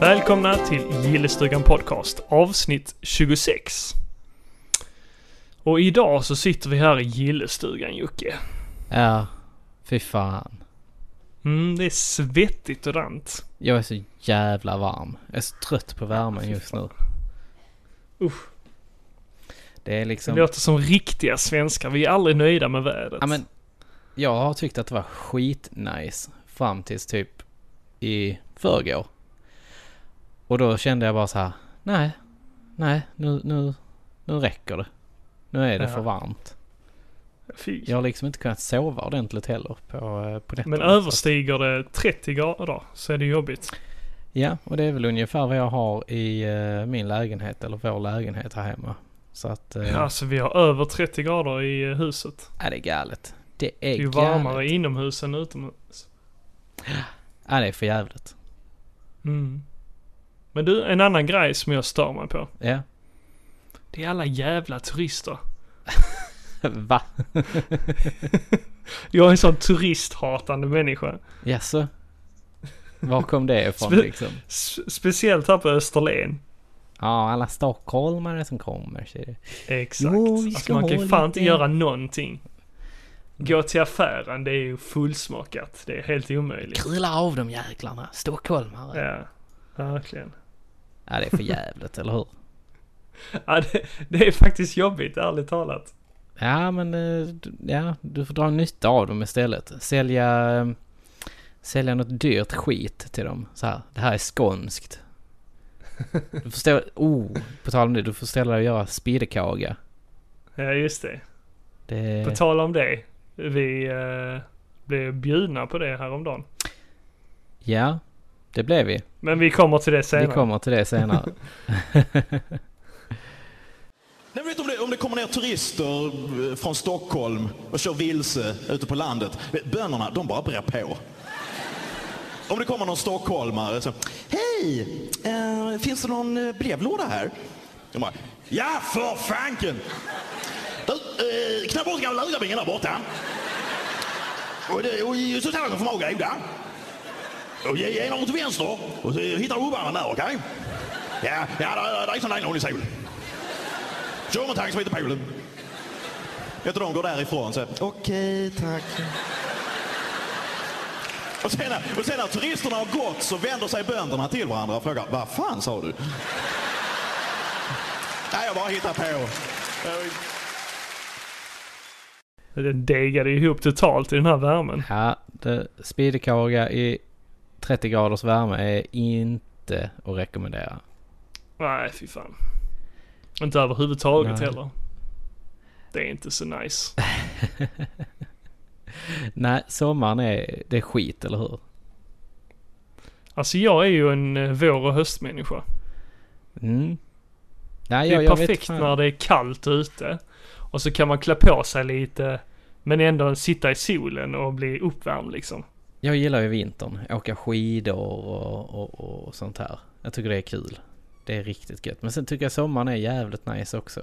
välkomna till Gillestugan Podcast, avsnitt 26. Och idag så sitter vi här i gillestugan, Jocke. Ja, fy fan. Mm, det är svettigt och rant. Jag är så jävla varm. Jag är så trött på värmen just nu. Usch. Det är Det liksom... låter som riktiga svenskar, vi är aldrig nöjda med vädret. Ja, men, jag har tyckt att det var skitnice fram tills typ i förrgår. Och då kände jag bara så här, nej, nej, nu, nu, nu räcker det. Nu är det Ja. för varmt. Fy. Jag har liksom inte kunnat sova ordentligt heller på, eh, på nätterna. men överstiger det 30 grader så är det jobbigt. Ja, och det är väl ungefär vad jag har i eh, min lägenhet, eller vår lägenhet här hemma. Så att... eh, Alltså vi har över 30 grader i eh, huset. Ja, det är galet. Det Det är är ju galet. varmare inomhus än utomhus. Ja, det är för jävligt. Mm. Men du, en annan grej som jag stör mig på. Ja. Det är alla jävla turister. Va? Jag är en sån turisthatande människa. Jaså? Var kom det ifrån Spe- liksom? S- speciellt här på Österlen. Ja, alla stockholmare som kommer. ser du. Exakt. Jo, vi alltså ska man kan ju ha fan lite- inte göra någonting. Gå till affären, det är ju fullsmockat. Det är helt omöjligt. Krula av de jäklarna, stockholmare. Ja, Ja, verkligen. det är för jävligt, eller hur? Ja, det, det är faktiskt jobbigt, ärligt talat. Ja, men eh, du- ja, du får dra nytta av dem istället. Sälja, eh, sälja något dyrt skit till dem. Så här, det här är skånskt. Du får ställa, oh, på tal om det, du får ställa dig och göra spiddekaga. Ja, just det. Det... På tal om det. Vi eh, blev bjudna på det häromdagen. Ja, det blev vi. Men vi kommer till det senare. Vi kommer till det senare. Nej, men vet du, om, det, om det kommer ner turister eh, från Stockholm och kör vilse ute på landet. Bönderna, de bara brer på. Om det kommer någon stockholmare så... Hej! Eh, finns det någon eh, brevlåda här? De bara... Ja, för fanken! Du, eh, knä bort gamla lurabingen där borta. Och, det, och så tar du för många goda. Och ge ge en åt vänster. Och så hittar du ubbaren där, okej? Ja, ja, där, där är sån där någon i solen. Kör om en tank som heter Polen. Vet du, de går därifrån så här, Okej, tack. Och sen, när- och sen när turisterna har gått så vänder sig bönderna till varandra och frågar Vad fan sa du? Nej, jag bara hittar på. Den degade ihop totalt i den här värmen. Ja, det- speedkaga i 30 graders värme är inte att rekommendera. Nej, fy fan. Inte överhuvudtaget Nej. heller. Det är inte så nice. Nej, sommaren är, det är skit, eller hur? Alltså jag är ju en eh, vår och höstmänniska. Mm. Nej, Det är jag, jag vet perfekt fan. när det är kallt ute. Och så kan man klä på sig lite. Men ändå sitta i solen och bli uppvärmd liksom. Jag gillar ju vintern. Åka skidor och, och, och sånt här. Jag tycker det är kul. Det är riktigt gött. Men sen tycker jag sommaren är jävligt nice också.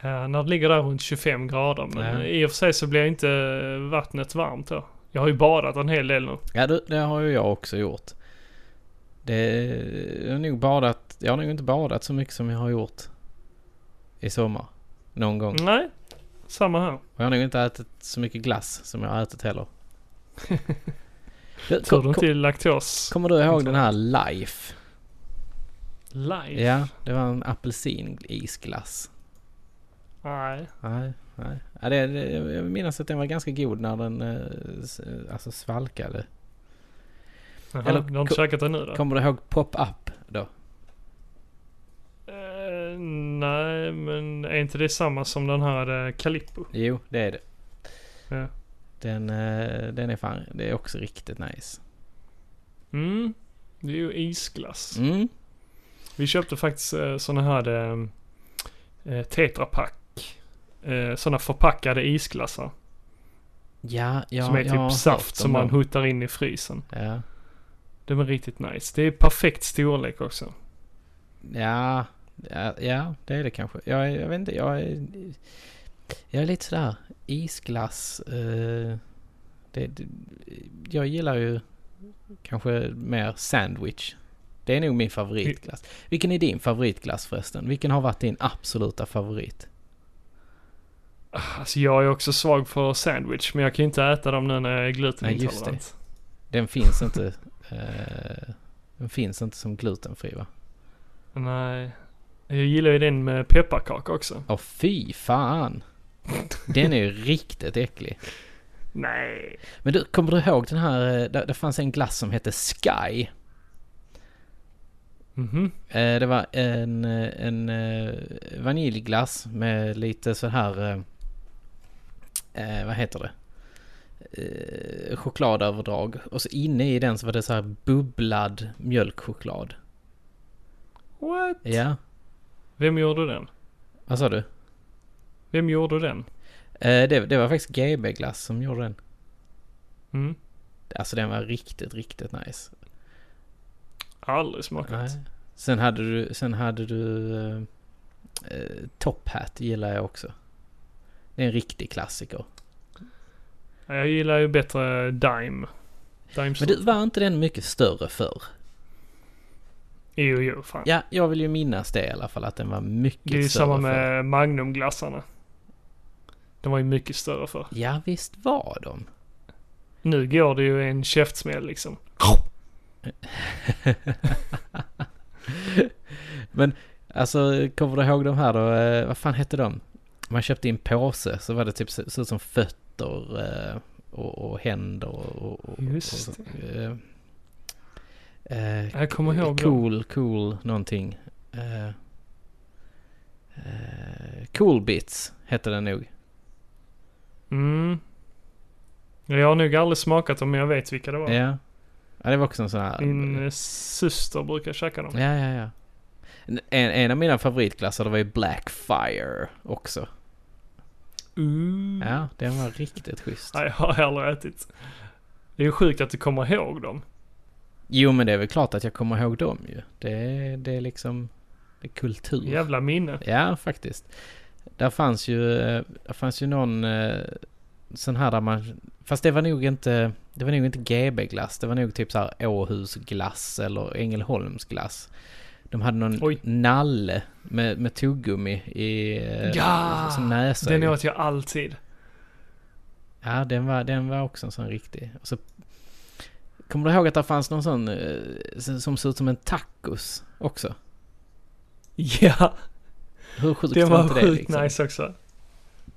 Eh, när det ligger där runt 25 grader. Men Ja. i och för sig så blir inte eh, vattnet varmt då. Jag har ju badat en hel del nu. Ja, det, det har ju jag också gjort. Det, jag, har nog badat, jag har nog inte badat så mycket som jag har gjort i sommar. Någon gång. Nej, samma här. Och jag har nog inte ätit så mycket glass som jag har ätit heller. Du, Tur kom, du kom, inte är laktos kommer du ihåg den här Life? live? Ja, det var en apelsinisglass. Nej. Nej, nej. Ja, det, det, jag minns att den var ganska god när den eh, s- alltså svalkade. Jaha, Eller du har inte ko- käkat det nu då? Kommer du ihåg Pop-Up då? Eh, nej, men är inte det samma som den här eh, Calippo? Jo, det är det. Ja. Den, eh, den är fan, det är också riktigt nice. Mm, det är ju isglass. Mm. Vi köpte faktiskt eh, såna här eh, tetrapack. Eh, såna förpackade isglassar. Ja, ja, som är jag har typ hört saft om som man dem. huttar in i frysen. Ja. De är riktigt nice. Det är perfekt storlek också. Ja, ja, ja, det är det kanske. Jag, är- jag vet inte, jag är, jag är lite sådär isglass. Eh, det, det, jag gillar ju Kanske mer sandwich. Det är nog min favoritglass. Vilken är din favoritglass förresten? Vilken har varit din absoluta favorit? Alltså jag är också svag för sandwich, men jag kan ju inte äta dem nu när jag är glutenintolerant. Nej, just Den finns inte... Eh, den finns inte som glutenfri va? Nej. Jag gillar ju den med pepparkaka också. Åh fy fan! Den är ju riktigt äcklig. Nej. Men du, kommer du ihåg den här... eh, där det fanns en glass som hette Sky. Mhm. Eh, Det var en, eh, en eh, vaniljglass med lite så här... eh, Eh, vad heter det? Eh, chokladöverdrag. Och så inne i den så var det så här bubblad mjölkchoklad. What? Ja, Vem gjorde den? vad sa du? Vem gjorde den? Eh, det, det var faktiskt GB glass som gjorde den. Mm. Alltså den var riktigt, riktigt nice. Aldrig smakat. Nej. Sen hade du, sen hade du eh, eh, Top Hat gillar jag också. Det är en riktig klassiker. Jag gillar ju bättre Dime. Dime Men du, var inte den mycket större förr? Jo, jo, fan. Ja, jag vill ju minnas det i alla fall att den var mycket det är ju större samma förr. med Magnumglassarna. De var ju mycket större för. Ja, visst var de. Nu går det ju en käftsmäll liksom. Men alltså, kommer du ihåg de här då? Eh, vad fan hette de? Man köpte in påse så var det typ så, såg ut som fötter eh, och, och händer och... och Just och, det. Eh, eh, Jag kommer ihåg dem. cool, cool någonting. Eh, eh, cool bits hette den nog. Mm. Jag har nog aldrig smakat dem, men jag vet vilka det var. Ja. ja, det var också en sån här... Min eh, syster brukar käka dem. Ja, ja, ja. En, en av mina favoritglassar det var ju Blackfire också. Mm. Ja, den var riktigt schysst. Nej, jag har aldrig ätit. Det är ju sjukt att du kommer ihåg dem. Jo, men det är väl klart att jag kommer ihåg dem ju. Det är, det är liksom... Det är kultur. Jävla minne. Ja, faktiskt. Där fanns ju, eh, där fanns ju någon eh, sån här där man... Fast det var nog inte... Det var nog inte GB-glass. Det var nog typ så här Åhus-glass eller Ängelholms-glass. De hade någon Oj. nalle med, med tuggummi i... eh, Ja! Som näsa. Den ju. åt jag alltid. Ja, den var, den var också en sån riktig. Och så, kommer du ihåg att det fanns någon sån eh, som- som såg ut som en tacos också? Ja, Hur sjukt det var inte det? sjukt liksom? nice också.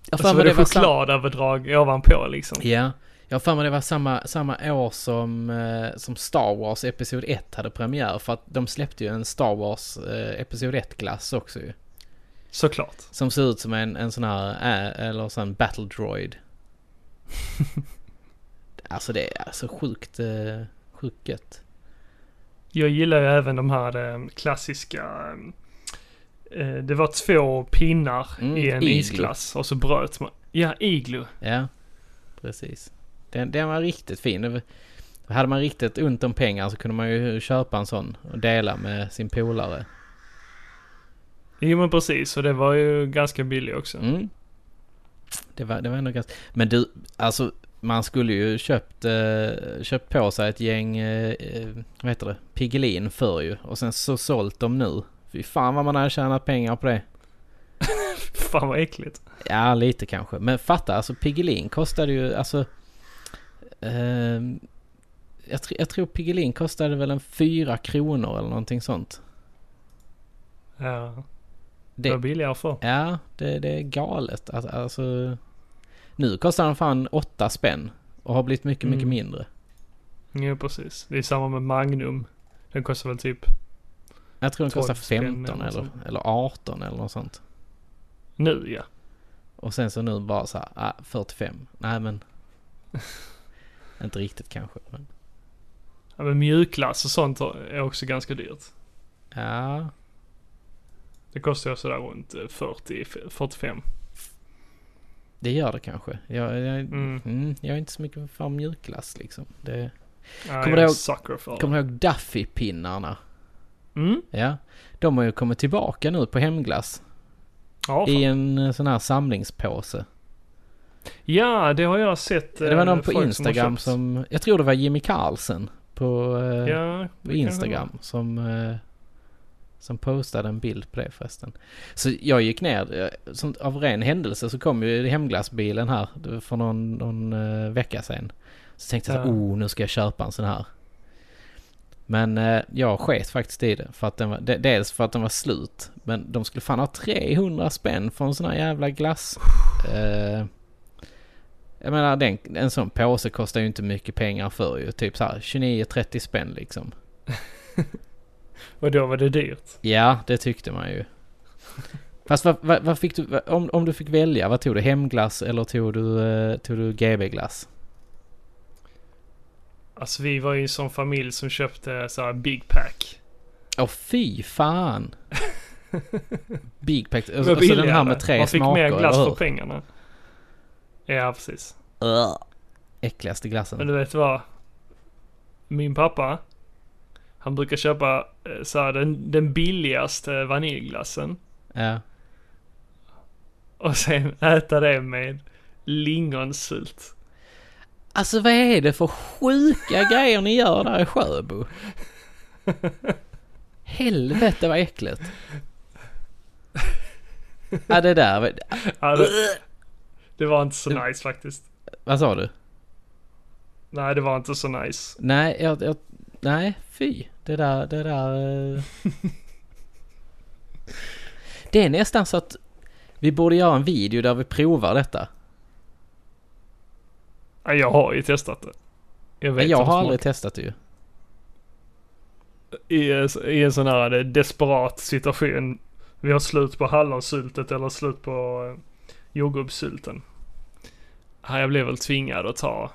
Jag har Och för så mig var det var sam- chokladöverdrag ovanpå liksom. Ja. Jag har för mig det var samma, samma år som, eh, som Star Wars Episod 1 hade premiär. För att de släppte ju en Star Wars eh, Episod 1-glass också ju. Såklart. Som ser ut som en, en sån här, eh, eller sån battle droid. alltså det är så sjukt, eh, sjukt gött. Jag gillar ju även de här eh, klassiska... eh, Det var två pinnar Mm, i en iglo. isglass och så bröt man. Ja, iglo. Ja, precis. Den, den var riktigt fin. Det var- Hade man riktigt ont om pengar så kunde man ju köpa en sån och dela med sin polare. Jo men precis, och det var ju ganska billig också. Mm. Det var, det var ändå ganska... Men du, alltså man skulle ju köpt, eh, köpt på sig ett gäng, eh, eh, vad heter det, Piggelin förr ju. Och sen så sålt dem nu. Fy fan vad man hade tjänat pengar på det. Fan vad äckligt. Ja, lite kanske. Men fatta, alltså Piggelin kostade ju, alltså... ehm, jag, tr- jag tror Piggelin kostade väl en fyra kronor eller någonting sånt. Ja, det var Det, billigare för. ja, det, det är galet. Att- Alltså, nu kostar den fan åtta spänn och har blivit mycket, mycket Mm. mindre. Jo precis. Det är samma med Magnum. Den kostar väl typ... Jag tror den 12 kostar spänn 15 eller något eller, eller 18 eller något sånt. Nu ja. Och sen så nu bara så här, ah, 45. Nej men... inte riktigt kanske. Men, ja men mjukglass och sånt är också ganska dyrt. ja, Det kostar ju sådär runt eh, 40-45. det gör det kanske. Jag, jag, Mm. Mm, jag är inte så mycket för mjukglass liksom. Det... Ja, Kommer jag du är ihåg- sucker för Kommer det. du ihåg Duffy-pinnarna? Mm? Ja. De har ju kommit tillbaka nu på hemglass. Ja, fan. I en eh, sån här samlingspåse. ja, det har jag sett. Det var eh, någon på folk har Instagram köpt. som, jag tror det var Jimmy Carlsen på på, eh, Ja, på Instagram som, eh, som postade en bild på det förresten. Så jag gick ner, eh, som, av ren händelse så kom ju hemglassbilen här det var för någon, någon eh, vecka sedan. Så tänkte jag så här, Ja. oh nu ska jag köpa en sån här. Men eh, jag sket faktiskt i det. För att den var, de- dels för att den var slut. Men de skulle fan ha 300 spänn för en sån här jävla glass. Eh, jag menar den, en sån påse kostar ju inte mycket pengar för ju. Typ så här 29-30 spänn liksom. Och då var det dyrt. Ja, det tyckte man ju. Fast vad, vad, vad fick du, vad- om, om du fick välja, vad tog du? Hemglass eller tog du, eh, tog du GB-glass? Alltså vi var ju en sån familj som köpte så här Big Alltså, Pack. Åh fy fan! Big pack. Och, Det och var så alltså, den här billigare. med tre Man fick smaker, mer glass eller för hur? pengarna. Ja, precis. Ugh. Äckligaste Men glassen. du vet vad? Min pappa, han brukar köpa eh, så här, den, den billigaste vaniljglassen Ja. och sen äta det med lingonsylt. Alltså vad är det för sjuka grejer ni gör där i Sjöbo? Helvete vad äckligt. Ja det där, var- Ja, det, det var inte så nice faktiskt. vad sa du? Nej, det var inte så nice. Nej, jag, jag, nej, fy. Det där, det där... eh. det är nästan så att vi borde göra en video där vi provar detta. Ja, jag har ju testat det. Jag Men vet jag hur det har aldrig testat det ju. smakar. I, en- I en sån här eh, desperat situation. Vi har slut på hallonsyltet eller slut på eh, jordgubbssylten. Ja, Jag blev väl tvingad att ta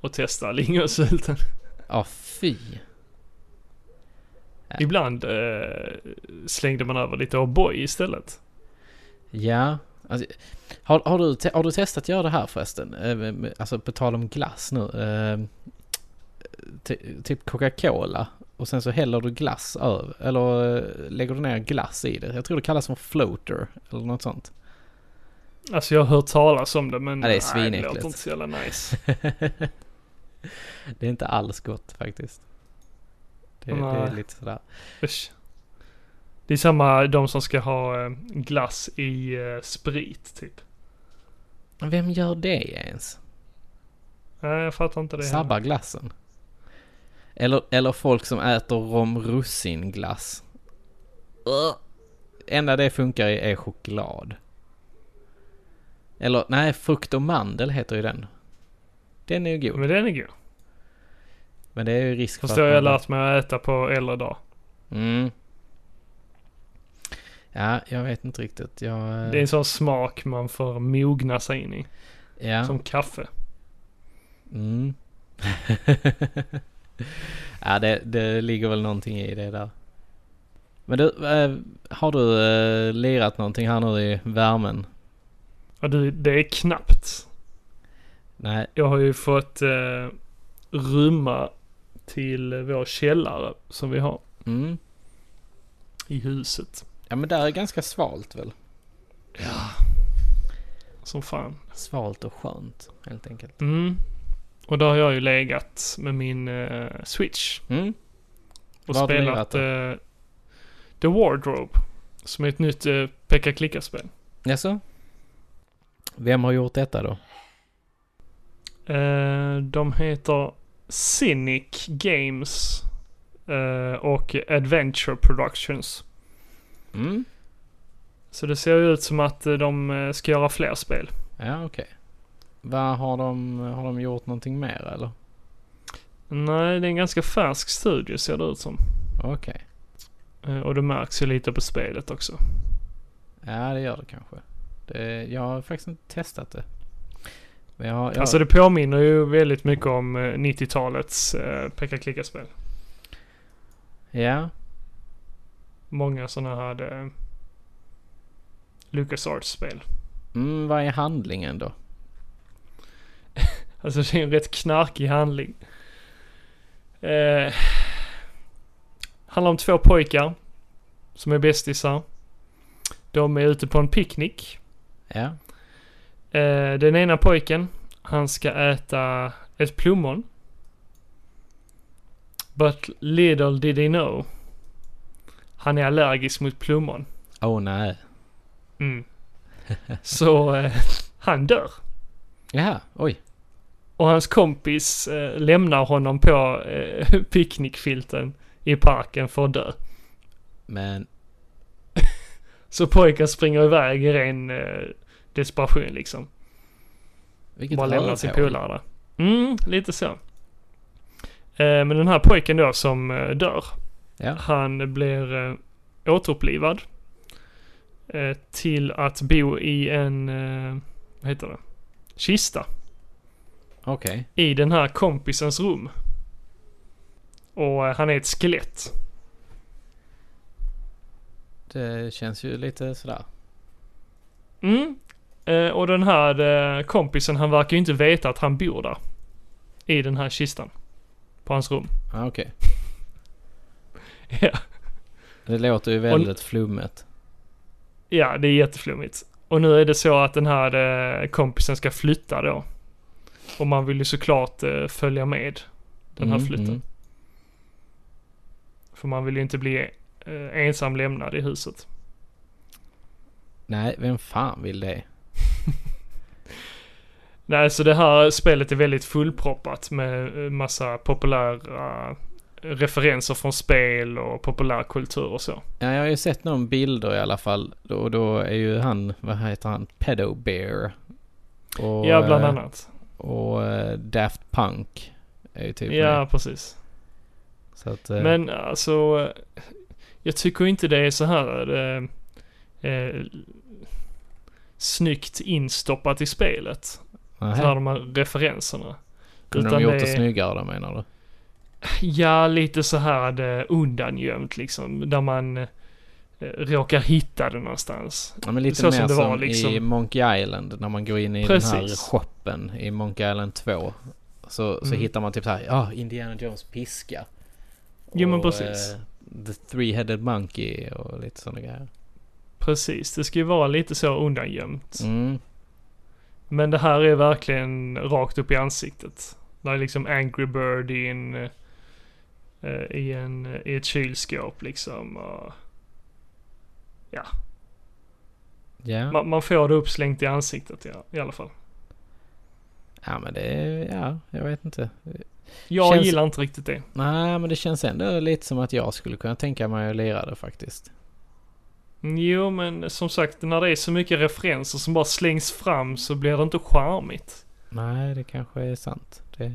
och testa lingonsylten. Ja, fy. Ibland eh, slängde man över lite O'boy istället. Ja. Alltså, har, har, du te- har du testat att göra det här förresten? Eh, Alltså på tal om glass nu. Eh, ty- Typ Coca-Cola och sen så häller du glass över. Eller eh, lägger du ner glass i det. Jag tror det kallas för floater eller något sånt. Alltså jag har hört talas om det men Ja, det nej, är det svinäckligt. låter inte så jävla nice. det är inte alls gott faktiskt. Det, det Nej. är lite sådär. Usch. Det är samma de som ska ha eh, glass i eh, sprit typ. Vem gör det ens? Nej jag fattar inte det. heller. Sabbar glassen? Eller, eller folk som äter rom russinglass. Ugh. Enda det funkar i är choklad. Eller nej, frukt och mandel heter ju den. Den är ju god. Men den är god. Men det är ju risk Fast det har jag man- lärt mig att äta på äldre dag. Mm. Ja, jag vet inte riktigt. Jag... Det är en sån smak man får mogna sig in i. ja. Som kaffe. Mm. ja, det, det ligger väl någonting i det där. Men du, eh, har du eh, lirat någonting här nu i värmen? Och det, det är knappt. Nej, Jag har ju fått eh, rymma till vår källare som vi har mm. i huset. Ja men där är ganska svalt väl? Som fan. Svalt och skönt helt enkelt. Mm. Och där har jag ju legat med min eh, Switch. Mm. Och Vad har du lirat spelat då? eh, The Wardrobe. Som är ett nytt eh, peka-klicka-spel. Jaså? Vem har gjort detta då? Eh, de heter Cynic Games eh, och Adventure Productions. Mm. Så det ser ju ut som att eh, de eh, ska göra fler spel. Ja okej. Vad har de, har de gjort någonting mer eller? Nej, det är en ganska färsk studio ser det ut som. Okej. Eh, Och det märks ju lite på spelet också. Ja det gör det kanske. Det, jag har faktiskt inte testat det. Men jag, har- jag, Alltså det påminner ju väldigt mycket om eh, 90-talets eh, peka-klicka-spel. Ja, Många sådana hade eh, LucasArts-spel. mm, vad är handlingen då? Alltså det är en rätt knarkig handling. Eh, handlar om två pojkar som är bästisar. De är ute på en picknick. Ja, Eh, den ena pojken, han ska äta ett plommon. But little did he know. Han är allergisk mot plommon. Åh oh, nej. Mm. Så eh, han dör. Jaha, oj. Och hans kompis eh, lämnar honom på eh, picknickfilten i parken för att dö. Men Så pojken springer iväg i ren eh, desperation liksom. vilket Bara lämnar sin rövhål. polare där. Mm, lite så. Eh, men den här pojken då som eh, dör. Ja. Han blir eh, återupplivad. Eh, till att bo i en, eh, vad heter det? Kista. Okej. i den här kompisens rum. Och eh, han är ett skelett. Det känns ju lite sådär. Mm. Eh, och den här eh, kompisen, han verkar ju inte veta att han bor där. I den här kistan. På hans rum. Ah, Okej. Ja. Det låter ju väldigt flummet. ja, det är jätteflummigt. Och nu är det så att den här eh, kompisen ska flytta då. Och man vill ju såklart eh, följa med den här Mm, flytten. mm. För man vill ju inte bli eh, ensam lämnad i huset. Nej, vem fan vill det? Nej, så det här spelet är väldigt fullproppat med eh, massa populära referenser från spel och populärkultur och så. Ja, jag har ju sett några bilder i alla fall. Och då är ju han, vad heter han, Pedo Bear. Och, ja, bland eh, annat. Och eh, Daft Punk är ju typ med. Ja, precis. Så att, eh, Men alltså, eh, jag tycker inte det är så här eh, eh, snyggt instoppat i spelet. nähä. Så här de här referenserna. kunde de gjort det är- snyggare då menar du? Ja, lite så här det undangömt liksom. Där man eh, råkar hitta det någonstans. Ja, men lite Så mer som som, det var, i liksom. Monkey Island när man går in i den här Precis. shoppen i Monkey Island 2. Så, så Mm. hittar man typ så här, ja, Indiana Jones piska. Jo, men Och, precis. eh, The Three-Headed Monkey och lite sådana grejer. Precis, det ska ju vara lite så undangömt. Mm. Men det här är verkligen rakt upp i ansiktet. Det är liksom Angry Bird i en... eh, I, en, i ett kylskåp liksom. Och Ja. man, man får det uppslängt i ansiktet ja, i alla fall. ja, men det är, ja, jag vet inte. Jag Känns- gillar inte riktigt det. Nej, men det känns ändå lite som att jag skulle kunna tänka mig att lira det faktiskt. Mm, Jo, men som sagt, när det är så mycket referenser som bara slängs fram så blir det inte charmigt. Nej, det kanske är sant. Det,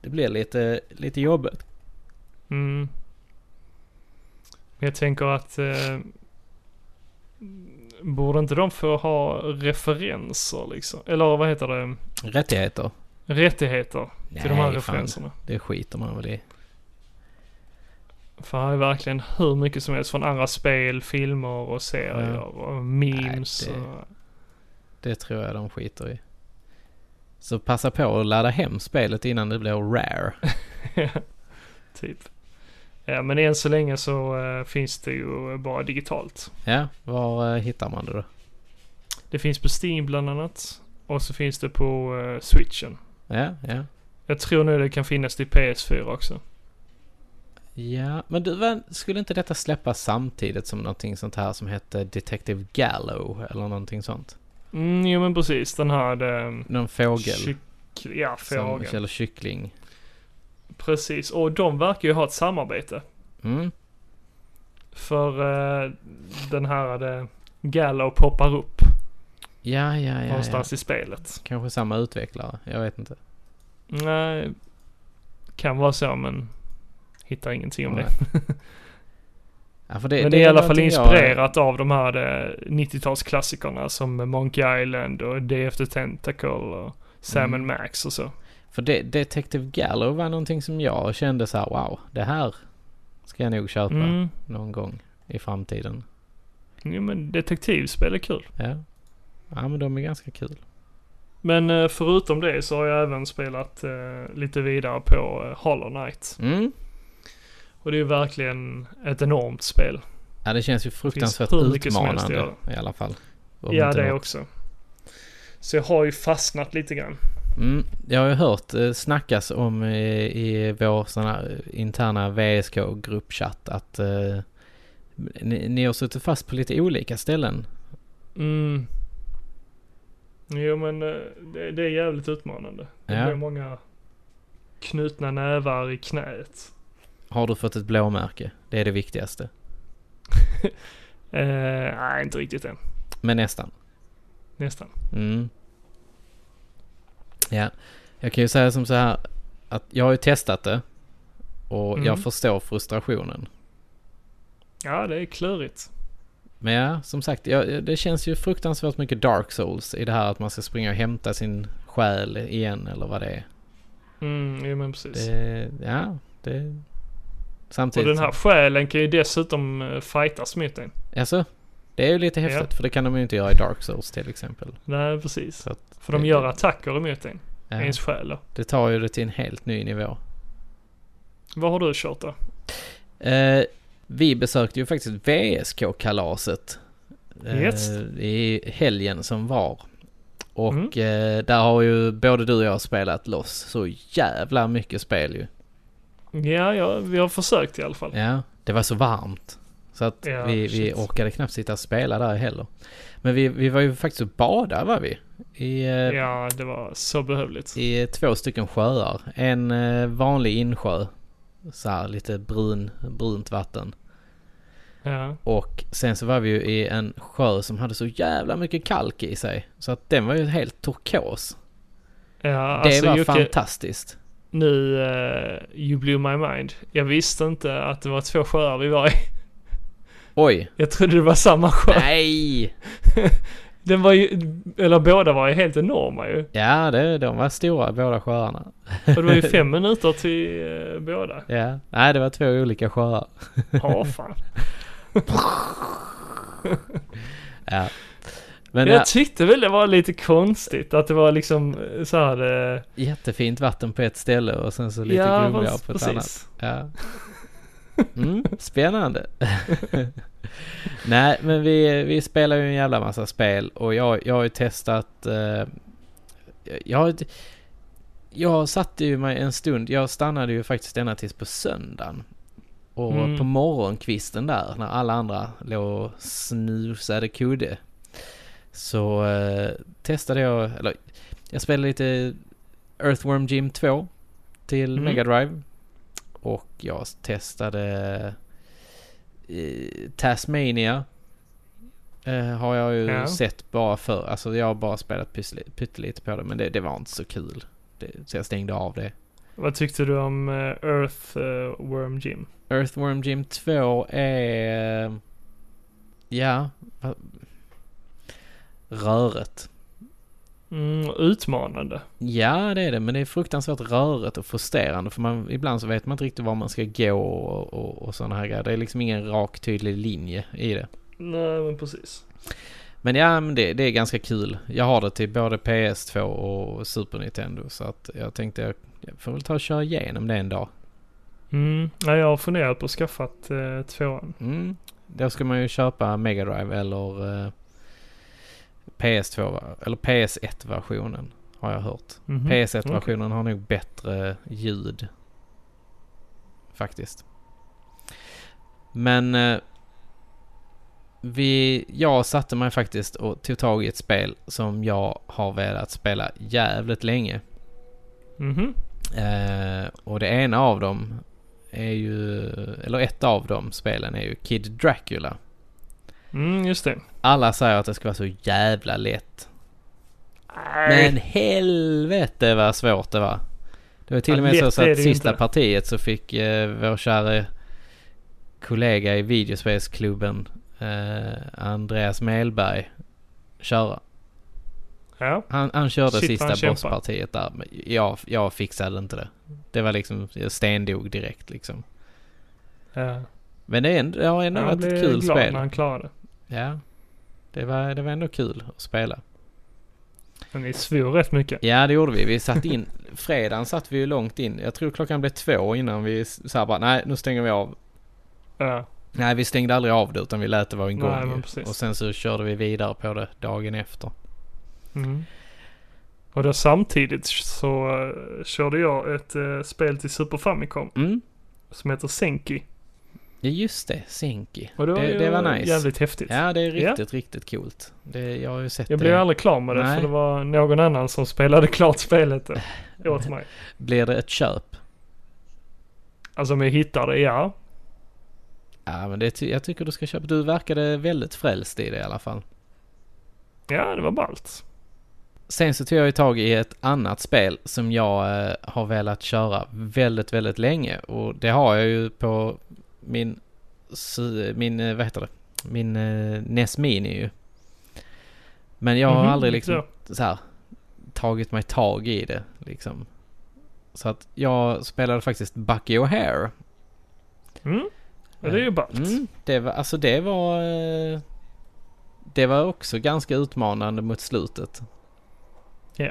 det blir lite, lite jobbigt. Mm. Men jag tänker att... Eh, borde inte de få ha referenser liksom? Eller vad heter det? Rättigheter? Rättigheter Nej, till de här fan. referenserna. Det skiter man väl i. För här är verkligen hur mycket som helst från andra spel, filmer och serier Ja. och memes. Nej, det- och... Det tror jag de skiter i. Så passa på att ladda hem spelet innan det blir rare. typ. Ja, men än så länge så eh, finns det ju bara digitalt. Ja, var eh, hittar man det då? Det finns på Steam bland annat. Och så finns det på eh, Switchen. Ja, ja. Jag tror nu det kan finnas till PS4 också. Ja, men du, vad- skulle inte detta släppas samtidigt som någonting sånt här som hette Detective Gallo eller någonting sånt? Mm, jo men precis. Den här... ehm, Någon fågel? kyck- ja, som, fågel. eller kyckling? Precis. Och de verkar ju ha ett samarbete. Mm, För eh, den här eh, Gallo poppar upp ja, ja, ja. ja. någonstans i spelet. Kanske samma utvecklare, jag vet inte. Nej, kan vara så men hittar ingenting om det. Nej. Ja, för det, Men det är i alla fall någonting jag- inspirerat av de här eh, 90-talsklassikerna som Monkey Island och Day of the Tentacle och Sam Mm. and Max och så. För det, Detective Gallo var någonting som jag kände så här, wow, det här ska jag nog köpa Mm. någon gång i framtiden. Jo men detektivspel är kul. Ja. ja, men de är ganska kul. Men eh, förutom det så har jag även spelat eh, lite vidare på eh, Hollow Knight. Mm. Och det är ju verkligen ett enormt spel. Ja, det känns ju fruktansvärt hur mycket som helst att utmanande i alla fall. Om ja inte det något- också. Så jag har ju fastnat lite grann. Mm, jag har ju hört eh, snackas om i, i vår sån här interna VSK-gruppchatt att eh, ni, ni har suttit fast på lite olika ställen. Mm. Jo men eh, det, det är jävligt utmanande. Det Ja. blir många knutna nävar i knät. Har du fått ett blåmärke? Det är det viktigaste. Eh, nej, inte riktigt än. Men nästan. Nästan. Mm. Ja, jag kan ju säga som så här att jag har ju testat det och Mm. jag förstår frustrationen. Ja, det är klurigt. Men ja, som sagt, jag, det känns ju fruktansvärt mycket dark souls i det här att man ska springa och hämta sin själ igen eller vad det är. Mm, jo men precis. Det, ja, det... Och Samtidigt... den här själen kan ju dessutom eh, fightas mot en. Alltså, det är ju lite häftigt för det kan de ju inte göra i Dark Souls till exempel. Nej, precis. Så att För de det- gör attacker emot en. Ja, Ens själ då. det tar ju det till en helt ny nivå. Vad har du kört då? Eh, vi besökte ju faktiskt VSK-kalaset eh, Yes. Mm. i helgen som var. Och eh, där har ju både du och jag spelat loss så jävla mycket spel ju. Ja, ja, vi har försökt i alla fall. Ja, det var så varmt. Så att Ja, vi, vi shit. orkade knappt sitta och spela där heller. Men vi, vi var ju faktiskt och badade var vi. I, eh, Ja, det var så behövligt. i eh, två stycken sjöar. En eh, vanlig insjö. Så här lite brun, brunt vatten. Ja. Och sen så var vi ju i en sjö som hade så jävla mycket kalk i sig. Så att den var ju helt turkos. Ja, Det alltså var Jocke, fantastiskt. nu, eh, you blew my mind. Jag visste inte att det var två sjöar vi var i. Oj, Jag trodde det var samma sjö. nej! Den var ju, eller båda var ju helt enorma ju. Ja, det, de var stora båda sjöarna. Och det var ju fem minuter till eh, båda. Ja, nej det var två olika sjöar. Ja, fan. Ja. Men ja, jag tyckte väl det var lite konstigt att det var liksom eh, så här... eh, jättefint vatten på ett ställe och sen så lite ja, grumligare fast- på ett precis. annat. Ja. Mm, spännande. Nej, men vi, vi spelar ju en jävla massa spel och jag, jag har ju testat... Eh, jag, har ett- jag satte ju mig en stund, jag stannade ju faktiskt ända tills på söndagen. Och Mm. på morgonkvisten där, när alla andra låg och snusade kudde. Så eh, testade jag, eller jag spelade lite Earthworm Jim 2 till Mm. Mega Drive. Och jag testade eh, Tasmania. Eh, har jag ju Ja. sett bara för. Alltså jag har bara spelat pyssle- pyttelite på det. Men det, det var inte så kul. Det, så jag stängde av det. Vad tyckte du om eh, Earthworm Jim? Earthworm Jim 2 är... Ja. va- Röret. Mm, utmanande. Ja, det är det. Men det är fruktansvärt rörigt och frustrerande. För man, ibland så vet man inte riktigt var man ska gå och, och, och sådana här grejer. Det är liksom ingen rak tydlig linje i det. Nej, men precis. Men ja, men det, det är ganska kul. Jag har det till både PS2 och Super Nintendo. Så att jag tänkte jag, jag får väl ta och köra igenom det en dag. Mm, ja, jag har funderat på att skaffa eh, tvåan. Mm. Då ska man ju köpa Mega Drive eller eh, PS2 va- eller PS1-versionen har jag hört. Mhm. PS1-versionen har nog bättre ljud. Faktiskt. Men eh, vi, jag satte mig faktiskt och tog tag i ett spel som jag har velat spela jävligt länge. Mhm. Eh, och det ena av dem är ju, eller ett av de spelen är ju Kid Dracula. Mm, just det. Alla säger att det ska vara så jävla lätt. Nej. Men helvete vad svårt det var. Det var till Ja, och med så, lätt så är att det ju sista inte. partiet så fick eh, vår kära kollega i videospelsklubben eh, Andreas Melberg köra. Ja. Han, han körde Shit, sista han kämpar. bosspartiet där. Men jag, jag fixade inte det. Det var liksom, jag stendog direkt liksom. ja. Men det, är ändå, det har ändå Jag varit blev ett kul glad spel. när han klarade det. Ja. Det var, det var ändå kul att spela. Men ni svor rätt mycket. Ja, det gjorde vi. Vi satt in, fredagen satt vi ju långt in. Jag tror klockan blev två innan vi s- så här bara, nej nu stänger vi av. Ja. Nej, vi stängde aldrig av det utan vi lät det vara en Nej, gång men ju. precis. Och sen så körde vi vidare på det dagen efter. Mm. Och då samtidigt så eh, körde jag ett eh, spel till Super Famicom Mm. som heter Senki. Ja, just det. Senki. Och Det, ju det var nice. jävligt häftigt. Ja, det är riktigt, riktigt coolt. Det, jag har ju sett Jag det. blev aldrig klar med det Nej. för det var någon annan som spelade klart spelet eh, åt mig. Blir det ett köp? Alltså om jag hittar det, ja. Ja, men det, ty- jag tycker du ska köpa. Du verkade väldigt frälst i det i alla fall. Ja, det var ballt. Sen så tog jag ju tag i ett annat spel som jag eh, har velat köra väldigt, väldigt länge. Och det har jag ju på min, sy- min eh, vad heter det, min eh, NES Mini ju. Men jag har Mhm, aldrig liksom så. så här, tagit mig tag i det liksom. Så att jag spelade faktiskt Bucky O'Hare. Mm. Ja, det är ju ballt. Mm, det var, alltså det var... eh, Det var också ganska utmanande mot slutet. Ja.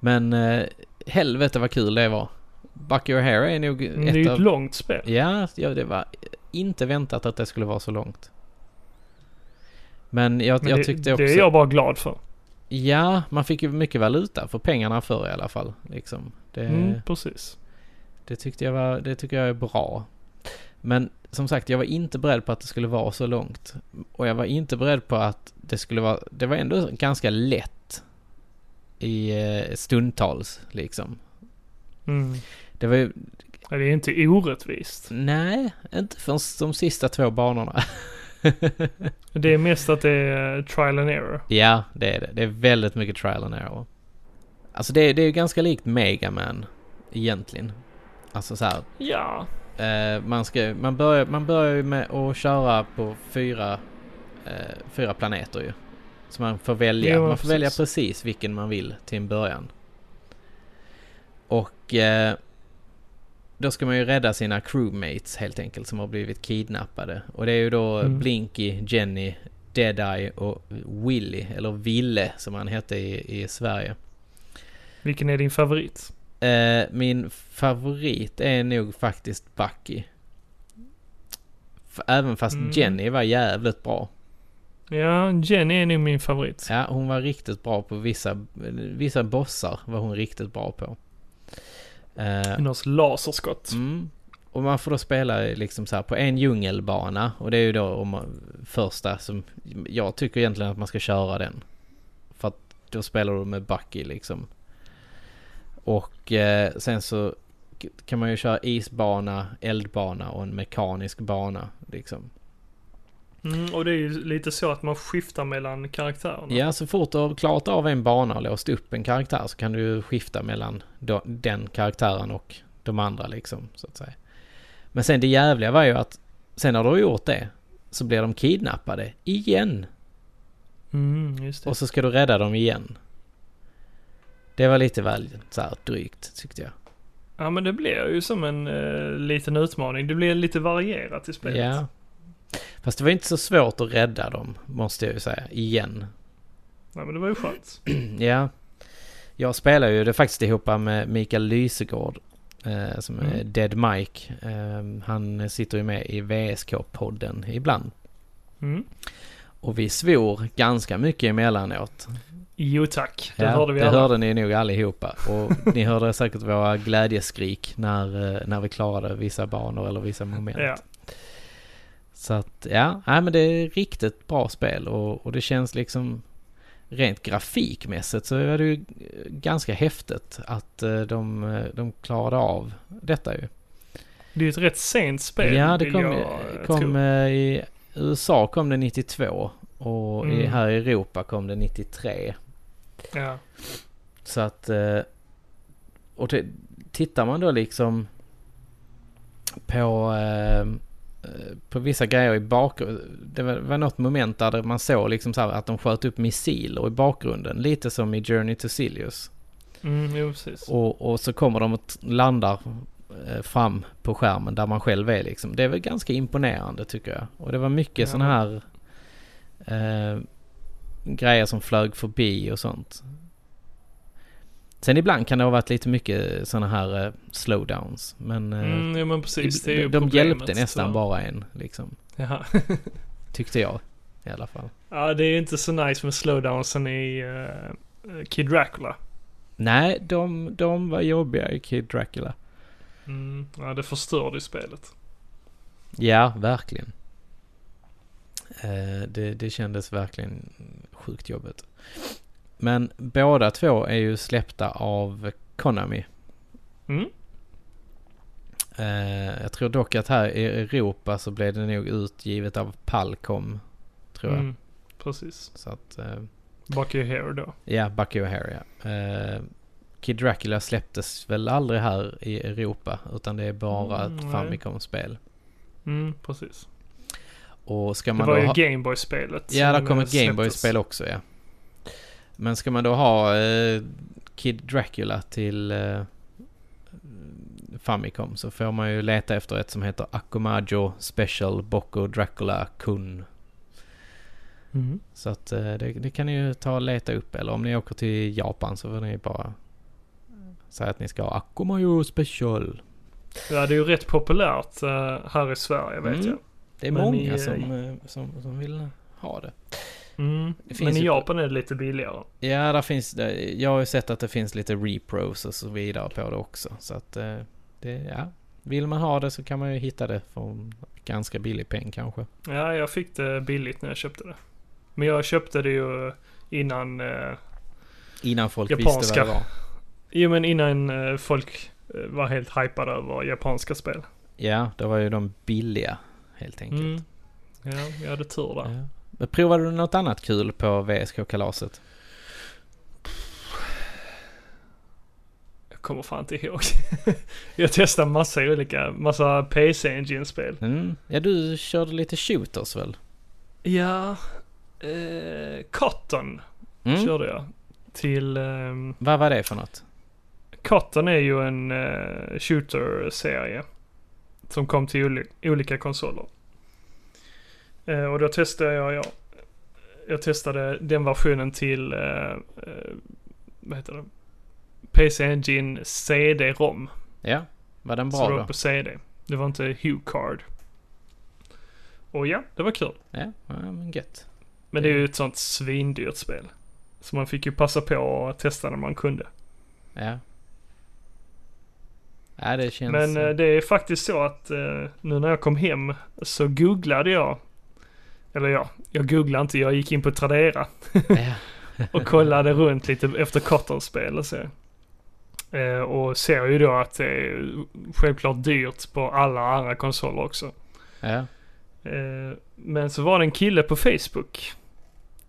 Men eh, helvete vad kul det var. Buck Your Hair är nog Mm, Det är ju ett ett av... långt spel. Ja, ja, det var inte väntat att det skulle vara så långt. Men jag, Men jag det, tyckte också... det är jag bara glad för. Ja, man fick ju mycket valuta för pengarna för i alla fall. Liksom. Det, Mm, precis. det tyckte jag var, det tycker jag är bra. Men som sagt, jag var inte beredd på att det skulle vara så långt. Och jag var inte beredd på att det skulle vara, det var ändå ganska lätt i eh, stundtals liksom. Mm. Det var ju, Ja, Det är inte orättvist. nej, inte förrän de sista två banorna. Det är mest att det är eh, trial and error. ja, det är det. Det är väldigt mycket trial and error. Alltså det, är- det är ju ganska likt Mega Man egentligen. Alltså så här, Ja. Eh, man, ska, man, börjar, man börjar ju med att köra på fyra, eh, fyra planeter ju. Så man får välja, Jo, man får precis. välja precis vilken man vill till en början. Och eh, då ska man ju rädda sina crewmates helt enkelt som har blivit kidnappade. Och det är ju då Mm. Blinky, Jenny, Deadeye och Willy, eller Ville som han hette i, i Sverige. Vilken är din favorit? Eh, min favorit är nog faktiskt Bucky. F- Även fast Mm. Jenny var jävligt bra. Ja, Jenny är nog min favorit. Ja, hon var riktigt bra på vissa, vissa bossar var hon riktigt bra på. Eh, Hennes laserskott. Mm. Och man får då spela liksom så här på en djungelbana och det är ju då om man, första som jag tycker egentligen att man ska köra den. För att då spelar du med Bucky liksom. Och eh, sen så k- kan man ju köra isbana, eldbana och en mekanisk bana liksom. Mm, och det är ju lite så att man skiftar mellan karaktärerna. Ja, så fort du har klarat av en bana och låst upp en karaktär så kan du ju skifta mellan då, den karaktären och de andra liksom, så att säga. Men sen det jävliga var ju att sen när du har gjort det så blir de kidnappade igen. Mm, just det. Och så ska du rädda dem igen. Det var lite väl så här drygt tyckte jag. Ja, men det blir ju som en eh, liten utmaning. Det blir lite varierat i spelet. Ja. Fast det var inte så svårt att rädda dem, måste jag ju säga, igen. Ja, men det var ju skönt. Ja. Jag spelar ju det faktiskt ihop med Mikael Lysegård. Eh, som är Mm. Dead Mike. Eh, han sitter ju med i VSK-podden ibland. Mm. Och vi svor ganska mycket emellanåt. Jo tack, det Ja, hörde vi det alla. hörde ni nog allihopa. Och ni hörde säkert våra glädjeskrik när, eh, när vi klarade vissa banor eller vissa moment. Ja. Så att, ja, nej, men det är riktigt bra spel och, och det känns liksom rent grafikmässigt så är det ju ganska häftigt att eh, de, eh, de klarade av detta ju. Det är ju ett rätt sent spel. ja, det vill kom, jag, eh, kom tro. eh, i USA kom det 92 och i, Mm. här i Europa kom det 93. Ja. Så att... eh, Och det, tittar man då liksom på, eh, eh, på vissa grejer i bakgrunden. Det var, var något moment där det- man såg liksom så här att de sköt upp missiler i bakgrunden. Lite som i Journey to Silius. Mm, jo precis. Och, och så kommer de och t- landar eh, fram på skärmen där man själv är liksom. Det är väl ganska imponerande tycker jag. Och det var mycket Ja. sådana här eh, grejer som flög förbi och sånt. Sen ibland kan det ha varit lite mycket sådana här eh, slowdowns. Men eh, Mm, jo men precis, det är ju de, de problemet, hjälpte nästan så. bara en liksom. Ja. Tyckte jag i alla fall. ja, det är ju inte så nice med slowdownsen i, eh, eh, Kid Dracula. Nej, de, de var jobbiga i Kid Dracula. Mm, ja, det förstörde ju spelet. Ja, verkligen. Eh, det, det kändes verkligen sjukt jobbigt. Men båda två är ju släppta av Konami. Mm. Eh, jag tror dock att här i Europa så blev det nog utgivet av Palcom. Tror jag. Mm, precis. Så att, eh, Bucky Hair då. ja, Bucky O'Hare ja. Eh, Kid Dracula släpptes väl aldrig här i Europa utan det är bara Mm, ett nej. Famicom-spel. Mm, precis. Och ska Det man var då ju ha... Gameboy-spelet. Ja, som, där kom eh, ett Gameboy-spel släpptes. också ja. Men ska man då ha eh, Kid Dracula till eh, Famicom så får man ju leta efter ett som heter Akumajo Special Boko Dracula Kun. Mm. Så att eh, det, det kan ni ju ta och leta upp eller om ni åker till Japan så får ni bara säga att ni ska ha Akumajo Special. Ja, det är ju rätt populärt eh, här i Sverige vet Mm. jag. Det är Men många i- som, eh, som, som vill ha det. Mm. Det finns Men i ju- Japan är det lite billigare. Ja, där finns det. Jag har ju sett att det finns lite repros och så vidare på det också. Så att eh, det, ja. Vill man ha det så kan man ju hitta det för en ganska billig peng kanske. Ja, jag fick det billigt när jag köpte det. Men jag köpte det ju innan... Eh, Innan folk visste Japanska. vad det var. jo, men innan eh, folk eh, var helt hypade över japanska spel. Ja, det var ju de billiga helt enkelt. Mm. Ja, jag hade tur där. Ja. Men provade du något annat kul på VSK-kalaset? Jag kommer fan inte ihåg. jag testade massa olika, massa PC-engine-spel. Mm. Ja, du körde lite shooters väl? Ja, eh, Cotton Mm. körde jag. Till... ehm, Vad var det för något? Cotton är ju en eh, shooter-serie. Som kom till oli- olika konsoler. Eh, och då testade jag, jag... Jag testade den versionen till... Eh, eh, vad heter det? PC Engine CD-ROM. Ja, var den Så bra det då? var på CD. Det var inte Hue Card. Och ja, det var kul. Ja, ja, men gött. Men det är ju ett sånt svindyrt spel. Så man fick ju passa på att testa när man kunde. Ja. Ja, det känns... Men eh, det är faktiskt så att eh, nu när jag kom hem så googlade jag. Eller ja, jag googlade inte. Jag gick in på Tradera Ja. och kollade runt lite efter Cotton-spel och så. Eh, och ser ju då att det är självklart dyrt på alla andra konsoler också. ja. Eh, men så var det en kille på Facebook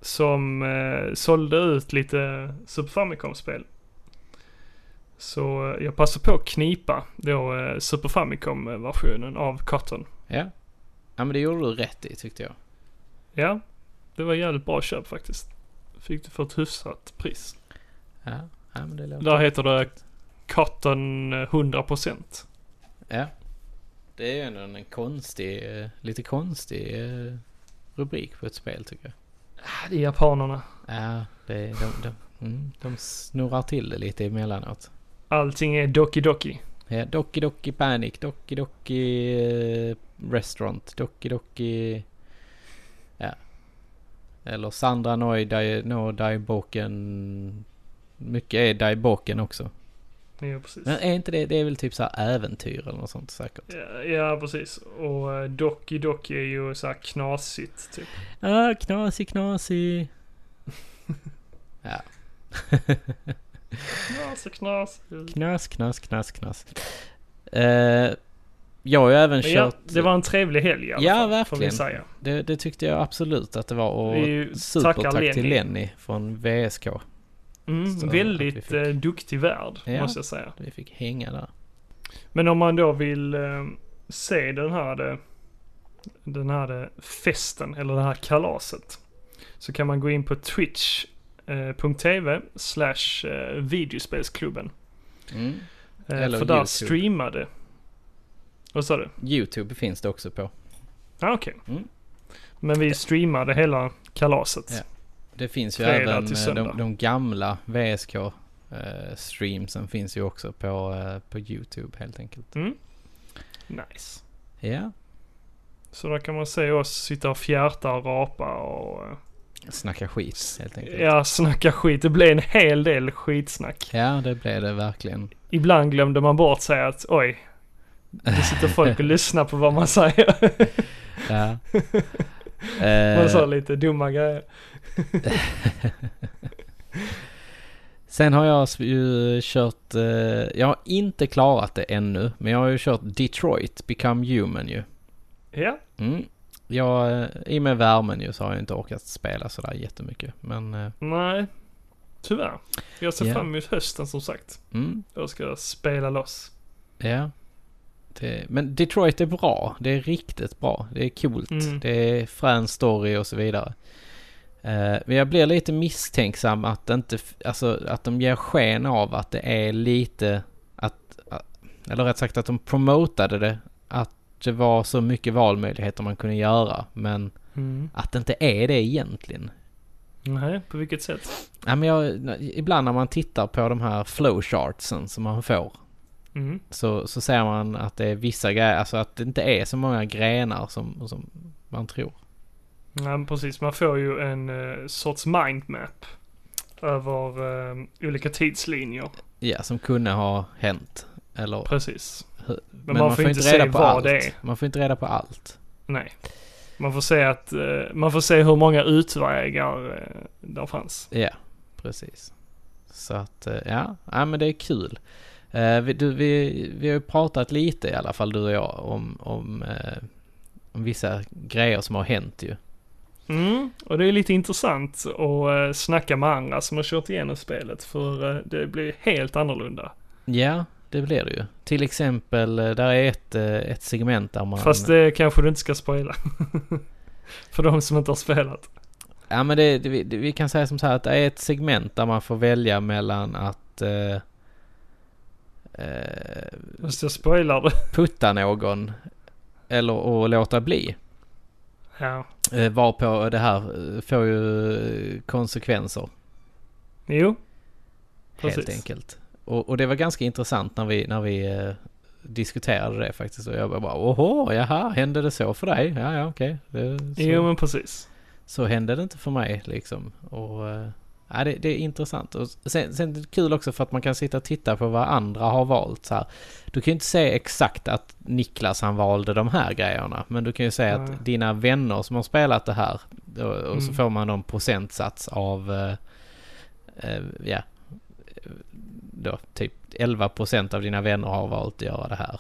som eh, sålde ut lite Super Famicom-spel. Så eh, jag passade på att knipa då eh, Super Famicom-versionen av Cotton. Ja. Ja men det gjorde du rätt i tyckte jag. Ja, det var jävligt bra köp faktiskt. Fick det för ett hyfsat pris. Ja, ja men det låter... Där heter det Cotton eh, 100%. Ja. Det är ju ändå en konstig, eh, lite konstig eh, rubrik på ett spel tycker jag. Ah, Det är japanerna. Ja, det är, de, de, mm, de snurrar till det lite emellanåt. Allting är Doki Doki. Ja, Doki Doki Panic, Doki Doki eh, Restaurant, Doki Doki... Ja. Eller Sandra Noi Dai, No Daiboken. Mycket är Daiboken också. Ja, precis. Men är inte det, det är väl typ så här äventyr eller något sånt säkert? Ja, ja, precis. Och eh, Doki Doki är ju så här knasigt, typ. Ah, knasig, knasig. ja, Knas och knas. knas, knas, knas, knas. Eh, jag har ju även Men ja, kört... det var en trevlig helg i alla Ja, fall, Får verkligen. vi säga. det, det tyckte jag absolut att det var. Och Vi supertack tackar till Lenny. Lenny från VSK. Så Mm, att vi väldigt fick- eh, duktig värd, Ja. måste jag säga. Vi fick hänga där. Men om man då vill eh, se den här, eh, den här eh, festen, eller det här kalaset, så kan man gå in på twitch.tv slash eh, videospelsklubben. Mm. Eh, Eller för där YouTube. streamade... Vad sa du? Youtube finns det också på. Ah, Okej. Mm. Men vi streamade hela kalaset. Ja. Det finns ju Fredag även till eh, söndag. de, de gamla VSK-streamsen eh, finns ju också på, eh, på Youtube helt enkelt. Nice. Ja, Så där kan man se oss sitta och fjärta och rapa och eh, Snacka skit helt enkelt. Ja, snacka skit. Det blev en hel del skitsnack. Ja, det blev det verkligen. Ibland glömde man bort säga att oj, det sitter folk och lyssnar på vad man säger. Ja. Man sa Eh, lite dumma grejer. sen har jag ju kört, eh, jag har inte klarat det ännu, men jag har ju kört Detroit Become Human ju. Ja, Mm. Jag, eh, I och med värmen ju så har jag inte orkat spela sådär jättemycket. Men eh, nej. Tyvärr. Jag ser Ja. fram emot hösten som sagt. mm, Då ska jag spela loss. ja. Det, men Detroit är bra. Det är riktigt bra. Det är coolt. Mm. Det är frän story och så vidare. Eh, men jag blir lite misstänksam att, det inte, f- alltså, att de ger sken av att det är lite att, a- eller rätt sagt att de promotade det. Att det var så mycket valmöjligheter man kunde göra. Men att det inte är det egentligen. Nej, på vilket sätt? Ja, men jag, ibland när man tittar på de här flowchartsen som man får Mm. så, så ser man att det är vissa grejer, alltså att det inte är så många grenar som, som man tror. Nej, men precis. Man får ju en eh, sorts mindmap över eh, olika tidslinjer. Ja, som kunde ha hänt. Eller, Precis. Hur- Men, man, får inte se vad allt. det är. Man får inte reda på allt. Nej. Man får se att, eh, man får se hur många utvägar eh, där fanns. Ja, precis. Så att, eh, ja, ja men det är kul. Eh, vi, du, vi, vi har ju pratat lite i alla fall du och jag om, om, eh, om vissa grejer som har hänt ju. Mm, och det är lite intressant att eh, snacka med andra som har kört igenom spelet för eh, det blir helt annorlunda. Ja, det blir det ju. Till exempel, eh, där är ett, eh, ett segment där man... Fast det kanske du inte ska spoila. för de som inte har spelat. Ja, men det, det, vi- det, vi kan säga som så här att det är ett segment där man får välja mellan att eh, eh, Fast jag spoilar det. putta någon eller att låta bli. ja. Eh, varpå det här eh, får ju eh, konsekvenser, Jo. helt Precis. enkelt. Och, och det var ganska intressant när vi, när vi eh, diskuterade det faktiskt. Och jag bara, åhå, jaha, hände det så för dig? Ja, ja, okej. Det- så- Jo men precis. så hände det inte för mig liksom. Och, eh, ja, det, det är intressant. Och sen, sen är det kul också för att man kan sitta och titta på vad andra har valt. Så här. Du kan ju inte säga exakt att Niklas han valde de här grejerna. Men du kan ju säga Nej. att dina vänner som har spelat det här. Och, och så Mm. får man någon procentsats av, eh, eh, ja, eh, då, typ 11% av dina vänner har valt att göra det här.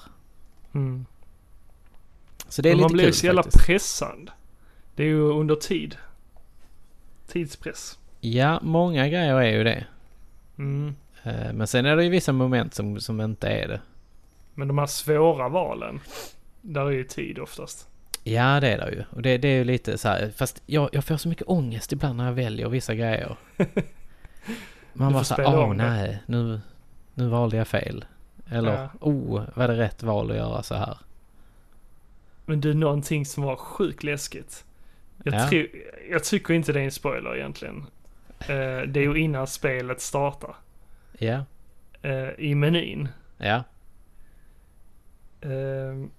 Mm. Så det är men man lite blir kul ju så jävla faktiskt. pressad. Det är ju under tid. Tidspress. Ja, många grejer är ju det. Mm. Eh, Men sen är det ju vissa moment som, som inte är det. Men de här svåra valen. Där är ju tid oftast. Ja, det är det ju. Och det, det är ju lite så här, fast jag, jag får så mycket ångest ibland när jag väljer vissa grejer. Man Du bara får så här, spela åh om det." nej, nu, nu valde jag fel. Eller, Ja. oh, var det rätt val att göra så här? Men du, någonting som var sjukt läskigt. Jag, Ja. tror- jag tycker inte det är en spoiler egentligen. Eh, det är ju innan spelet startar. Ja, Eh, I menyn. ja, Eh,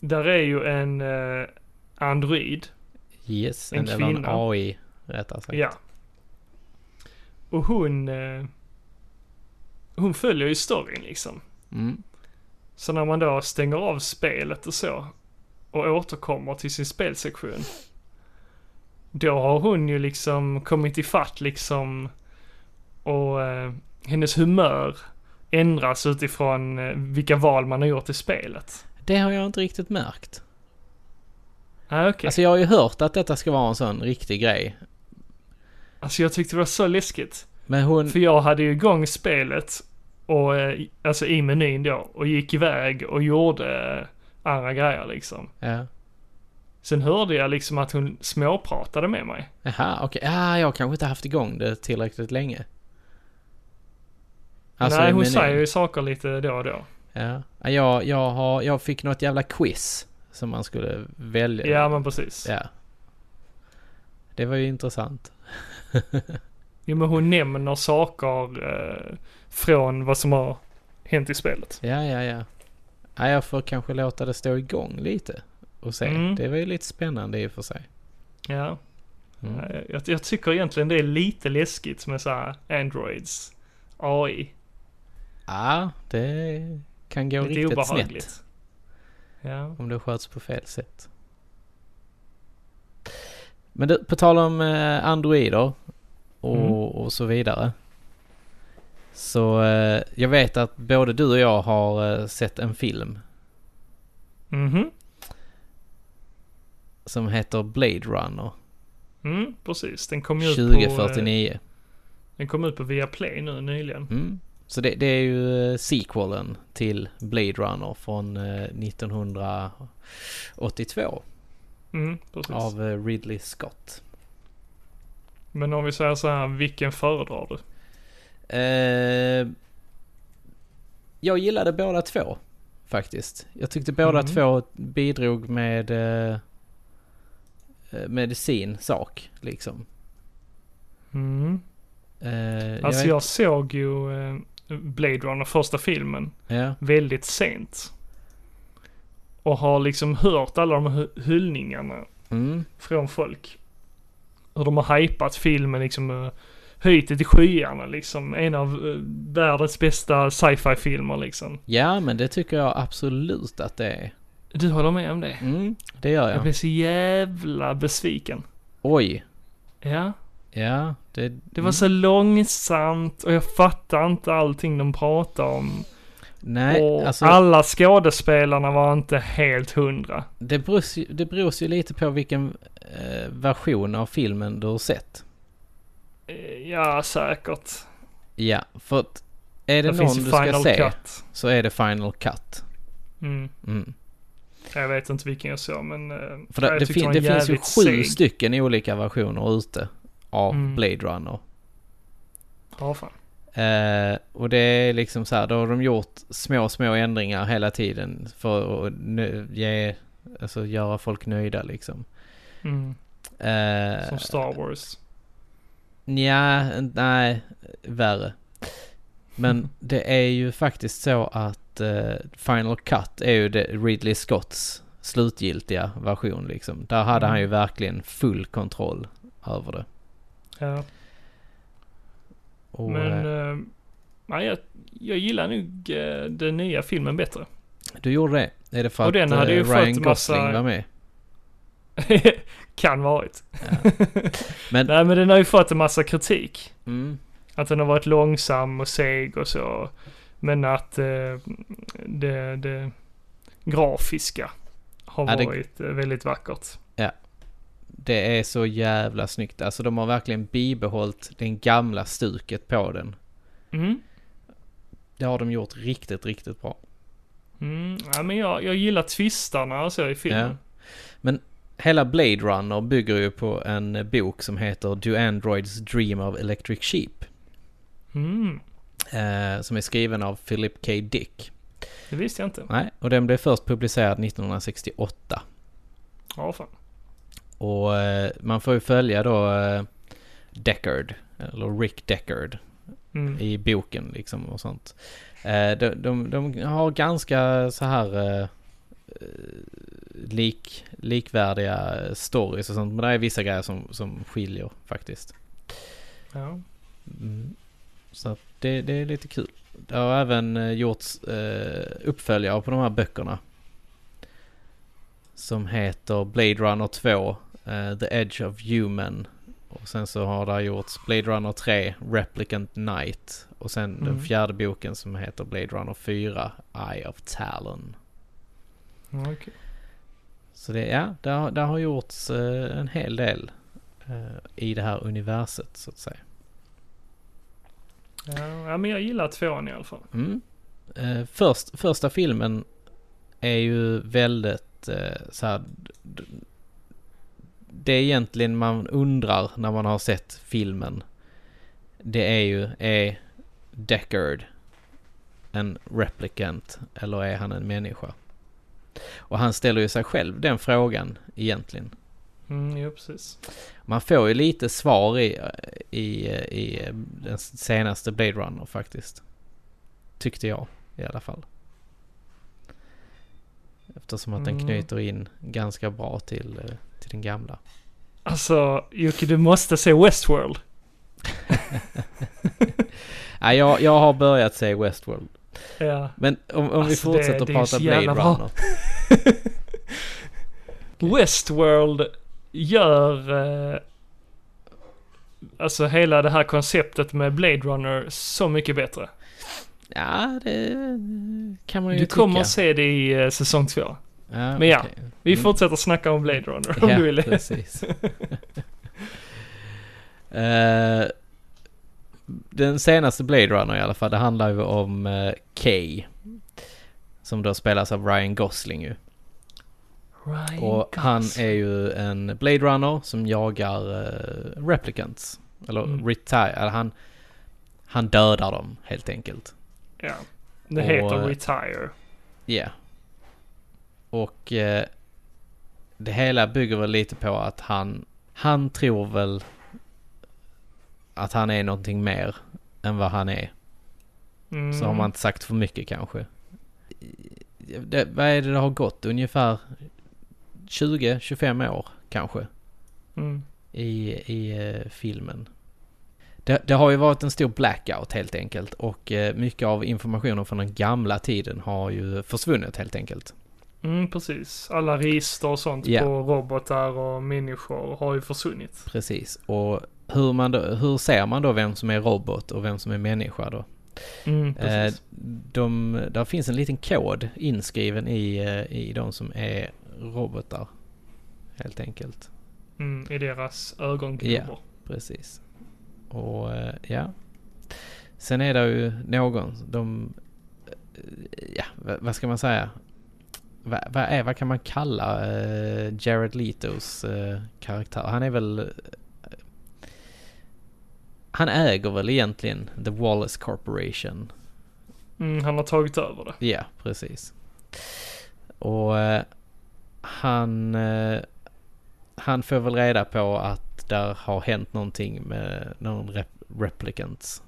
där är ju en eh, android. yes. En En eller en kvinna. AI, rättare sagt. Ja. Och hon... Eh, hon följer ju storyn liksom. Mm. Så när man då stänger av spelet och så och återkommer till sin spelsektion. Då har hon ju liksom kommit i fatt liksom och eh, hennes humör ändras utifrån eh, vilka val man har gjort i spelet. Det har jag inte riktigt märkt. Ah, okay. alltså, Alltså jag har ju hört att detta ska vara en sån riktig grej. Alltså, jag tyckte det var så läskigt. Men hon, För jag hade ju igång spelet och, eh, alltså i menyn då och gick iväg och gjorde eh, andra grejer liksom. ja. Sen hörde jag liksom att hon småpratade med mig. Jaha, okej. Ja, jag har kanske inte haft igång det tillräckligt länge. Nej, Alltså i hon menyn. säger ju saker lite då och då. Ja. Ja, Jag, jag, har, jag fick något jävla quiz som man skulle välja. Ja, men precis. Ja. Det var ju intressant. Jo, men hon nämner saker eh, från vad som har hänt i spelet. Ja, ja, ja. ja jag får kanske låta det stå igång lite och se. Mm. Det var ju lite spännande i och för sig. Ja. Eh, Jag, jag tycker egentligen det är lite läskigt med så här Androids AI. Ja, Ah, det kan gå Lite riktigt obehagligt. snett Ja. om det sköts på fel sätt. Men du, på tal om eh, androider och, Mm. och så vidare. Så eh, jag vet att både du och jag har eh, sett en film Mhm. som heter Blade Runner Mm, precis. Den kom ju ut på... eh, 2049. Den kom ut på Viaplay nu nyligen. Mm. Så det, det är ju eh, sequelen till Blade Runner från eh, 1982 Mm, precis. av eh, Ridley Scott. Men om vi säger så här, vilken föredrar du? Eh, jag gillade båda två faktiskt. Jag tyckte båda Mm. två bidrog med eh, eh, med sin sak liksom. Mm. Eh, Alltså vet- jag såg ju eh, Blade Runner, första filmen, Ja, väldigt sent. Och har liksom hört alla de hu- hyllningarna mm, från folk. Hur de har hypat filmen liksom eh, höjt det till skyarna liksom. En av eh, världens bästa sci-fi filmer liksom. ja, men det tycker jag absolut att det är. Du håller med om det? Mm, det gör Jag jag. blev så jävla besviken. Oj, Ja. ja, det... Det var så långsamt och jag fattar inte allting de pratar om. Nej, och alltså alla skådespelarna var inte helt hundra. det beror ju, det beror ju lite på vilken eh, version av filmen du har sett. Eh, Ja, säkert. Ja, för att är det, Där någon ju du ska se Cut. så är det Final Cut. Mm. Mm. Jag vet inte vilken jag såg men... eh, För det, jag det, tyckte fin, var det finns ju jävligt sju seg. stycken olika versioner ute av Mm. Blade Runner. Ja, fan. Eh, och det är liksom så här, då har de gjort små, små ändringar hela tiden för att nö- ge, alltså göra folk nöjda liksom. Mm. Eh, Som Star Wars. Nja, nej, värre. Men det är ju faktiskt så att eh, Final Cut är ju det Ridley Scotts slutgiltiga version liksom. Där hade Mm. han ju verkligen full kontroll över det. Ja. Och, men... eh, eh, nej, jag, jag gillar nog eh, den nya filmen bättre. du gjorde det. Är det för och att den hade eh, ju fått Ryan Gosling massa- var med? kan varit. Men- Nej men den har ju fått en massa kritik. Mm, Att den har varit långsam och seg och så. Men att eh, det, det grafiska har Ja, det- varit eh, väldigt vackert. det är så jävla snyggt. Alltså de har verkligen bibehållit det gamla stuket på den. Mm. Det har de gjort riktigt, riktigt bra. Mm. Ja, men jag, jag gillar twistarna och så i filmen. Hela Blade Runner bygger ju på en bok som heter Do Androids Dream of Electric Sheep? Mm. Eh, som är skriven av Philip K. Dick. Det visste jag inte. Nej, och den blev först publicerad 1968. Ja, fan. Och eh, man får ju följa då eh, Deckard, eller Rick Deckard, Mm. i boken liksom och sånt. Eh, de, de, de har ganska så här eh, eh, lik, likvärdiga stories och sånt, men det är vissa grejer som, som skiljer faktiskt. Ja. Mm. Så att det, det är lite kul. Det har även eh, gjorts eh, uppföljare på de här böckerna. Som heter Blade Runner 2, eh, The Edge of Human. Och sen så har det gjorts Blade Runner 3, Replicant Night. Och sen den Mm. fjärde boken som heter Blade Runner 4, Eye of Talon. Ja, okej. Så det, ja, det har, det har gjorts eh, en hel del eh, i det här universet så att säga. ja. ja, men jag gillar tvåan i alla fall. Mm. Eh, först, första filmen är ju väldigt eh, så här, d- Det är egentligen man undrar när man har sett filmen. Det är ju, är Deckard en replicant eller är han en människa? Och han ställer ju sig själv den frågan egentligen. Mm, jo, precis. Man får ju lite svar i, i, i den senaste Blade Runner faktiskt. Tyckte jag i alla fall. Eftersom att den Mm. knyter in ganska bra till, eh, till den gamla. Alltså, Jocke, du måste se Westworld. Nej, jag, jag har börjat se Westworld. Ja. Men om, om vi Alltså, det- fortsätter det är prata så jävla Blade bra. Runner. Westworld gör eh, alltså hela det här konceptet med Blade Runner så mycket bättre. Ja, det kan man ju Du kommer tycka. att se det i eh, säsong två. Ja, Men ja, okej. Vi Mm. fortsätter snacka om Blade Runner om ja, du vill. precis. Eh, den senaste Blade Runner i alla fall, det handlar ju om eh, Kay. Som då spelas av Ryan Gosling ju. Ryan Och han Gosling. är ju en Blade Runner som jagar eh, replicants. Eller Mm. retire, eller han, han dödar dem helt enkelt. Ja. Det och- heter Retire. Ja. Och eh, det hela bygger väl lite på att han, han tror väl att han är någonting mer än vad han är. Mm. Så har man inte sagt för mycket kanske. Det, vad är det det har gått? Ungefär 20-25 år kanske. Mm. i, i eh, filmen. Det, det har ju varit en stor blackout helt enkelt och eh, mycket av informationen från den gamla tiden har ju försvunnit helt enkelt. Mm, precis. Alla register och sånt Ja. på robotar och människor har ju försvunnit. Precis. Och hur, man då, hur ser man då vem som är robot och vem som är människa då? Mm, precis. Eh, de, där finns en liten kod inskriven i, eh, i de som är robotar. Helt enkelt. Mm, I deras ögonglober. Precis. Och eh, ja. Sen är det ju någon, de, eh, ja, va- vad ska man säga? Vad va vad är, vad kan man kalla eh, Jared Letos eh, karaktär? Han är väl, eh, han äger väl egentligen The Wallace Corporation. Mm, han har tagit över det. Ja, precis. Och eh, han, eh, han får väl reda på att där har hänt någonting med någon rep replicants.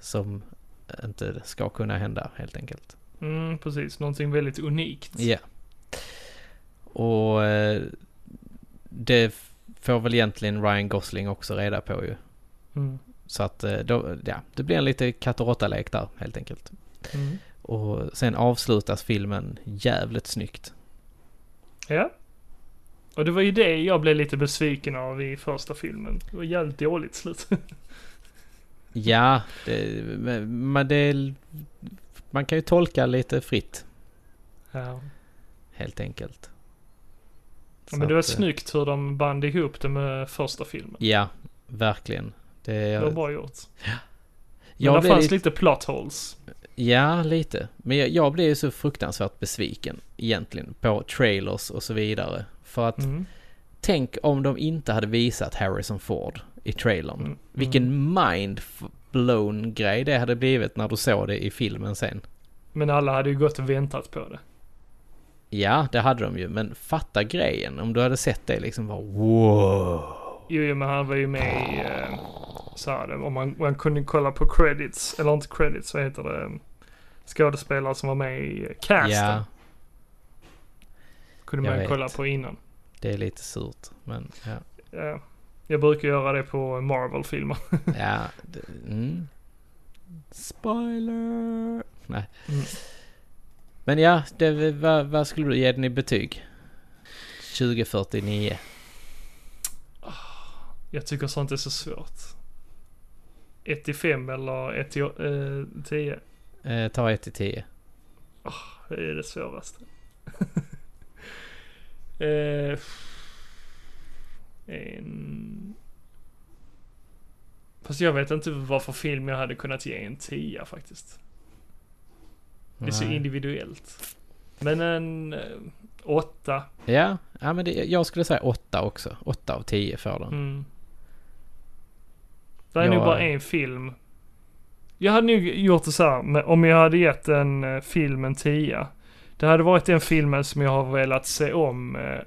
Som inte ska kunna hända helt enkelt. Mm, precis. Någonting väldigt unikt. Ja. Och eh, det f- får väl egentligen Ryan Gosling också reda på ju. Mm. Så att eh, då, ja, det blir en lite katt och råtta-lek där helt enkelt. Mm. Och sen avslutas filmen jävligt snyggt. Ja. Och det var ju det jag blev lite besviken av i första filmen. Det var jävligt dåligt slut. Ja, det, men men det, är- man kan ju tolka lite fritt Ja. helt enkelt. Så Men det var att, eh, snyggt hur de band ihop det med första filmen. Ja, verkligen. Det, Det var bra gjort. Men jag där blev fanns lite, lite plot holes. ja, lite. Men jag, jag blev ju så fruktansvärt besviken egentligen på trailers och så vidare. För att Mm. tänk om de inte hade visat Harrison Ford i trailern. Mm. Vilken mind-blown grej det hade blivit när du såg det i filmen sen. Men alla hade ju gått och väntat på det. Ja, det hade de ju, men fatta grejen. Om du hade sett det liksom bara wow. Jo, jo, men han var ju med i... eh, Så här, om man, man kunde kolla på credits, eller inte credits, vad heter det? Skådespelare som var med i casten. Ja, kunde jag man vet. kolla på innan. det är lite surt, men ja. Ja. Jag brukar göra det på Marvel-filmer. ja det, mm. Spoiler! Nej. Mm. Men ja, det, vad, vad skulle du ge den i betyg? 2049. Jag tycker sånt är så svårt. 1 till 5 eller 1 till eh, 10. Eh, ta 1 till 10. Det är det svåraste. eh, en... Fast jag vet inte vad för film jag hade kunnat ge en 10 faktiskt. Det är så Nej. individuellt. Men en eh, 8. Ja, ja men det, jag skulle säga 8 också. 8 av 10 får den. Mm. Det är Ja. nog bara en film. Jag hade nog gjort det så här, men om jag hade gett en eh, film en tia. Det hade varit den filmen som jag har velat se om eh,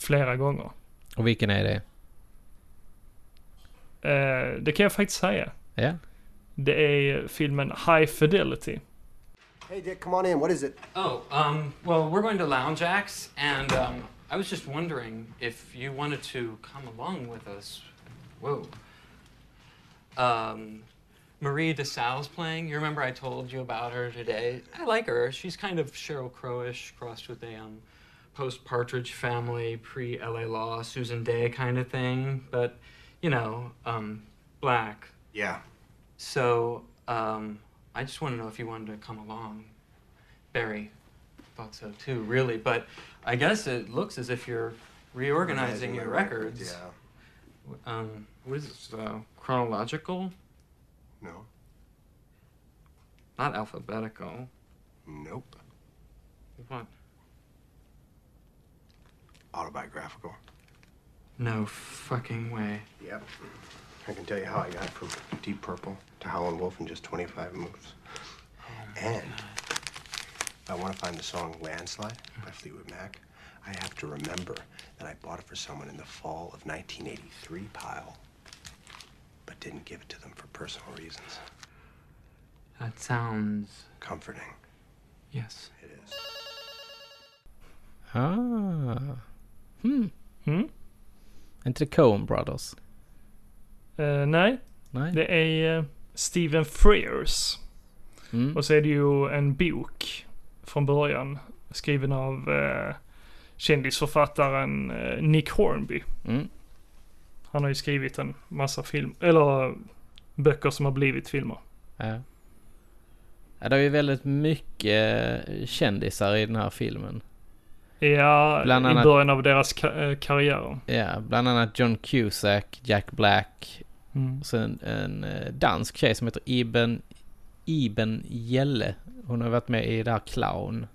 flera gånger. Och vilken är det? Eh, det kan jag faktiskt säga. Ja. Det är filmen High Fidelity. Hey, Dick, come on in. What is it? Oh, um, well, we're going to Lounge Axe, and um, I was just wondering if you wanted to come along with us. Whoa. Um, Marie DeSalle's playing. You remember I told you about her today? I like her. She's kind of Cheryl Crowish crossed with a um, post Partridge family, pre LA Law, Susan Day kind of thing, but, you know, um, black. Yeah. So um, I just want to know if you wanted to come along. Barry thought so too, really, but I guess it looks as if you're reorganizing your records. Yeah. Um, what is this? Uh, chronological? No. Not alphabetical. Nope. What? Autobiographical. No fucking way. Yep. I can tell you how I got from Deep Purple to Howlin' Wolf in just 25 moves. Oh, and if I want to find the song Landslide by Fleetwood Mac, I have to remember that I bought it for someone in the fall of 1983 pile, but didn't give it to them for personal reasons. That sounds. Comforting, Yes. it is. Ah. Hmm. Mm. Inte The Coen Brothers? Eh, nej, Nej. det är eh, Stephen Frears. Mm. Och så är det ju en bok från början skriven av eh, kändisförfattaren eh, Nick Hornby. Mm. Han har ju skrivit en massa film, eller eh, böcker som har blivit filmer. Ja. ja. Det är ju väldigt mycket eh, kändisar i den här filmen. Ja, Bland i annat- början av deras ka- eh, karriärer. Ja, bland annat John Cusack, Jack Black och sen en eh, dansk tjej som heter Iben, Iben Jelle. Hon har varit med i det här Clown.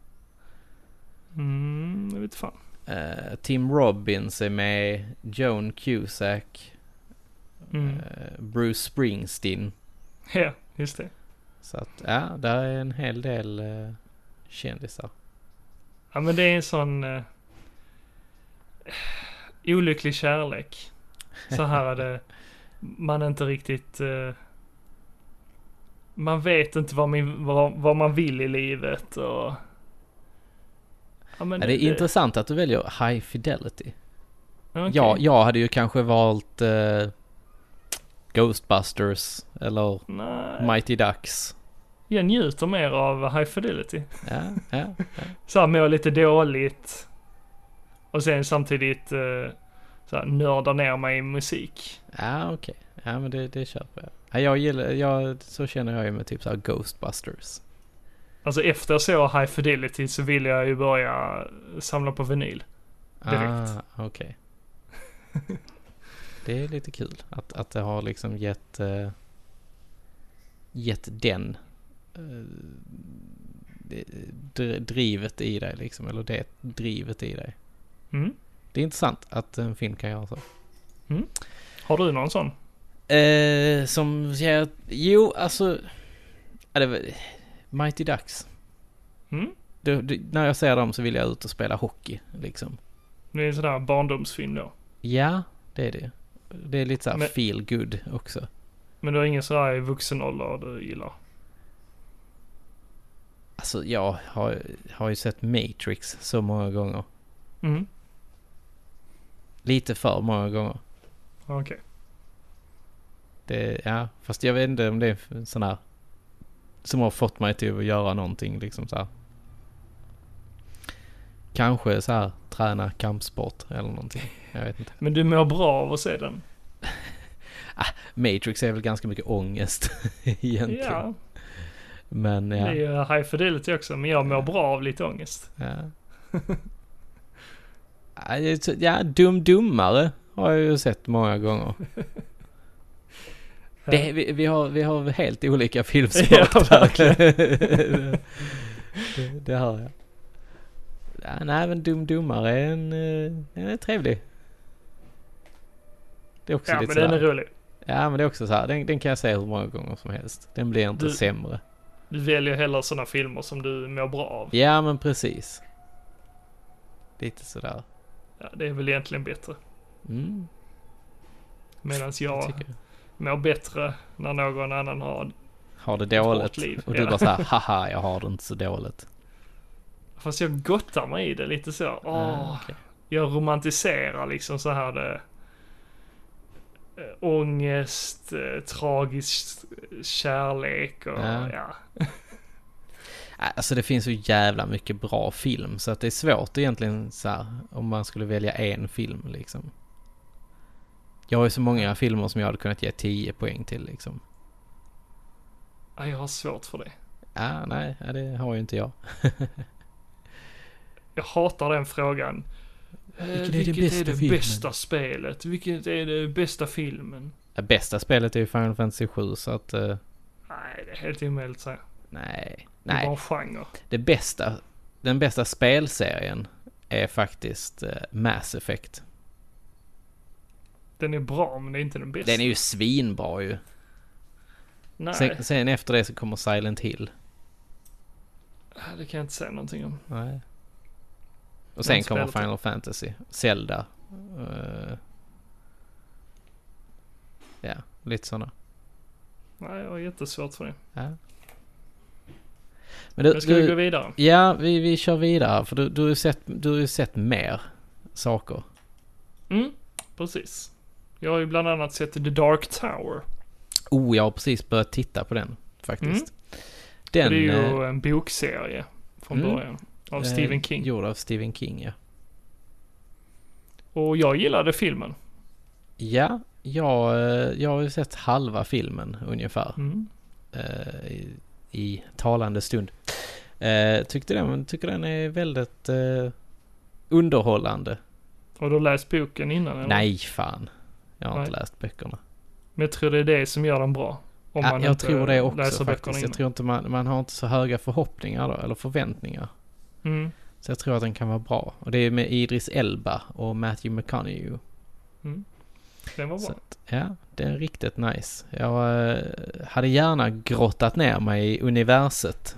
Mm, jag vet fan. Eh, Tim Robbins är med, Joan Cusack, Mm. eh, Bruce Springsteen. Ja, just det. Så att, ja, där är en hel del eh, kändisar. Ja, men det är en sån eh, olycklig kärlek. Så här är det. Man inte riktigt... Eh, man vet inte vad, min, vad, vad man vill i livet och... Ja, men Ja, det är intressant att du väljer High Fidelity. okej. Ja, jag hade ju kanske valt eh, Ghostbusters eller Nej, Mighty Ducks. jag njuter mer av High Fidelity. Ja, ja. så här, mår lite dåligt. Och sen samtidigt eh, så här, nördar ner mig i musik. Ja, okej. Ja, men det, det köper jag. Ja, jag gillar, jag, så känner jag ju med typ så här Ghostbusters. Alltså efter jag såg High Fidelity så ville jag ju börja samla på vinyl. Direkt. Ah, okej. det är lite kul att, att det har liksom gett, eh, gett den eh, det- dr- drivet i dig liksom, eller det drivet i dig. Mm. Det är intressant att en film kan göra så. Har du någon sån? Eh, som säger, jo alltså, ja, det var, Mighty Ducks. Mm. Du, du, när jag ser dem så vill jag ut och spela hockey liksom. Det är en sån där barndomsfilm då. Ja, det är det. Det är lite såhär Men- feel good också. Men du har ingen sån här i vuxen ålder du gillar? Alltså jag har, har ju sett Matrix så många gånger. Mm. Lite för många gånger. Okej. Det, ja, fast jag vet inte om det är en sån här som har fått mig till att göra någonting liksom så här. Kanske så här träna kampsport eller någonting. Jag vet inte. Men du mår bra av att se den? Matrix är väl ganska mycket ångest egentligen. Ja, Men det är ja. ju High Fidelity också. Men jag mår bra av lite ångest. Ja, Ja, det är så- ja Dum Dummare har jag ju sett många gånger. Det, vi, vi, har, vi har helt olika filmsmak Ja, verkligen. det, det har jag. Ja, nej, men Dum Dummare är en... eh, Den är trevlig. Det är också Ja, lite men den är sådär. rolig. Ja, men det är också så här. Den, den kan jag säga hur många gånger som helst. Den blir inte Du- sämre. Du väljer hellre såna filmer som du mår bra av. Ja, men precis. Lite sådär. Ja, det är väl egentligen bättre. Mm, Medan det jag tycker jag. mår bättre när någon annan har... Har det hårt liv, dåligt. Och du ja. bara såhär, haha, jag har det inte så dåligt. Fast jag gottar mig i det lite så. Åh, Ah, okej. jag romantiserar liksom så här det äh, ångest, äh, tragisk kärlek och Ja. ja. Alltså det finns så jävla mycket bra film så att det är svårt egentligen så här, om man skulle välja en film liksom. Jag har ju så många filmer som jag hade kunnat ge 10 poäng till liksom. Ja, Jag har svårt för det. Ah, nej, ja, det har ju inte jag. Jag hatar den frågan. Eh, Vilken är den vilket bästa är det filmen? bästa spelet? Vilket är det bästa filmen? Det Äh, bästa spelet är ju Final Fantasy 7 så att... eh, Nej, det är helt omöjligt att säga. nej. Det är bara Nej. en genre. Det bästa... Den bästa spelserien är faktiskt eh, Mass Effect. Den är bra, men det är inte den bästa. Den är ju svinbra ju. Nej, Sen, sen efter det så kommer Silent Hill. Ja, det kan jag inte säga någonting om. Nej. Och sen Men kommer spelet- Final Fantasy. Zelda. eh, ja, lite sådana. Nej, jag har jättesvårt för det. Ja. Men du, Men ska vi du, gå vidare? ja, vi, vi kör vidare. För du, du, har ju sett, du har ju sett mer saker. Mm, precis. Jag har ju bland annat sett The Dark Tower. Oh, jag har precis börjat titta på den faktiskt. Mm. Och Den det är eh, ju en bokserie från Mm. början. Av eh, Stephen King. Gjord av Stephen King, ja. Och jag gillade filmen. Ja, jag, eh, jag har ju sett halva filmen ungefär. Mm. eh, i, i talande stund. Eh, tyckte den, tycker den är väldigt eh, underhållande. Har du läst boken innan? eller? Nej, fan. Jag har Nej. inte läst böckerna. Men jag tror det är det som gör den bra. Om Ja, man jag inte tror det också läser faktiskt. böckerna Jag innan. tror inte man, man har inte så höga förhoppningar då, eller förväntningar. Mm. Så jag tror att den kan vara bra. Och det är med Idris Elba och Matthew McConaughey. Den var bra. Så att, ja, det är riktigt nice. Jag eh, hade gärna grottat ner mig i universet.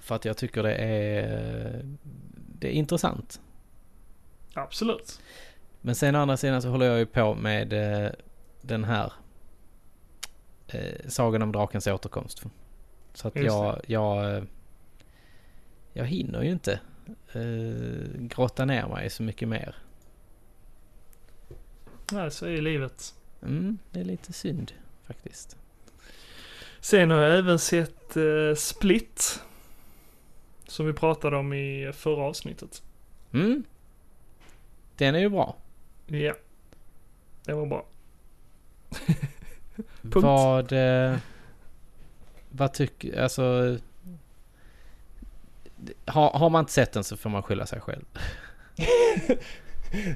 För att jag tycker det är, det är intressant. Absolut. Men sen å andra sidan så håller jag ju på med eh, den här eh, Sagan om drakens återkomst. Så att Just jag, jag, eh, jag hinner ju inte eh, grotta ner mig så mycket mer. Nej, så är livet. Mm, det är lite synd faktiskt. Sen har jag även sett eh, Split. Som vi pratade om i förra avsnittet. Mm. Den är ju bra. Ja. Den var bra. Punkt. Vad... Eh, vad tycker... Alltså... Har, har man inte sett den så får man skylla sig själv.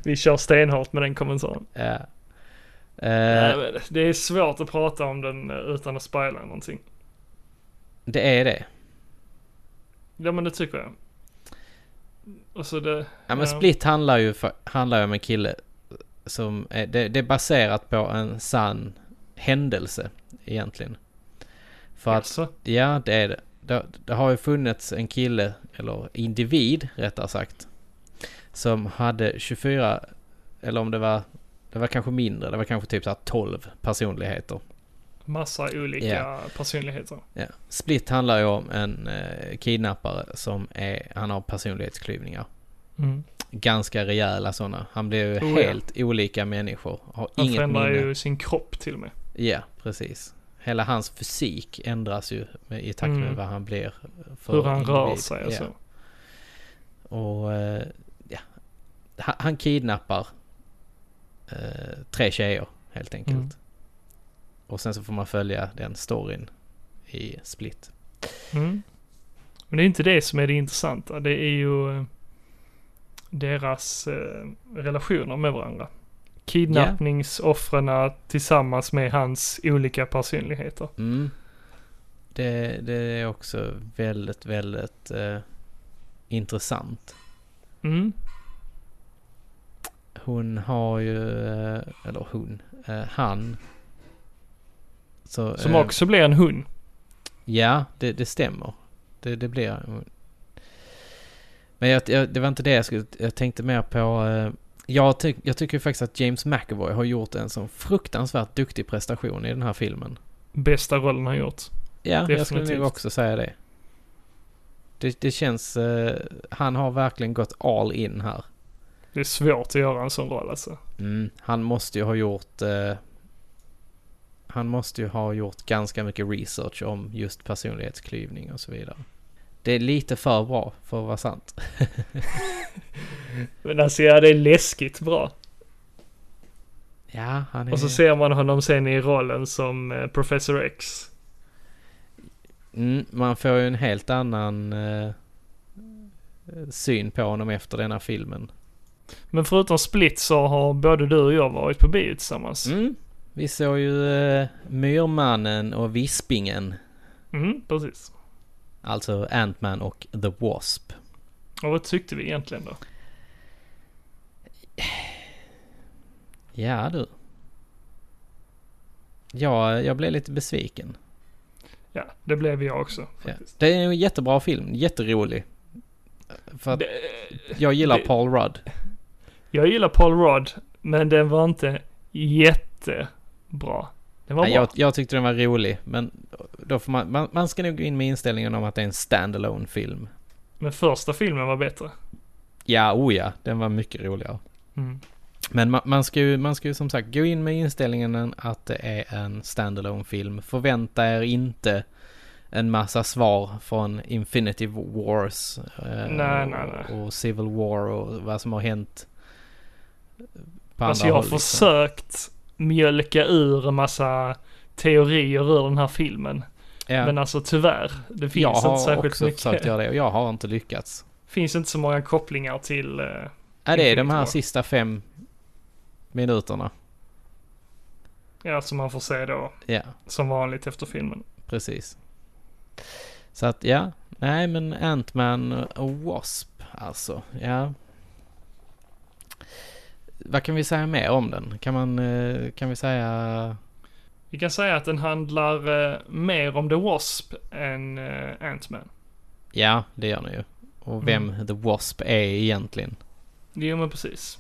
Vi kör stenhårt med den kommentaren. Ja. Eh, Nej, men det är svårt att prata om den eh, utan att spoila någonting. det är det. Ja men det tycker jag. Och så det... Ja, men Ja. Split handlar ju för, handlar ju om en kille som... Är, det, det är baserat på en sann händelse egentligen. För att Alltså, Ja, det är det. det. Det har ju funnits en kille, eller individ rättare sagt, som hade 24, eller om det var, det var kanske mindre, det var kanske typ så här 12 personligheter. massa olika Ja. personligheter. Ja. Split handlar ju om en eh, kidnappare som är, han har personlighetsklyvningar. Mm. Ganska rejäla sådana. Han blir ju Oh, ja. helt olika människor. Har Han inget förändrar minne. ju sin kropp till och med. Ja, precis. Hela hans fysik ändras ju med, i takt med Mm. vad han blir. för Hur han rör individ. sig Ja. och så. Och eh, ja, han, han kidnappar eh, tre tjejer helt enkelt. Mm. Och sen så får man följa den storyn i Split. Mm. Men det är inte det som är det intressanta. Det är ju eh, deras eh, relationer med varandra. Kidnappningsoffren tillsammans med hans olika personligheter. Mm. Det, det är också väldigt, väldigt eh, intressant. Mm. Hon har ju, eh, eller hon, eh, han. Så, Som eh, också blir en hund. Ja, det, det stämmer. Det, det blir... Men jag, jag, det var inte det jag skulle... Jag tänkte mer på... eh, Jag, ty, jag tycker faktiskt att James McAvoy har gjort en sån fruktansvärt duktig prestation i den här filmen. Bästa rollen han gjort. Ja, jag skulle Definitivt. nog också säga det. Det, det känns... eh, han har verkligen gått all in här. Det är svårt att göra en sån roll alltså. Mm, han måste ju ha gjort... eh, han måste ju ha gjort ganska mycket research om just personlighetsklyvning och så vidare. Det är lite för bra för att vara sant. Men alltså ja, det är läskigt bra. Ja, han är... Och så ser man honom sen i rollen som eh, Professor X. Mm, man får ju en helt annan eh, syn på honom efter denna filmen. Men förutom Split så har både du och jag varit på bio tillsammans. Mm. Vi såg ju eh, Myrmannen och Vispingen. Mm, precis. Alltså Ant-Man och The Wasp. Och vad tyckte vi egentligen då? Ja du. Ja, jag blev lite besviken. Ja, det blev jag också. Ja. Det är en jättebra film, jätterolig. För att Det, jag gillar det- Paul Rudd. jag gillar Paul Rudd, men den var inte jättebra. Den var Nej, bra. jag, jag tyckte den var rolig, men då får man, man, man ska nog gå in med inställningen om att det är en standalone film. Men första filmen var bättre. Ja, oh ja, den var mycket roligare. Mm. Men man, man, ska ju, man ska ju som sagt gå in med inställningen att det är en standalone film. Förvänta er inte en massa svar från Infinity Wars eh, Nej, och, nej, nej. och Civil War och vad som har hänt på Alltså andra jag har håll. liksom. försökt mjölka ur en massa teorier ur den här filmen. Ja, Men alltså tyvärr, det finns jag har inte särskilt också försökt mycket. göra det och jag har inte lyckats. finns inte så många kopplingar till... eh, Är det är de Infinity War. här sista fem minuterna? Ja, som man får se då, Ja. som vanligt efter filmen. Precis. Så att ja, nej men Ant-Man och Wasp alltså, ja. Vad kan vi säga mer om den? Kan man, eh, kan vi säga... Vi kan säga att den handlar eh, mer om The Wasp än eh, Ant-Man. Ja, det gör den ju. Och vem Mm. The Wasp är egentligen. Jo, men precis.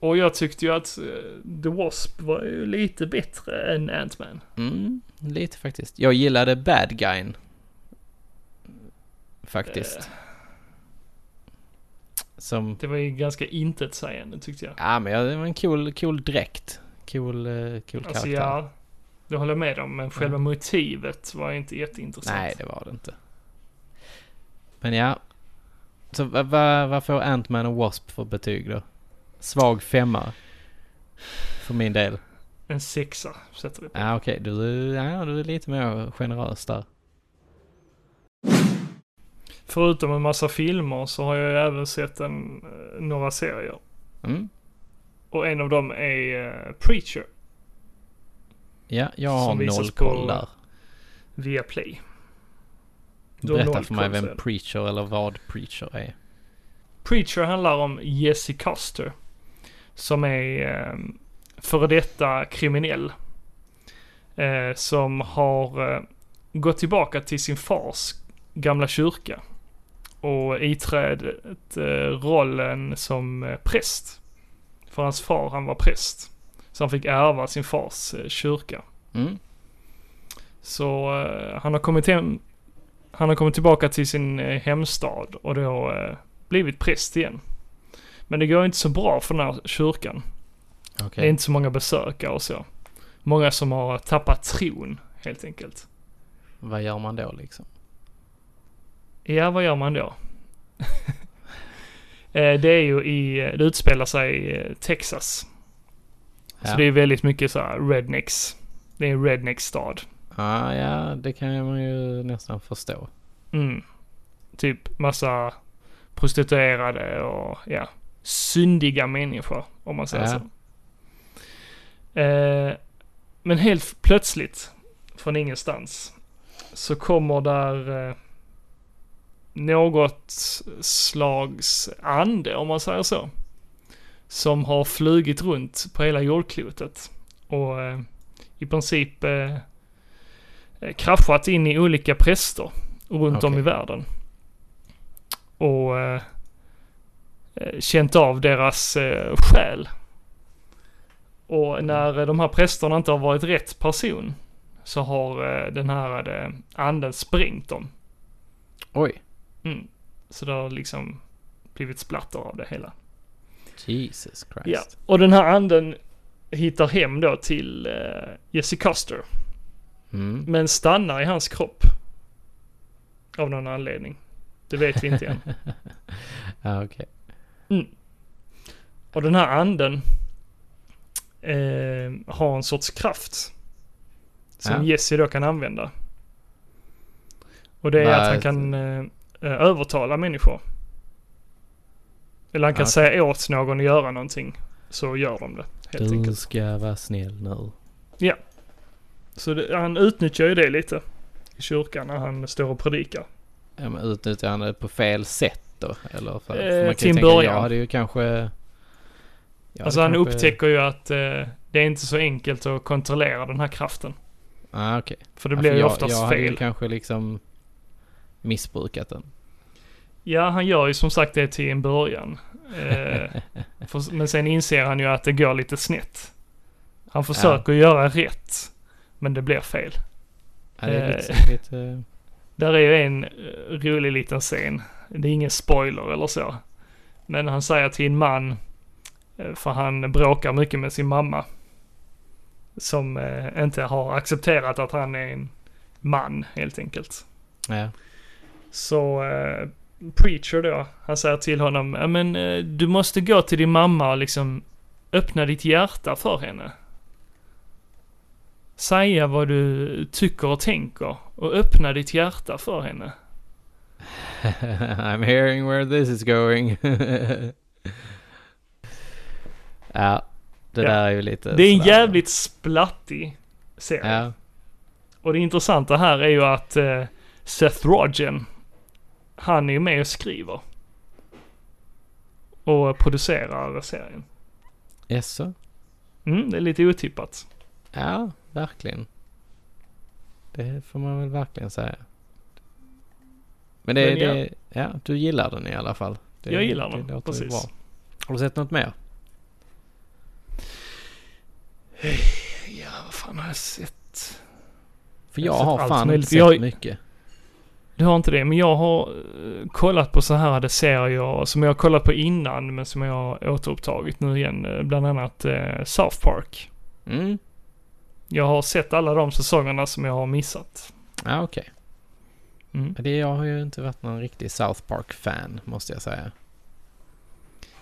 Och jag tyckte ju att eh, The Wasp var ju lite bättre än Ant-Man. Mm, lite faktiskt. Jag gillade bad guyn. Faktiskt. Eh. Som... Det var ju ganska intetsägande tyckte jag. Ja, men ja, det var en cool, cool dräkt. Cool, eh, cool Alltså karaktär. Mm. ja, det håller jag med om. Men själva motivet var ju inte jätteintressant. Nej, det var det inte. Men ja. Så vad va, vad får Ant-Man och Wasp för betyg då? Svag femma. För min del. En sexa sätter vi på. Ja, okej. Du, ja, du är lite mer generös där. Förutom en massa filmer så har jag ju även sett en, eh, några serier. Mm. Och en av dem är eh, Preacher Ja, jag har Som visas noll på- koll där. via Play. Du har Berätta noll för mig koll, vem säger du. Preacher eller vad Preacher är. Preacher handlar om Jesse Custer. Som är eh, före detta kriminell. Eh, som har eh, gått tillbaka till sin fars gamla kyrka. Och iträtt eh, rollen som eh, präst. För hans far, han var präst. Så han fick ärva sin fars eh, kyrka. Mm. Så eh, han har kommit hem. Han har kommit tillbaka till sin eh, hemstad och då eh, blivit präst igen. Men det går inte så bra för den här kyrkan. Okej. Det är inte så många besökare och så. Många som har tappat tron helt enkelt. Vad gör man då liksom? Ja, vad gör man då? Eh, det är ju i, det utspelar sig i eh, Texas. Ja. Så Alltså, det är väldigt mycket så här rednecks. Det är en redneck-stad. Ah, ja, det kan man ju nästan förstå. Mm. Typ massa prostituerade och ja, syndiga människor om man säger Ja. så. Eh, men helt f- plötsligt, från ingenstans, så kommer där eh, något slags ande om man säger så. Som har flugit runt på hela jordklotet och eh, i princip eh, eh, kraschat in i olika präster runt om Okej. i världen. Och eh, eh, känt av deras eh, själ. Och när eh, de här prästerna inte har varit rätt person så har eh, den här eh, anden sprängt dem. Oj. Mm. Så det har liksom blivit splatter av det hela. Jesus Christ. Ja, och den här anden hittar hem då till eh, Jesse Custer. Mm. Men stannar i hans kropp. Av någon anledning. Det vet vi inte än. Ja, okej. Och den här anden eh, har en sorts kraft. Som Ja. Jesse då kan använda. Och det är Vad- att han kan eh, eh, övertala människor. Eller han kan Ja, okej. säga åt någon att göra någonting. Så gör de det, helt Du enkelt. ska vara snäll nu. Så det, han utnyttjar ju det lite. I kyrkan när han står och predikar. Ja, men utnyttjar han det på fel sätt då? Eller för, Eh, för man till kan ju en tänka, början. jag hade ju kanske... jag alltså han hade kanske- upptäcker ju att eh, det är inte så enkelt att kontrollera den här kraften. Ah, okej. För det Ja, blir för ju jag, oftast jag hade fel. ju kanske liksom missbrukat den. Ja, han gör ju som sagt det till en början. Eh, för, men sen inser han ju att det går lite snett. Han försöker göra rätt, men det blir fel. Ja, det är Eh. lite, lite... Där är ju en eh, rolig liten scen. Det är ingen spoiler eller så. Men han säger till en man, eh, för han bråkar mycket med sin mamma. Som eh, inte har accepterat att han är en man helt enkelt. Ja. Så eh, Preacher då, han säger till honom, "Ja, men eh, du måste gå till din mamma och liksom öppna ditt hjärta för henne. Säga vad du tycker och tänker och öppna ditt hjärta för henne. I'm hearing where this is going. ja, det Ja. där är ju lite... Det är en sådär. jävligt splattig serie. Ja, Och det intressanta här är ju att eh, Seth Rogen, han är ju med och skriver. Och producerar serien. jaså? Mm, det är lite otippat. Ja, verkligen. Det får man väl verkligen säga. Men det, Men ja. det ja, du gillar den i alla fall. Det, Jag gillar den, låter ju precis. Har du sett något mer? Ja, vad fan har jag sett? För Jag har jag, sett har allt fan möjligt. inte sett Jag- mycket. Du har inte det, men jag har eh, kollat på så här serier som jag har kollat på innan, men som jag har återupptagit nu igen. eh, Bland annat eh, South Park. Mm, Jag har sett alla de säsongerna som jag har missat. ja okej. Mm. Det, jag har ju inte varit någon riktig South Park-fan, måste jag säga.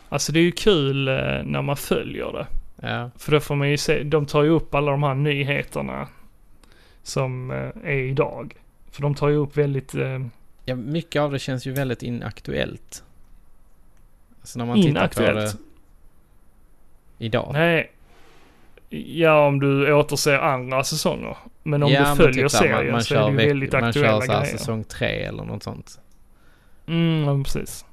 Alltså det är ju kul eh, när man följer det. Ja, För då får man ju se, de tar ju upp alla de här nyheterna som eh, är idag. För de tar ju upp väldigt eh, ja mycket av det känns ju väldigt inaktuellt. Alltså när man tittar inaktuellt. på det idag. Nej. Ja, om du återser andra säsonger. Men om du följer typ så här, serien så är det ju veck- väldigt man aktuella kör så här grejer. säsong tre eller något sånt. Mm, ja, precis.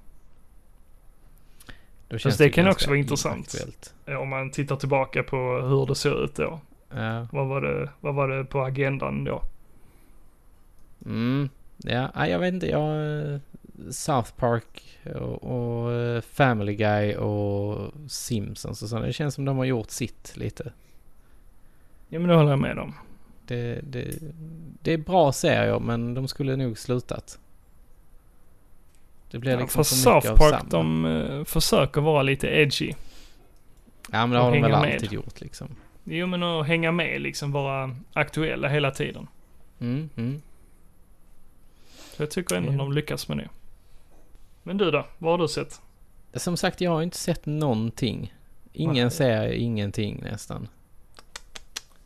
Då Fast det kan ganska också vara intressant. inaktuellt. Eh, Om man tittar tillbaka på hur det såg ut då. Ja. Vad var det, vad var det på agendan då? Mm. Ja, nej, jag vet inte. Jag, eh, South Park och, och eh, Family Guy och Simpsons och sånt. Det känns som de har gjort sitt lite. Ja, men det håller jag med om. Det, det, det är bra serier men de skulle nog slutat. Det blir Ja, liksom för för mycket South av Park, samma. de eh, försöker vara lite edgy. ja men det de har de väl hänger med. alltid gjort liksom. Jo, men att hänga med liksom, vara aktuella hela tiden. Mm, mm. Så jag tycker ändå Ja. de lyckas med det. Men du då? Vad har du sett? Som sagt, jag har inte sett någonting. Ingen Nej. serie, ingenting nästan.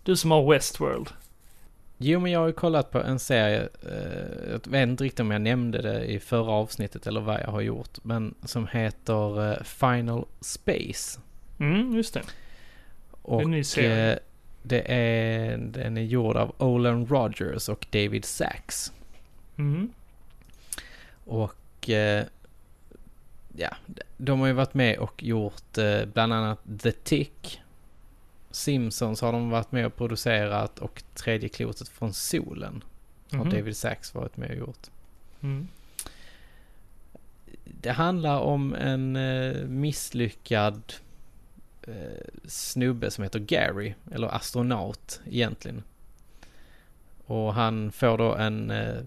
Du som har Westworld. Jo, men jag har ju kollat på en serie, eh, jag vet inte riktigt om jag nämnde det i förra avsnittet eller vad jag har gjort, men som heter eh, Final Space. Mm, just det. Och ny serie. eh, det är, den är gjord av Olan Rogers och David Sachs. Mm. Och eh, ja, de har ju varit med och gjort eh, bland annat The Tick. Simpsons har de varit med och producerat och Tredje klotet från solen har Mhm. David Sachs varit med och gjort. Mm. Det handlar om en eh, misslyckad eh, snubbe som heter Gary, eller astronaut egentligen. Och han får då en eh,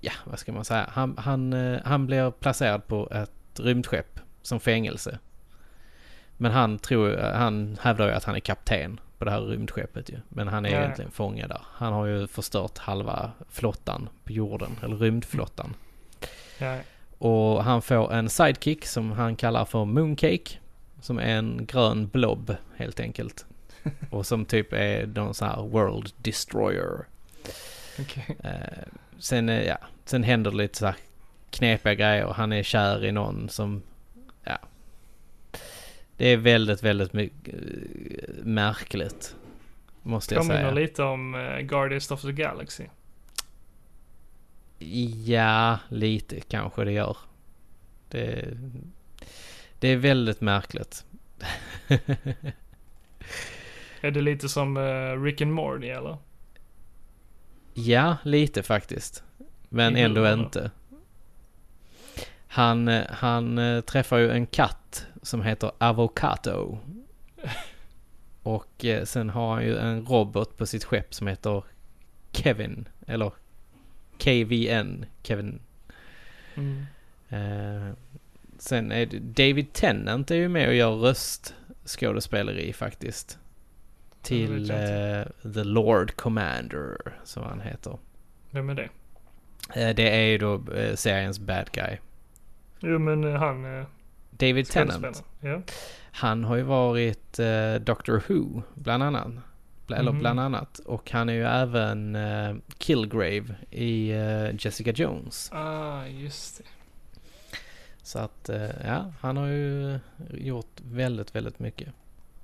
ja, vad ska man säga, han, han, eh, han blir placerad på ett rymdskepp som fängelse. Men han tror, han hävdar ju att han är kapten på det här rymdskeppet ju. Men han är Ja, ja. egentligen fångad där. Han har ju förstört halva flottan på jorden, eller rymdflottan. Ja. Och han får en sidekick som han kallar för Mooncake. Som är en grön blob helt enkelt. Och som typ är någon sån här World Destroyer. Okej. Eh, sen, eh, ja, sen händer det lite så här knepiga grejer och han är kär i någon som, ja. Det är väldigt, väldigt my- eh, märkligt. Måste jag Påminner säga. lite om eh, Guardians of the Galaxy. Ja, lite kanske det gör. Det, det är väldigt märkligt. Är det lite som eh, Rick and Morty eller? Ja, lite faktiskt. Men I ändå huvudet. inte. Han, eh, han eh, träffar ju en katt som heter Avocado. Och eh, sen har han ju en robot på sitt skepp som heter Kevin. Eller KVN, Kevin. Mm. Eh, sen är det, David Tennant är ju med och gör röstskådespeleri faktiskt. Till Det vet jag eh, The Lord Commander, som han heter. Vem är det? Eh, Det är ju då eh, seriens bad guy. Jo men eh, han... Eh, David Tennant. skådespelaren. Ja. Han har ju varit eh, Doctor Who bland annat. Bla- Eller Mhm. bland annat. Och han är ju även eh, Killgrave i eh, Jessica Jones. Ah, just det. Så att eh, ja, han har ju eh, gjort väldigt, väldigt mycket.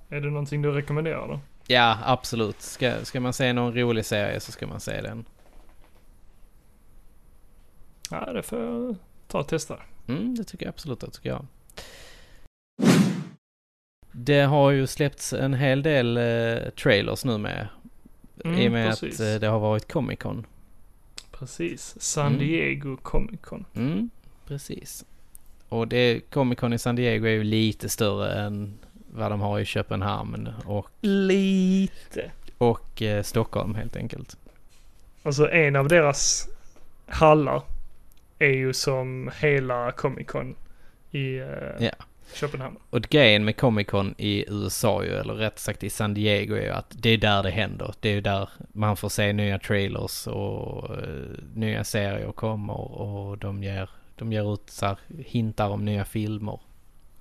Är det någonting du rekommenderar då? Ja, absolut. Ska, ska man se någon rolig serie så ska man se den. Ja, det får jag ta och testa. Mm, det tycker jag absolut att du ska göra. Det har ju släppts en hel del eh, trailers nu med. Mm, I och med precis. att eh, det har varit Comic Con. Precis. San Mm. Diego Comic Con. Mm, precis. Och det, Comic Con i San Diego är ju lite större än vad de har i Köpenhamn och, Lite. och eh, Stockholm helt enkelt. Alltså en av deras hallar är ju som hela Comic Con i eh, Ja. Köpenhamn. Och grejen med Comic Con i USA ju, eller rätt sagt i San Diego är ju att det är där det händer. Det är ju där man får se nya trailers och eh, nya serier kommer och de ger, de ger ut så här, hintar om nya filmer.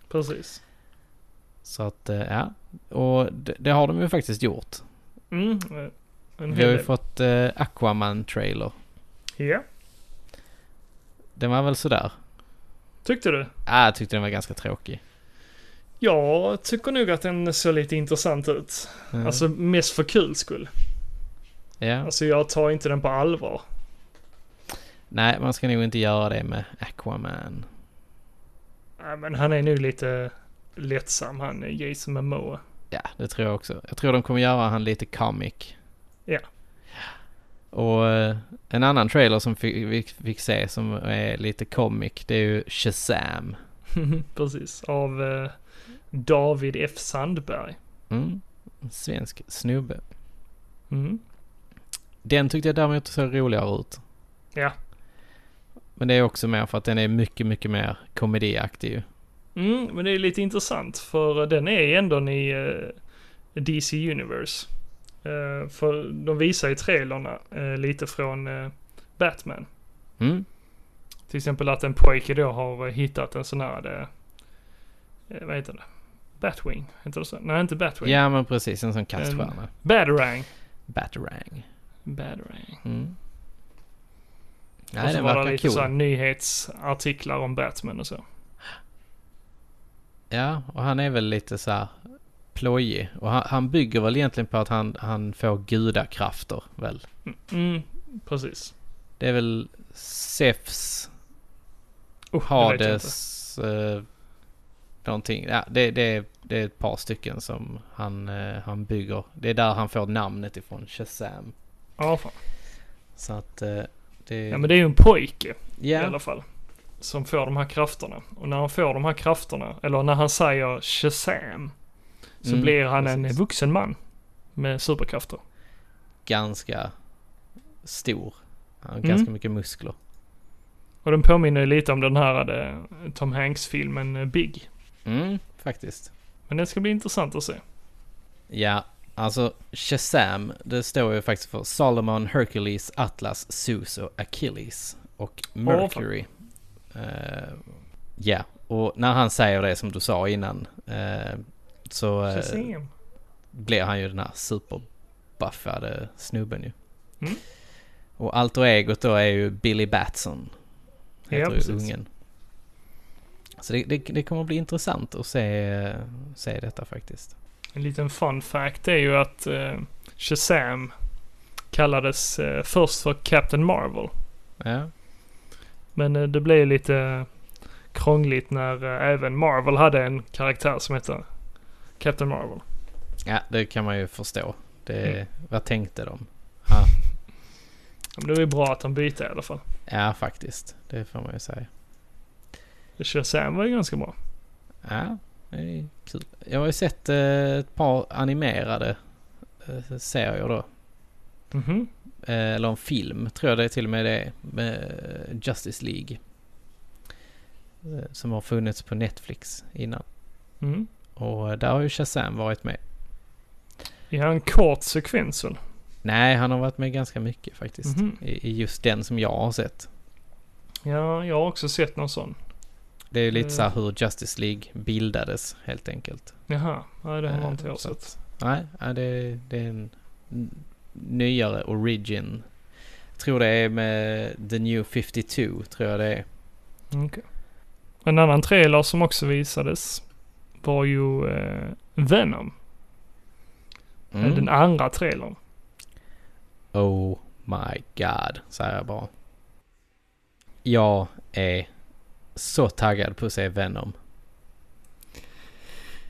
Precis. Så att eh, ja, och det, det har de ju faktiskt gjort. Mm. eh, En Vi har hel ju del. fått eh, Aquaman-trailer. Ja. Den var väl sådär. Tyckte du? Ah, jag tyckte den var ganska tråkig. Jag tycker nog att den såg lite intressant ut. Mm. Alltså mest för kul skull. ja. Alltså jag tar inte den på allvar. Nej, man ska nog inte göra det med Aquaman. Nej, men han är nog lite lättsam han, Jason Momoa. Ja, det tror jag också. Jag tror de kommer göra han lite comic. Ja. Och eh, en annan trailer som fi- vi fick se som är lite comic, det är ju Shazam. Precis, av eh, David F Sandberg. Mm. En Svensk snubbe. Mm. Den tyckte jag däremot såg roligare ut. Ja. Men det är också mer för att den är mycket, mycket mer komediaktig ju. Mm, men det är lite intressant för den är ändå i eh, DC Universe. Eh, för de visar i trailerna eh, lite från eh, Batman. Mm. Till exempel att en pojke då har eh, hittat en sån här, eh, vad heter det? Batwing, heter det så? Nej, inte Batwing. Ja, men precis. En sån kaststjärna. Batarang. Batarang. Batarang. Mm. och Nej, så den var det verkar lite cool. så här nyhetsartiklar om Batman och så. Ja, och han är väl lite så här plojig. Och han, han bygger väl egentligen på att han, han får gudakrafter, väl? Mm, precis. Det är väl Zeus, Oh, det vet jag Hades, eh, någonting. Ja, det, det, är- det är ett par stycken som han, eh, han bygger. Det är där han får namnet ifrån, Shazam. inte. Ja, fan. Så att eh, det... ja, men det är ju en pojke ja. i alla fall. Som får de här krafterna. Och när han får de här krafterna, eller när han säger Shazam, så Mm, blir han en precis. vuxen man. Med superkrafter. ganska stor. Han har Mm. ganska mycket muskler. Och den påminner ju lite om den här eh, Tom Hanks-filmen eh, Big. Mm, faktiskt. Men den ska bli intressant att se. Ja, alltså Shazam, det står ju faktiskt för Solomon, Hercules, Atlas, Zeus och Achilles. Och Mercury. Eh, ja, och när han säger det som du sa innan eh, så eh, Shazam. blir han ju den här superbuffade snubben ju. Mm. Och alter egot då är ju Billy Batson. Ja, Heter precis. ju ungen. Så det, det, det kommer bli intressant att se, se detta faktiskt. En liten fun fact är ju att eh, Shazam kallades eh, först för Captain Marvel. Ja. Men eh, det blev lite krångligt när eh, även Marvel hade en karaktär som hette Captain Marvel. Ja, det kan man ju förstå. Det, Mm. Vad tänkte de? Men det var ju bra att han bytte i alla fall. Ja, faktiskt. Det får man ju säga. Shazam var ju ganska bra. Ja, det är kul. Jag har ju sett eh, ett par animerade eh, serier då. Mhm. Eh, eller en film, tror jag det är till och med det är. Med Justice League. Eh, som har funnits på Netflix innan. Mm. Och eh, där har ju Shazam varit med. I en kort sekvens väl? Nej, han har varit med ganska mycket faktiskt. Mhm. I, I just den som jag har sett. Ja, jag har också sett någon sån. Det är ju lite Mm. så här hur Justice League bildades helt enkelt. Jaha, nej det har Eh, inte jag så sett. Nej, ja, det, det är en n- nyare origin. Jag tror det är med The New 52, tror jag det är. Okej. En annan trailer som också visades var ju eh, Venom. Mm. Den andra trailern. Oh my god, säger jag bara. Jag är så taggad på att se Venom.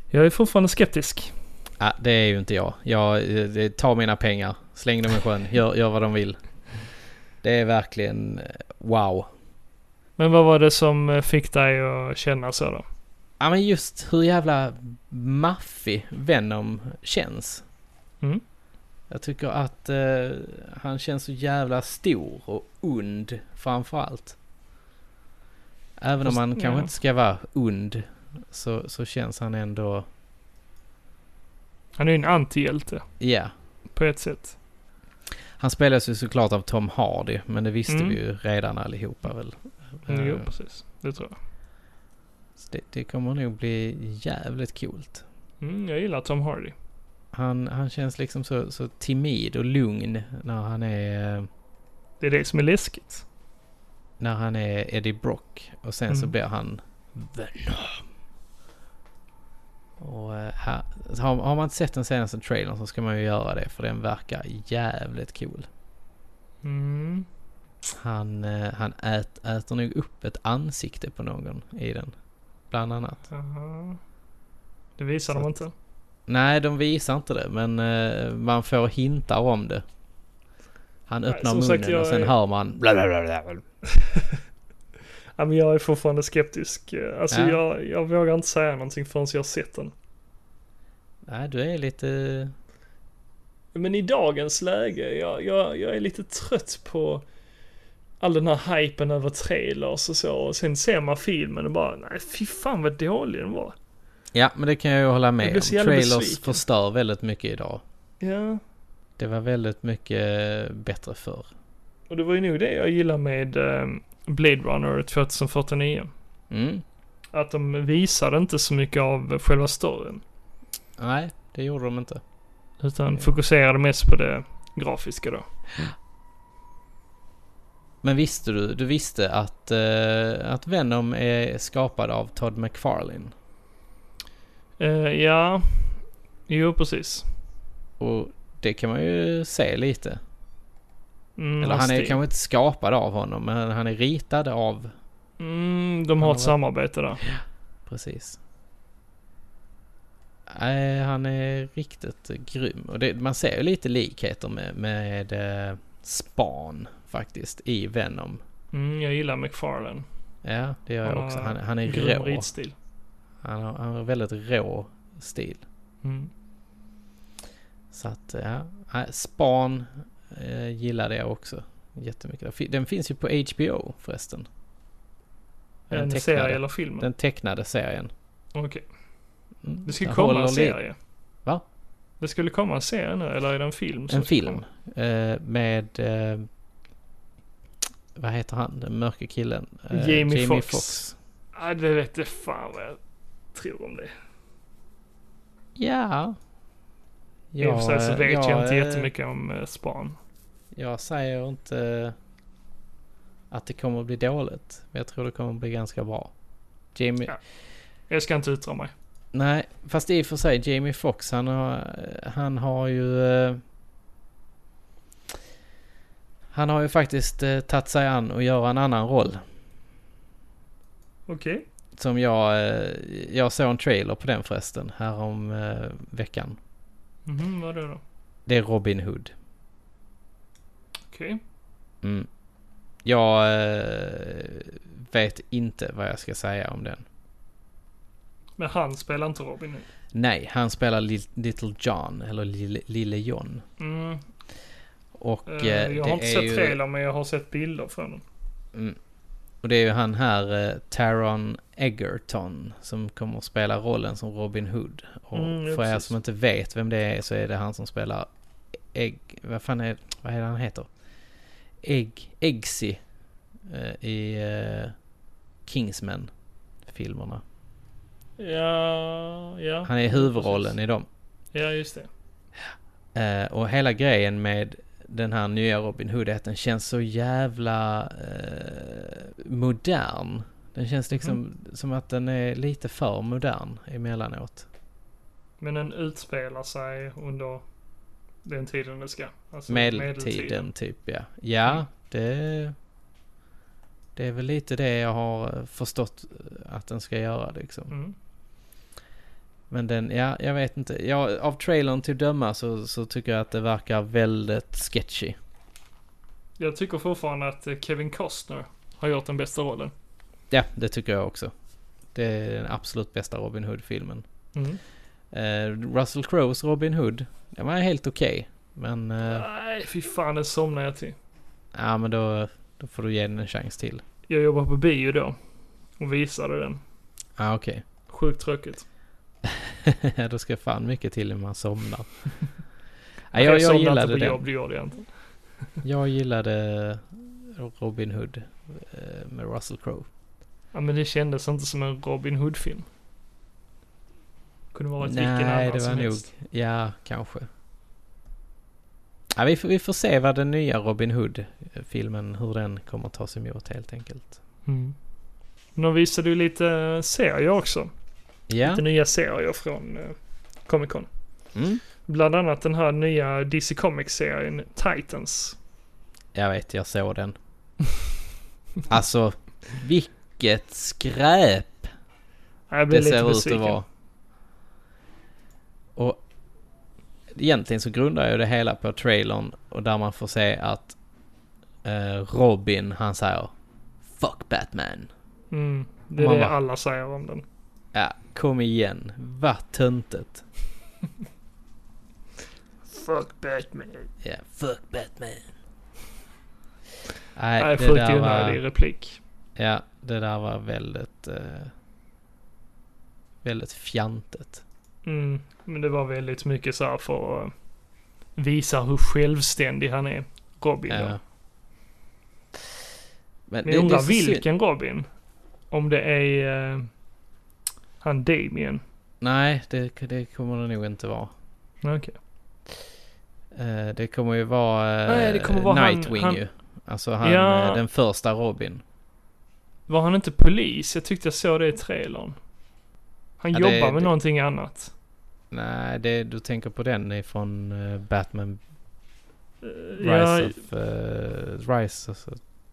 Jag är fortfarande skeptisk. Ah, det är ju inte jag. jag eh, det, ta mina pengar, släng dem i sjön, gör, gör vad de vill. Det är verkligen eh, wow. Men vad var det som eh, fick dig att känna så då? Ja men just hur jävla maffig Venom känns. Mm. Jag tycker att eh, han känns så jävla stor och ond framförallt. Även Fast- om han ja. kanske inte ska vara ond så, så känns han ändå, Han är ju en antihjälte ja. på ett sätt. Han spelas ju såklart av Tom Hardy men det visste Mm. vi ju redan allihopa väl. Mm. Jo, Eh, precis. Det tror jag. så det, det kommer nog bli jävligt coolt. Mm, jag gillar Tom Hardy. Han, han känns liksom så, så timid och lugn när han är... eh, Det är det som är läskigt. när han är Eddie Brock och sen så Mm. blir han Venom. Och eh, här, har, har man inte sett den senaste trailern så ska man ju göra det för den verkar jävligt cool. Mm. Han, eh, han ät, äter nog upp ett ansikte på någon i den. Bland annat. Aha. eh, Det visar Så de att- inte. Nej, de visar inte det men eh, man får hintar om det. Han Nej, öppnar som munnen sagt, jag och sen är- hör man Ja, men jag är fortfarande skeptisk. Eh, Alltså Ja. jag, jag vågar inte säga någonting förrän jag har sett den. Nej, du är lite... Men i dagens läge, jag, jag, jag är lite trött på all den här hypen över trailers och så. Och sen ser man filmen och bara, nej fy fan vad dålig den var. Ja, men det kan jag ju hålla Jag med blir om. så jävla Trailers besviken. förstör väldigt mycket idag. Ja, Det var väldigt mycket bättre förr. och det var ju nog det jag gillar med eh, Blade Runner 2049. Mm. Att de visade inte så mycket av själva storyn. Nej, det gjorde de inte. Utan Ja. fokuserade mest på det grafiska då. Men visste du, du visste att, eh, att Venom är skapad av Todd McFarlane. Eh, ja, jo precis. Och det kan man ju se lite. Mm, Eller han är stil. kanske inte skapad av honom, men han är ritad av... Mm, de har Han ett har- samarbete där. Precis. Nej, han är riktigt grym. Och det, man ser ju lite likheter med, med eh, Span faktiskt i Venom. Mm, jag gillar McFarlane. Ja, det gör Han jag har också. Han, han är grym rå. ritstil. Han har, han har väldigt rå stil. Mm. Så att, ja. Nej, Span eh, gillade jag också jättemycket. Den fi- Den finns ju på HBO förresten. En tecknade. serie eller film? Den tecknade serien. Okej. Mm, Det skulle jag komma håller en li- serie. Va? Det skulle komma en serie nu, eller är det en film? som En ska film. komma? eh, med... eh, vad heter han? Den mörke killen. Eh, Jamie Foxx. Foxx. Nej, det vet jag fan vad jag tror om det. Ja. I och för sig så eh, vet jag inte eh, jättemycket om eh, Span. Jag säger inte eh, att det kommer att bli dåligt. Men jag tror det kommer att bli ganska bra. Jamie... Ja. Jag ska inte yttra mig. Nej, fast i och för sig Jamie Foxx han har, han har ju... eh, Han har ju faktiskt eh, tagit sig an och göra en annan roll. Okej. Som jag... eh, Jag såg en trailer på den förresten härom eh, veckan. Mhm, vad är det då? Det är Robin Hood. Okej. Mm. Jag eh, vet inte vad jag ska säga om den. Men han spelar inte Robin nu. Nej, han spelar Lil- Little John, eller Lille, Lille John. Mm. Och eh, eh, det jag har inte är sett ju... trailern men jag har sett bilder från den. Mm. Och det är ju han här, eh, Taron Egerton, som kommer att spela rollen som Robin Hood. Och Mm, ja, för er precis. som inte vet vem det är så är det han som spelar Egg... Vad fan är, vad är det han heter? Egg... Eggsy. Eh, I eh, Kingsman-filmerna. Ja, ja. Han är huvudrollen i dem. Ja, just det. Eh, och hela grejen med den här nya Robin Hood är att den känns så jävla eh, modern. Den känns Mhm. liksom som att den är lite för modern emellanåt. Men den utspelar sig under den tiden det ska. Alltså Medeltiden typ ja. Ja, Mm. det, det är väl lite det jag har eh, förstått att den ska göra liksom. Mm. Men den, ja jag vet inte. Ja, av trailern till döma så, så tycker jag att det verkar väldigt sketchy. Jag tycker fortfarande att eh, Kevin Costner har gjort den bästa rollen. Ja, det tycker jag också. Det är den absolut bästa Robin Hood-filmen. Mm. Eh, Russell Crowes Robin Hood, den var helt okej. Men, eh, ja. Nej, fy fan, den somnar jag till. men då, då får du ge den en chans till. Jag jobbade på bio då och visade den. ah, okej. Sjukt tråkigt. då ska fan mycket till när man somnar. ah, Nej, jag, jag somnade gillade inte på jobb, den. det gjorde jag inte. Jag gillade Robin Hood eh, med Russell Crowe. Ja, men det kändes inte som en Robin Hood-film. Kunde varit vilken Nej, annan det var som nog... helst. Ja, kanske. Ja, vi, får, vi får se vad den nya Robin Hood-filmen, hur den kommer att tas emot helt enkelt. Mm. Men de visade ju lite eh, serier också. Ja. Lite nya serier från eh, Comic Con. Mm. Bland annat den här nya DC Comics-serien Titans. Jag vet, jag såg den. Alltså, vilket skräp Jag blev det lite ser ut att besviken. vara. Och egentligen så grundar jag det hela på trailern och där man får se att eh, Robin, han säger Fuck Batman. Mm. Det är Man det bara- alla säger om den. Ja, kom igen. Vad töntigt. Fuck Batman. Ja, fuck Batman. Nej, Nej, det sjukt där onödig var... replik. Ja, det där var väldigt... Eh, väldigt fjantigt. Mm. Men det var väldigt mycket så här för att eh, visa hur självständig han är. Robin då. Ja. Men, Men jag undrar så synd. vilken Robin? Om det är eh, han Damien. Nej, det, det kommer det nog inte vara. Okej. Eh, det kommer ju vara, eh, Nej, det kommer vara han- Nightwing han- ju. Alltså han, Ja. eh, den första Robin. Var han inte polis? Jag tyckte jag såg det i trailern. Han Ja, det- jobbar med det- någonting annat. Nej, det, du tänker på den ifrån eh, Batman Eh, Rise ja, of... eh, Rise of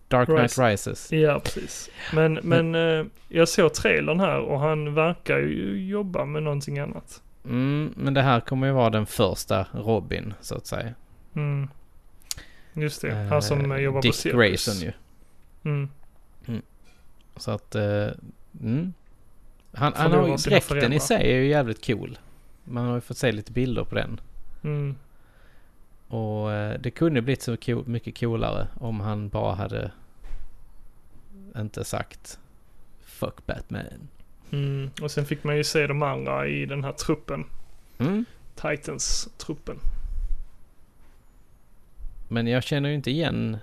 Dark Knight Rise. Rises. ja, precis. Men, men eh, jag såg trailern här och han verkar ju jobba med någonting annat. Mm, men det här kommer ju vara den första Robin, så att säga. Mm. Just det, Eh, han som eh, jobbar Dick på cirkus. Grayson ju. Mm. Så att... eh, mm. Han, han Förlorar har ju, sina dräkten föräldrar. i sig är ju jävligt cool. Man har ju fått se lite bilder på den. Mm. Och eh, det kunde blivit så co- mycket coolare om han bara hade inte sagt fuck Batman. Mm. Och sen fick man ju se de andra i den här truppen. Mm. Titans-truppen. Men jag känner ju inte igen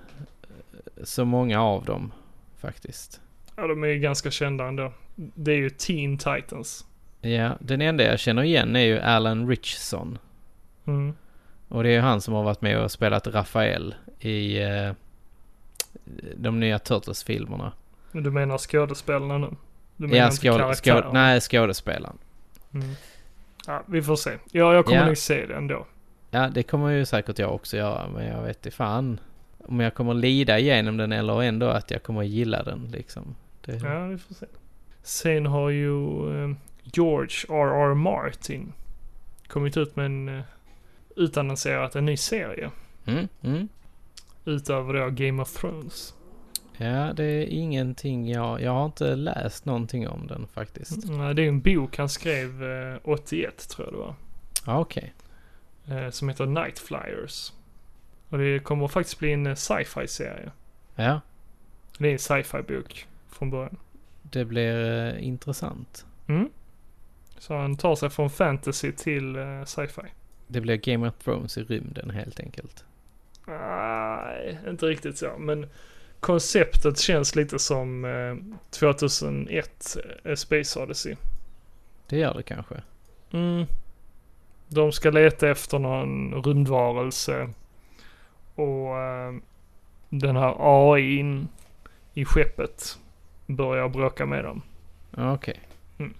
eh, så många av dem faktiskt. Ja, de är ju ganska kända ändå. Det är ju Teen Titans. Ja, den enda jag känner igen är ju Alan Richson. Mm. Och det är ju han som har varit med och spelat Rafael i eh, de nya Turtles-filmerna. Men Du menar skådespelarna nu? Du menar Ja, inte skåd- karaktärerna? skåd- nej, skådespelaren. Mm. Ja, vi får se. Ja, jag kommer Ja. nog se det ändå. Ja, det kommer ju säkert jag också göra, men jag vet inte fan om jag kommer lida igenom den eller ändå att jag kommer gilla den liksom. Det, Ja, vi får se. Sen har ju eh, George R.R. Martin kommit ut med en... eh, utannonserat en ny serie. Mm, mm. Utöver då Game of Thrones. ja det är ingenting jag... Jag har inte läst någonting om den faktiskt. Nej, Mm, eh, Det är en bok han skrev eh, 81, tror jag det var. Ja, okej. eh, Som heter Night Flyers. Och det kommer faktiskt bli en eh, sci-fi-serie. Ja, Det är en sci-fi-bok från början. Mm. det blir eh, intressant. Så han tar sig från fantasy till eh, sci-fi. Det blir Game of Thrones i rymden helt enkelt. Nej, inte riktigt så. Men konceptet känns lite som eh, 2001 eh, Space Odyssey. Det gör det kanske. Mm. De ska leta efter någon rymdvarelse. Och eh, den här AIn i skeppet börjar bråka med dem. Ja, Okej. Mm.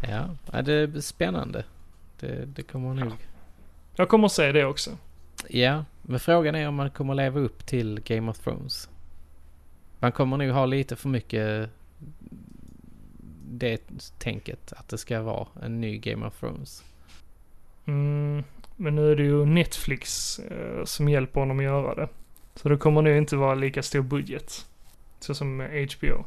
Ja, ja, det är spännande. Det, det kommer nog... Jag kommer att se det också. Ja, men frågan är om man kommer leva upp till Game of Thrones. Man kommer nog ha lite för mycket det tänket att det ska vara en ny Game of Thrones. Mm, men nu är det ju Netflix eh, som hjälper honom att göra det. Så det kommer nog inte vara lika stor budget. Så som eh, HBO.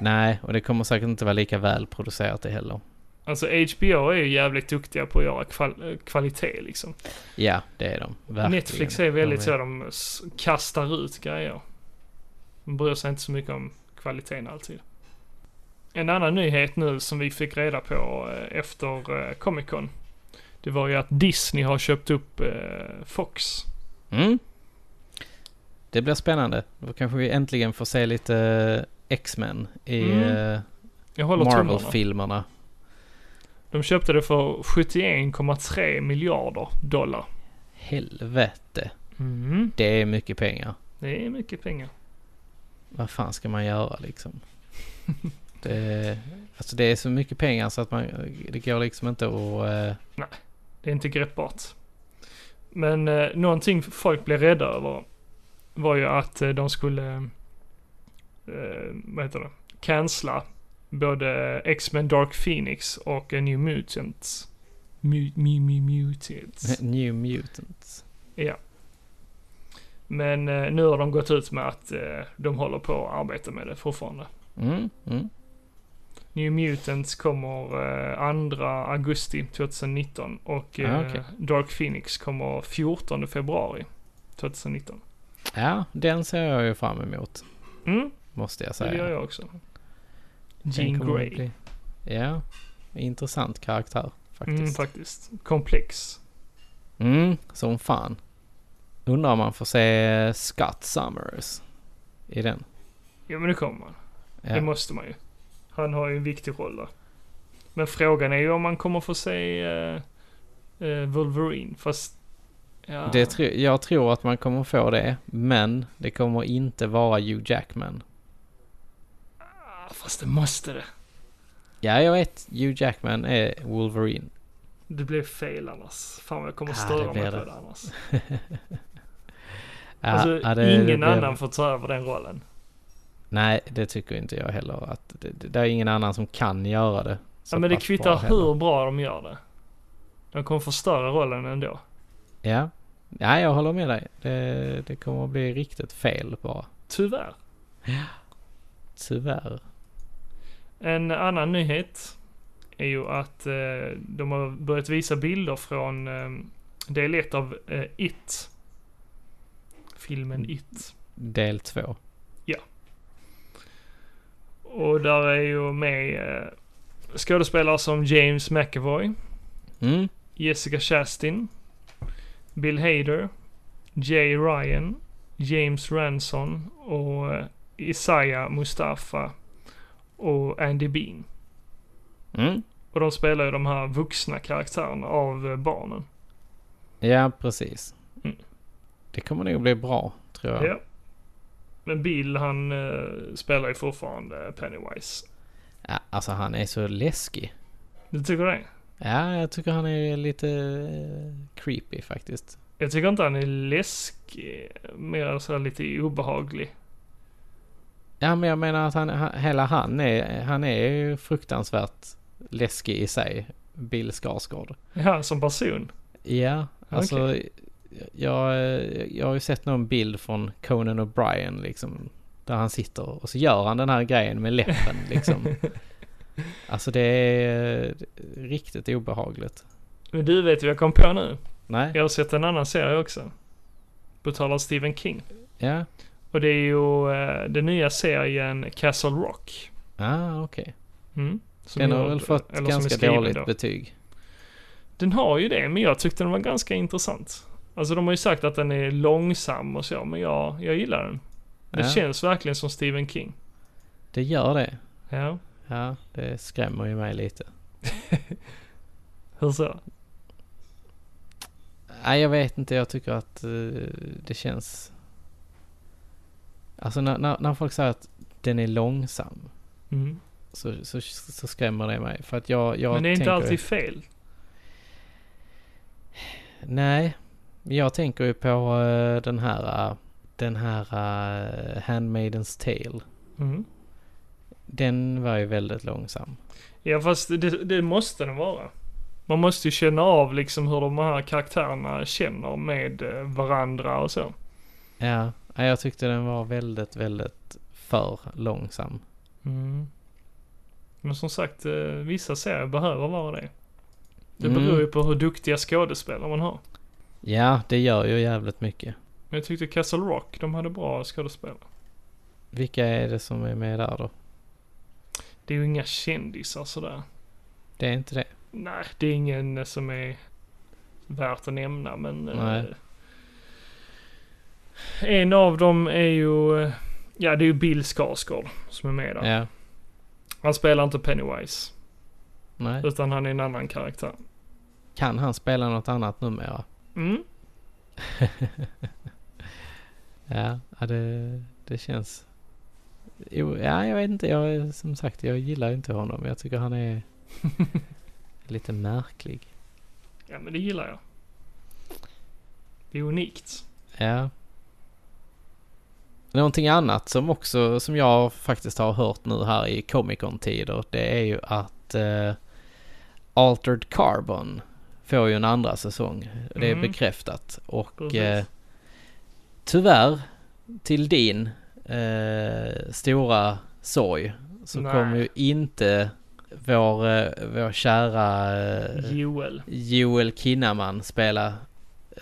Nej, och det kommer säkert inte vara lika välproducerat det heller. Alltså HBO är ju jävligt duktiga på att göra kval- eh, kvalitet liksom. Ja, det är de. Verkligen. Netflix är väldigt De så, de s- kastar ut grejer. De bryr sig inte så mycket om kvaliteten alltid. En annan nyhet nu som vi fick reda på eh, efter eh, Comic Con. Det var ju att Disney har köpt upp eh, Fox. Mm. Det blir spännande. Då kanske vi äntligen får se lite eh, X-Men i Mm. eh, Jag håller tummarna. Marvel-filmerna. De köpte det för 71,3 miljarder dollar. Helvete. Mm. Det är mycket pengar. Det är mycket pengar. Vad fan ska man göra liksom? det, alltså det är så mycket pengar så att man, det går liksom inte att... eh, Det är inte greppbart. Men eh, någonting folk blev rädda över var ju att eh, de skulle, eh, vad heter det, cancella både X-Men Dark Phoenix och A New Mutants. Mu- mu- mu- mutants. New Mutants. Men eh, nu har de gått ut med att eh, de håller på att arbeta med det fortfarande. Mm, mm. New Mutants kommer eh, 2 augusti 2019 och eh, Ah, okej. Dark Phoenix kommer 14 februari 2019. Ja, den ser jag ju fram emot. Mm, Måste jag det säga. gör jag också. Den Jean kommer att Grey. bli- Ja, intressant karaktär faktiskt. Mm, faktiskt. Komplex. Mm, som fan. Undrar om man får se Scott Summers i den. Ja men det kommer man. Det Ja. måste man ju. Han har ju en viktig roll där. Men frågan är ju om man kommer få se eh, eh, Wolverine. Fast... Ja. Det tro, jag tror att man kommer få det, men det kommer inte vara Hugh Jackman. Ah, Fast det måste det. Ja, jag vet. Hugh Jackman är Wolverine. Det blir fel annars. Fan vad jag kommer Ah, störa det blir mig på det. det annars. Ja, alltså ja, det- ingen det blir- annan får ta över den rollen. Nej, det tycker inte jag heller. Att det, det, det är ingen annan som kan göra det. så Ja, men det pass bra kvittar heller. hur bra de gör det. De kommer förstöra rollen ändå. Ja. Nej, jag håller med dig. Det, det kommer att bli riktigt fel bara. Tyvärr. Tyvärr. En annan nyhet är ju att eh, de har börjat visa bilder från eh, del 1 av eh, It. Filmen It. Del två. Och där är ju med eh, skådespelare som James McAvoy, Mm. Jessica Chastain, Bill Hader, Jay Ryan, James Ranson och eh, Isaiah Mustafa och Andy Bean. Mm. Och de spelar ju de här vuxna karaktärerna av eh, barnen. Ja, precis. Mm. Det kommer nog bli bra, tror jag. Ja. Men Bill han eh, spelar ju fortfarande Pennywise. Ja, alltså han är så läskig. Du tycker det? Ja, jag tycker han är lite eh, creepy faktiskt. Jag tycker inte han är läskig, mer sådär lite obehaglig. Ja, men jag menar att han, han, hela han är, han är ju fruktansvärt läskig i sig. Bill Skarsgård. Ja, som person. Ja, alltså jag, eh, jag har ju sett någon bild från Conan O'Brien liksom. Där han sitter och så gör han den här grejen med läppen liksom. Alltså det är eh, riktigt obehagligt. Men du vet ju vad jag kom på nu. Nej, Jag har sett en annan serie också. På tal om Stephen King. ja, Och det är ju eh, den nya serien Castle Rock. ah, okej. Mm. Som Den jag- har väl fått eller som är ganska skriven dåligt då. betyg. Den har ju det, men jag tyckte den var ganska intressant. Alltså de har ju sagt att den är långsam och så, men jag, jag gillar den. Den Ja. känns verkligen som Stephen King. Det gör det. Ja, Ja, det skrämmer ju mig lite. hur så? Nej, jag vet inte. Jag tycker att eh, det känns... Alltså när, när, när folk säger att den är långsam Mm. så, så, så skrämmer det mig. För att jag, jag Men det är tänker... inte alltid fel. Nej, jag tänker ju på eh, den här... eh, den här uh, Handmaidens Tale. Mm. Den var ju väldigt långsam. Ja, fast det, det måste den vara. Man måste ju känna av liksom hur de här karaktärerna känner med eh, varandra och så. Ja, nej, jag tyckte den var väldigt, väldigt för långsam. Mm. Men som sagt, eh, vissa serier behöver vara det. Det Mm. beror ju på hur duktiga skådespelare man har. Ja, det gör ju jävligt mycket. Men jag tyckte Castle Rock, de hade bra skådespelare. Vilka är det som är med där då? Det är ju inga kändisar sådär. Det är inte det. Nej, det är ingen eh, som är värt att nämna, men... eh, Nej. En av dem är ju... eh, Ja, det är ju Bill Skarsgård som är med där. Ja. Han spelar inte Pennywise, Nej. utan han är en annan karaktär. Kan han spela något annat numera? Mm. Ja, ja det, det känns... Jo, ja, jag vet inte. Jag, är- som sagt, jag gillar inte honom. Jag tycker han är lite märklig. Ja, men det gillar jag. Det är unikt. Ja. Någonting annat som också, som jag faktiskt har hört nu här i Comic Con-tider, det är ju att eh, Altered Carbon får ju en andra säsong. Det är Mm. bekräftat. Och Precis. eh, tyvärr, till din eh, stora sorg, så Nej. kommer ju inte vår, eh, vår kära eh, Joel. Joel Kinnaman spela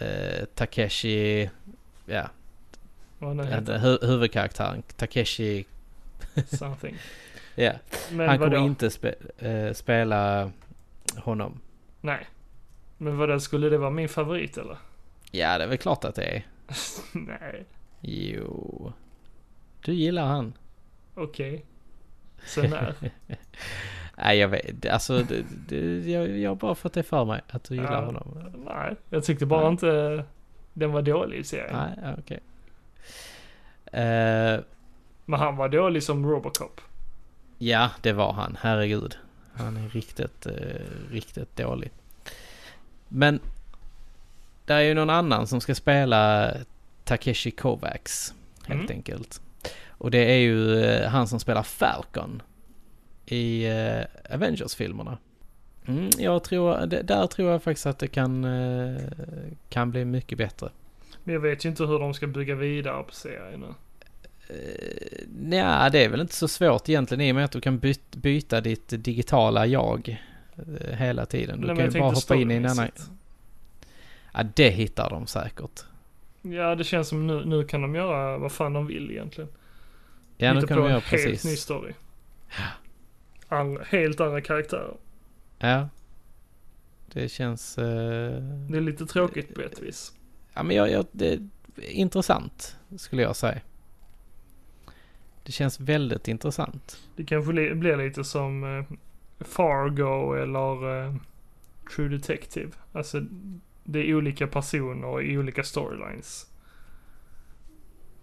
eh, Takeshi, ja, Vad han heter. den hu- huvudkaraktären Takeshi, Something. ja. Men Han vadå? kommer inte spe, eh, spela honom. Nej. Men vadå, skulle det vara min favorit eller? Ja, det är väl klart att det är. Nej. Jo. Du gillar han. Okej. Sen när? Nej, jag vet Alltså, det, det, jag, jag har bara fått det för mig att du gillar Ja. honom. Nej, jag tyckte bara Nej. inte den var dålig i serien. Nej, ja, okej. Eh, Men han var dålig som Robocop. Ja, det var han. Herregud. Han är riktigt, eh, riktigt dålig. Men det är ju någon annan som ska spela Takeshi Kovacs, helt Mm. enkelt. Och det är ju eh, han som spelar Falcon i eh, Avengers-filmerna. Mm, jag tror, d- där tror jag faktiskt att det kan, eh, kan bli mycket bättre. Men jag vet ju inte hur de ska bygga vidare på serien nu. Nej, Eh, det är väl inte så svårt egentligen i och med att du kan byt, byta ditt digitala jag eh, hela tiden. Du Nej, men kan jag ju bara tänkte hoppa in i en annan... storymässigt. Ja, det hittar de säkert. Ja, det känns som nu, nu kan de göra vad fan de vill egentligen. Ja, nu Hitta kan på de göra en helt ny precis. story. Andra, helt andra karaktärer. Ja. Det känns... eh, Det är lite tråkigt på ett vis. Ja, men jag, jag, det är intressant, skulle jag säga. Det känns väldigt intressant. Det kanske li- blir lite som eh, Fargo eller eh, True Detective. Alltså, det är olika personer och olika storylines.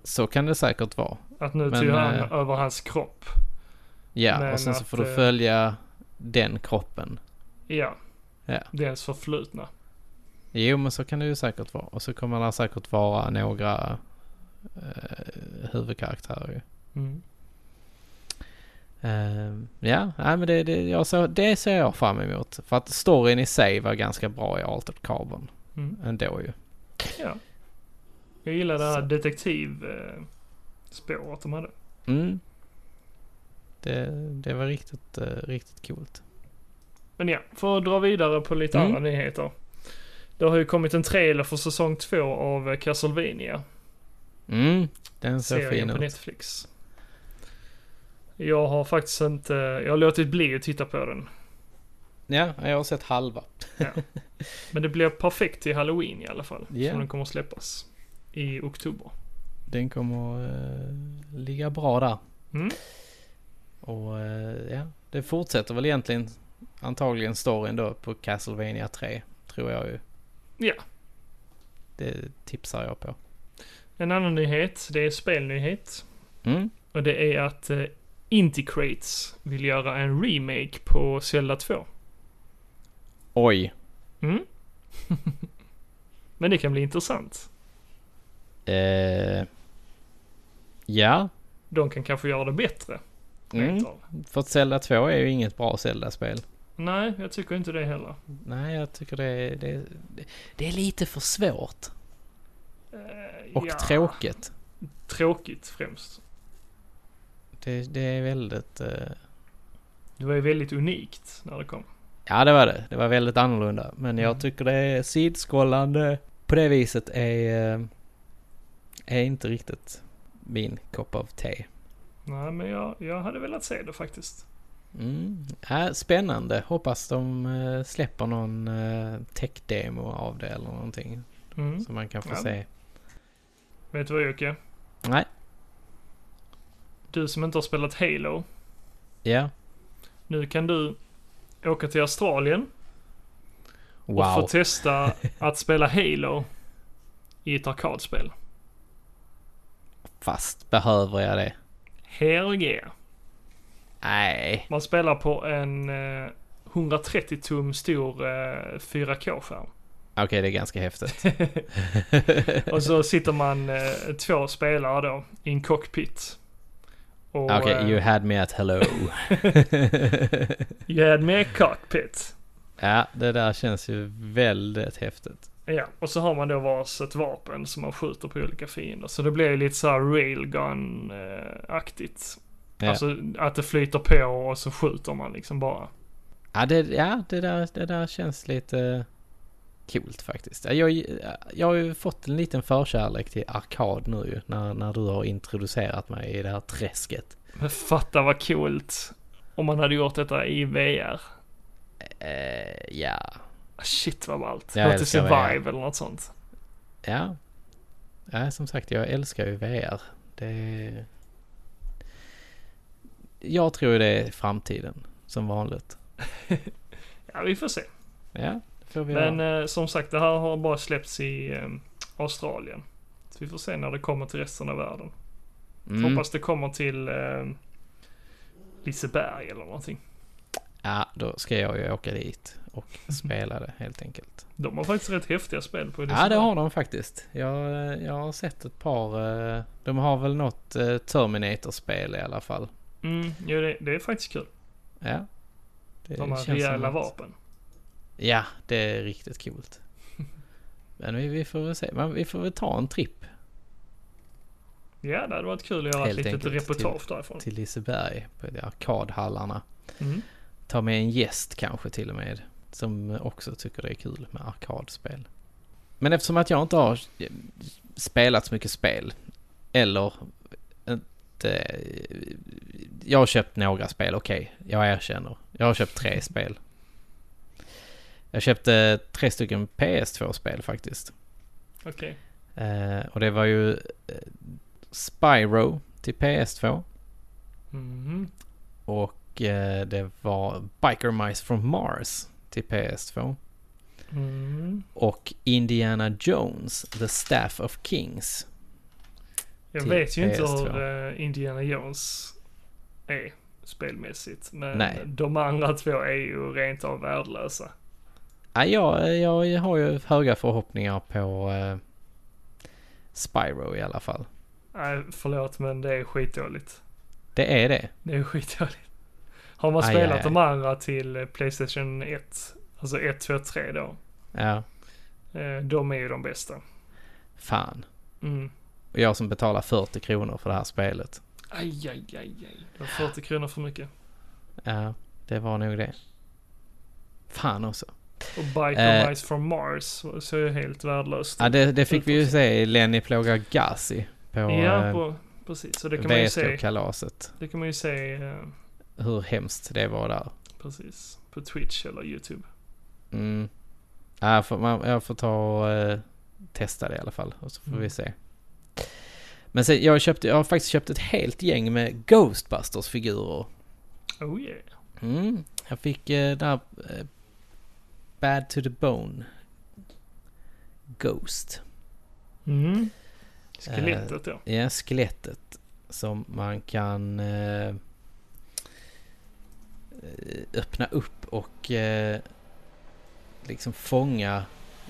Så kan det säkert vara. Att nu Men, tog han eh, över hans kropp. Ja, Men och sen så att, får du eh, följa den kroppen. Ja. Ja. Deras förflutna. Jo, men så kan det ju säkert vara. Och så kommer det säkert vara några eh, huvudkaraktärer ju. Mm. Eh, Ehm. ja, nej, men det, det, jag så, det ser jag fram emot. För att storyn i sig var ganska bra i Altered Carbon Mm. ändå ju. Ja. Jag gillar det här Så. detektivspåret de hade. Mm. Det, det var riktigt, eh, riktigt coolt. Men ja, för att dra vidare på lite Mm. andra nyheter. Det har ju kommit en trailer för säsong två av eh, Castlevania. Mm, den ser fin serien på ut. Netflix. Jag har faktiskt inte, jag har låtit bli att titta på den. Ja, jag har sett halva. Men det blir perfekt till halloween i alla fall. Ja. Som den kommer släppas. I oktober. Den kommer eh, ligga bra där. Mm. Och eh, ja, det fortsätter väl egentligen antagligen storyn då på Castlevania 3. Tror jag ju. Ja. Det tipsar jag på. En annan nyhet, det är spelnyhet. Mm. Och det är att eh, Inticrates vill göra en remake på Zelda 2. Oj. Mm. Men det kan bli intressant. Eh, ja. De kan kanske göra det bättre. Mm. rent av. För att Zelda 2 är ju inget bra Zelda-spel. Nej, jag tycker inte det heller. Nej, jag tycker det är, det, är- det är lite för svårt. Eh, Och ja, tråkigt. Tråkigt främst. Det, det är väldigt... Eh, Det var ju väldigt unikt när det kom. Ja, det var det. Det var väldigt annorlunda. Men jag Mm. tycker det är sidskrollande på det viset är, eh, är inte riktigt min kopp av te. Nej, men jag, jag hade velat se det faktiskt. Mm. Ja, spännande. Hoppas de eh, släpper någon eh, tech-demo av det eller någonting. Mm. Så man kan få Ja. se. Vet du vad Jocke? Nej. Du som inte har spelat Halo. Ja. Nu kan du åka till Australien och få Wow. testa att spela Halo i ett arkadspel. Fast behöver jag det? Hell yeah. Nej. Man spelar på en eh, 130 tum stor eh, 4K-skärm. Okej, det är ganska häftigt. Och så sitter man eh, två spelare då i en cockpit. Och, Ah, Okej, eh, you had me at hello. you had me a cockpit. ja, det där känns ju väldigt häftigt. Ja, och så har man då varsitt vapen som man skjuter på olika fiender. Så det blir ju lite så här railgun-aktigt. Ja. Alltså att det flyter på och så skjuter man liksom bara. Ja, det, ja det, där, det där känns lite eh, coolt faktiskt. Ja, Jag, eh, jag har ju fått en liten förkärlek till arkad nu ju, när, när du har introducerat mig i det här träsket. Men fatta vad coolt om man hade gjort detta i VR. Eh, ja. Ah, Shit vad ballt. Jag Gå till älskar Survive eller något sånt. ja. Ja, som sagt, jag älskar ju VR. Det... Jag tror ju det är framtiden, som vanligt. Ja, vi får se. Ja, det får vi Men göra. eh, som sagt, det här har bara släppts i eh, Australien. Så vi får se när det kommer till resten av världen. Mm. eh, Hoppas det kommer till eh, Liseberg eller någonting. Ja, då ska jag ju åka dit och spela det helt enkelt. De har faktiskt rätt häftiga spel på Ja, det har de faktiskt. Jag, eh, jag har sett ett par. eh, De har väl något eh, Terminator-spel i alla fall. Mm, jo, det, det är faktiskt kul. Ja. Det De har känns som rejäla att- vapen. Ja, det är riktigt coolt. Men vi, vi får väl se. Men vi får väl ta en tripp Ja, det hade varit kul att göra Helt ett litet enkelt reportage därifrån. till Liseberg på de arkadhallarna. Mm. Ta med en gäst kanske till och med. Som också tycker det är kul med arkadspel. Men eftersom att jag inte har spelat så mycket spel. Eller inte jag har köpt några spel, okej. jag erkänner. Jag har köpt tre spel. Jag köpte tre stycken PS2-spel faktiskt. Okej. Eh, och det var ju eh, Spyro till PS2 Mhm. och eh, det var Biker Mice from Mars till PS2 Mm. och Indiana Jones, The Staff of Kings. Jag Till vet ju inte PS2. hur eh, Indiana Jones är spelmässigt. Men Nej. de andra två är ju rent av värdelösa. Ah, jag, jag har ju höga förhoppningar på eh, Spyro i alla fall. Nej, förlåt men det är skitdåligt. Det är det. Det är skitdåligt. Har man Aj, spelat aj, aj. de andra till eh, Playstation 1, alltså 1, 2, 3 då. Ja, eh, De är ju de bästa. fan. Mm. Och jag som betalar 40 kronor för det här spelet. Aj, aj, aj, aj. Det var 40 kronor för mycket. Ja, det var nog det. Fan också. Och Biker Eh. Mice from Mars så är ju helt värdelöst. Ja, det, det fick vi ju se i Lenny plågar Gassi på, ja, eh, på, precis. Så det kan man ju se. VSK-kalaset. Det kan man ju se eh, Hur hemskt det var där. precis på Twitch eller YouTube. Mm. Ja, jag, får, man, jag får ta och eh, testa det i alla fall. Och så får Mm. vi se. Men sen, jag, köpte, jag har faktiskt köpt ett helt gäng med Ghostbusters-figurer. Oh yeah. Mm. Jag fick eh, där eh, Bad to the Bone. Ghost. Mm. Skelettet då. Ja, skelettet som man kan eh, eh, öppna upp och eh, liksom fånga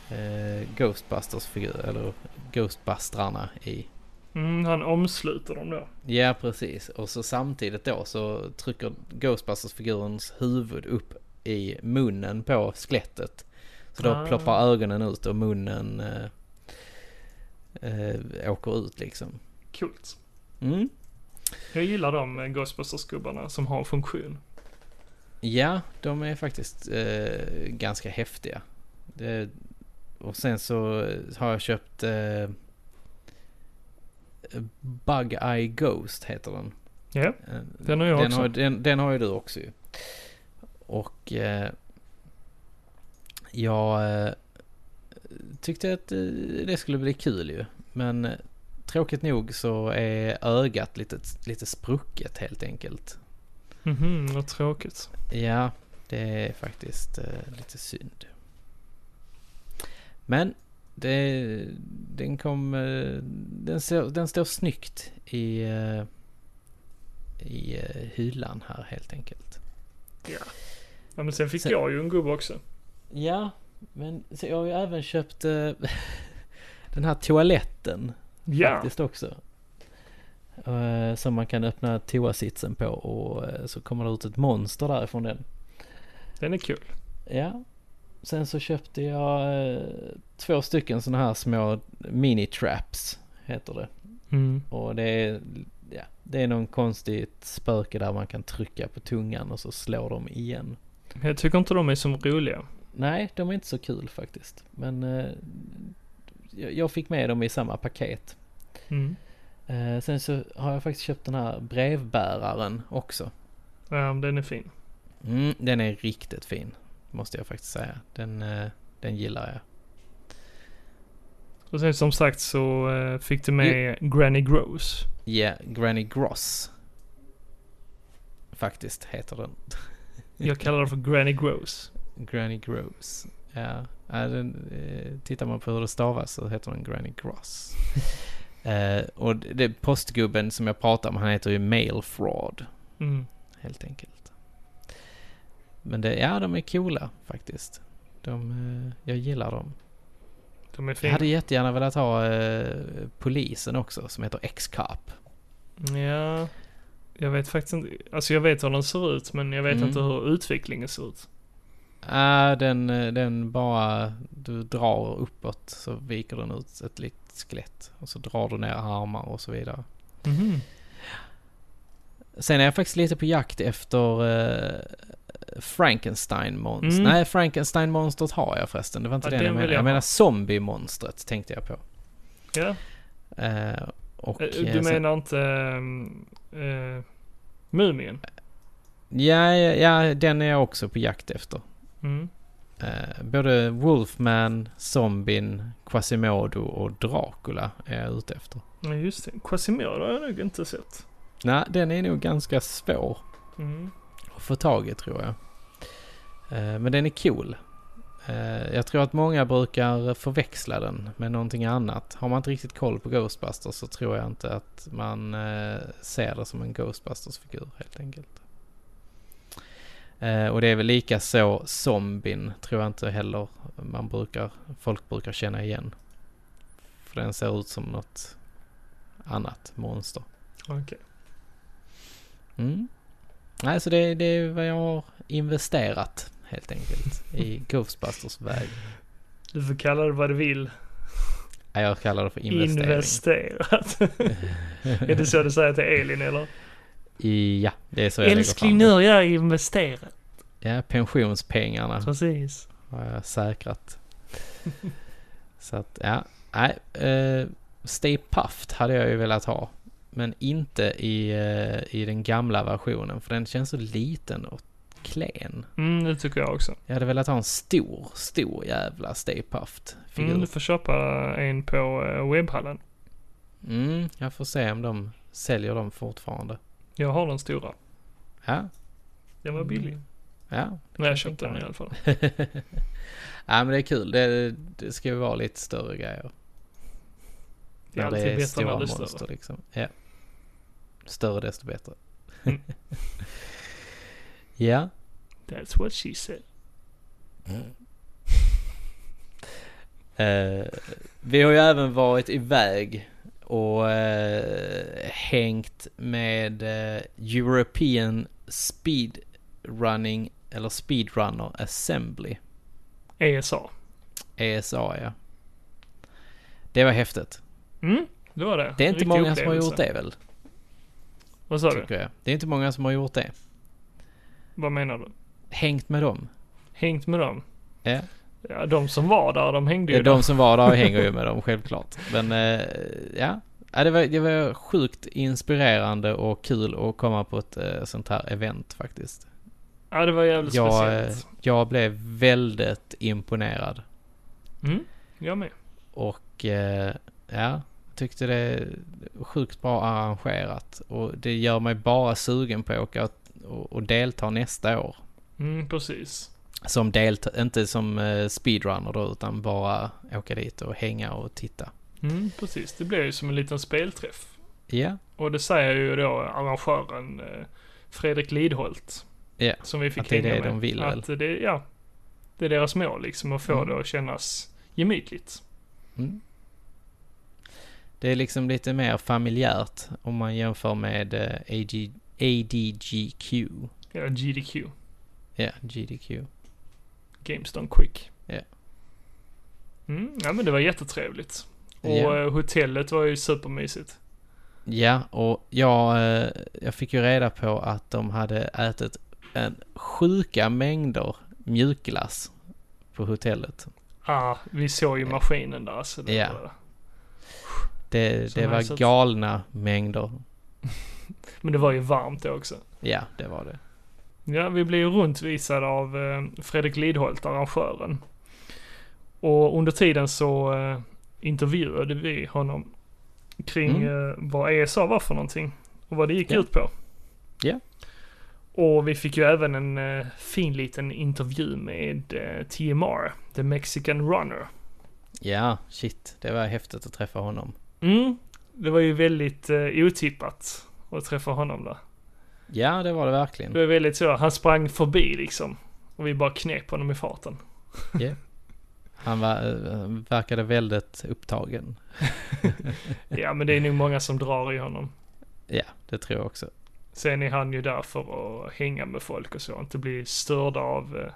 eh, Ghostbusters-figurer eller Ghostbustrarna i. Mm, han omsluter dem då. Ja, precis. Och så samtidigt då så trycker Ghostbusters-figurens huvud upp i munnen på skelettet. Så då Ah. ploppar ögonen ut och munnen eh, eh, åker ut liksom. Coolt. Mm. Jag gillar de eh, Ghostbusters-gubbarna som har funktion. Ja, de är faktiskt eh, ganska häftiga. Det, och sen så har jag köpt eh, Bug Eye Ghost heter den. Ja, Eh, den har jag den också. Har, den, den har ju du också ju. Och eh, jag eh, tyckte att eh, det skulle bli kul ju. Men eh, tråkigt nog så är ögat lite, lite sprucket helt enkelt. Mhm, vad tråkigt. Ja, det är faktiskt eh, lite synd. Men det, den kom... eh, den, ser, den står snyggt i, eh, i eh, hyllan här helt enkelt. Ja, men sen fick Sen- jag ju en gubbe också. Ja, men så jag har ju även köpt eh, den här toaletten Ja, faktiskt också. Eh, Som man kan öppna toasitsen på och eh, så kommer det ut ett monster därifrån den. den är kul. Ja. Sen så köpte jag eh, två stycken sådana här små mini-traps, heter det. Mm. Och det är, ja, det är någon konstigt spöke där man kan trycka på tungan och så slår de igen. Jag tycker inte de är som roliga. Nej, de är inte så kul faktiskt. Men eh, jag- jag fick med dem i samma paket. Mm. Eh, sen så har jag faktiskt köpt den här brevbäraren också. Ja, men den är fin. Mm, den är riktigt fin, måste jag faktiskt säga. Den, eh, den gillar jag. Och sen som sagt så eh, fick du med Granny Gross. Ja, Granny Gross. Faktiskt heter den. Jag kallar den för Granny Gross. Granny Gross. Ja, ja den, eh, tittar man på hur det stavas så heter den Granny Gross. eh, och det det är postgubben som jag pratar om, han heter ju Mail Fraud, Mm. helt enkelt. Men det, ja, de är coola faktiskt. De, eh, jag gillar dem. De är Jag fina. hade jättegärna velat ha eh, polisen också, som heter X-Cop. Ja, jag vet faktiskt inte. Alltså jag vet hur den ser ut, men jag vet Mm. inte hur utvecklingen ser ut. Nej, den, eh, den bara... Du drar uppåt så viker den ut ett litet skelett. Och så drar du ner armar och så vidare. Mhm. Sen är jag faktiskt lite på jakt efter eh, Frankenstein-monstret. Mm. Nej, Frankenstein-monstret har jag förresten. Det var inte Ja, den den jag vill menade. jag Jag ha. menar zombie-monstret tänkte jag på. Ja. Eh, och, Eh, eh, du sen- menar inte ehm, eh, Mumien? Ja, ja, ja, den är jag också på jakt efter. Mm. Eh, både Wolfman, Zombien, Quasimodo och Dracula är jag ute efter. Ja, just det. Quasimodo har jag nog inte sett. Nej, den är nog ganska svår Mm. att få tag i tror jag. Eh, Men den är cool. Eh, Jag tror att många brukar förväxla den med någonting annat. Har man inte riktigt koll på Ghostbusters så tror jag inte att man eh, ser det som en Ghostbusters-figur helt enkelt. Eh, Och det är väl lika så zombien tror jag inte heller man brukar, folk brukar känna igen. För den ser ut som något annat monster. Okej. Mm. Nej, så det, det är vad jag har investerat helt enkelt i Ghostbusters väg. Du får kalla det vad du vill. Nej, Jag kallar det för investering. Investerat. är det så du säger till Elin eller? I, ja, det är så jag Älskling, nu lägger fram har jag investerat. det. Ja, pensionspengarna Precis. har jag säkrat. så att, ja. Nej, eh, Stay Puft hade jag ju velat ha. Men inte i, eh, i den gamla versionen, för den känns så liten och klen. Mm, det tycker jag också. Jag hade velat ha en stor, stor jävla Stay Puft-figur. Mm, du får köpa en på eh, webbhallen. Mm, jag får se om de säljer dem fortfarande. Jag har den stora. Ja, Den Mm. var billig. ja. När jag köpte den i alla fall. ja men det är kul. Det, det ska ju vara lite större grejer. Det är När alltid bättre när stora det är större. monster liksom. Ja. Större desto bättre. Mm. ja. That's what she said. Eh, vi har ju även varit iväg och eh, hängt med eh, European Speedrunning eller Speedrunner Assembly. ESA. ESA E ja. Det var häftigt. Mm, det var det. Det är inte Riktig många som har upplevelse. gjort det väl? Vad sa du? Tycker jag. Det är inte många som har gjort det. Vad menar du? Hängt med dem. Hängt med dem? Ja. Ja, de som var där, de hängde ju De, där. de som var där hänger ju med dem självklart. Men eh, ja. ja det, var, det var sjukt inspirerande och kul att komma på ett eh, sånt här event faktiskt. Ja, det var jävligt Jag, eh, speciellt. jag blev väldigt imponerad. eh, Mm, jag med. Och eh, ja, tyckte det var sjukt bra arrangerat. Och det gör mig bara sugen på att åka och, och delta nästa år. Mm, precis. Som delta, inte som eh, speedrunner då, utan bara åka dit och hänga och titta. Mm, precis. Det blev ju som en liten spelträff. Ja, Och det säger ju då arrangören eh, Fredrik Lidholt. Ja, Som vi fick att det är hänga det med. de vill att det, ja, det är deras mål liksom att få Mm. det att kännas gemytligt. Mm. Det är liksom lite mer familjärt om man jämför med eh, AG, ADGQ. Ja, GDQ. Ja, GDQ. Games Done Quick. Ja. Mm, ja men det var jättetrevligt. Och Ja. eh, hotellet var ju supermysigt. Ja, och jag, eh, jag fick ju reda på att de hade ätit en sjuka mängder mjukglass på hotellet. Ah, vi såg ju maskinen där alltså. Det Ja. var, Det, Så det nice var att- galna mängder. men det var ju varmt det också. Ja, det var det. Ja, vi blev ju runtvisade av eh, Fredrik Lidholt, arrangören. Och under tiden så eh, intervjuade vi honom kring eh, vad ESA var för någonting och vad det gick Mm. Ja. ut på. Ja. Och vi fick ju även en eh, fin liten intervju med eh, TMR, The Mexican Runner. Ja, shit. Det var häftigt att träffa honom. Mm, det var ju väldigt eh, otippat att träffa honom där. Ja, det var det verkligen. Det var väldigt så, han sprang förbi liksom. Och vi bara knep honom i farten. Han var, eh, verkade väldigt upptagen. Ja, men det är nog många som drar i honom. Ja, det tror jag också. Sen är han ju där för att hänga med folk och så, inte bli störda av eh,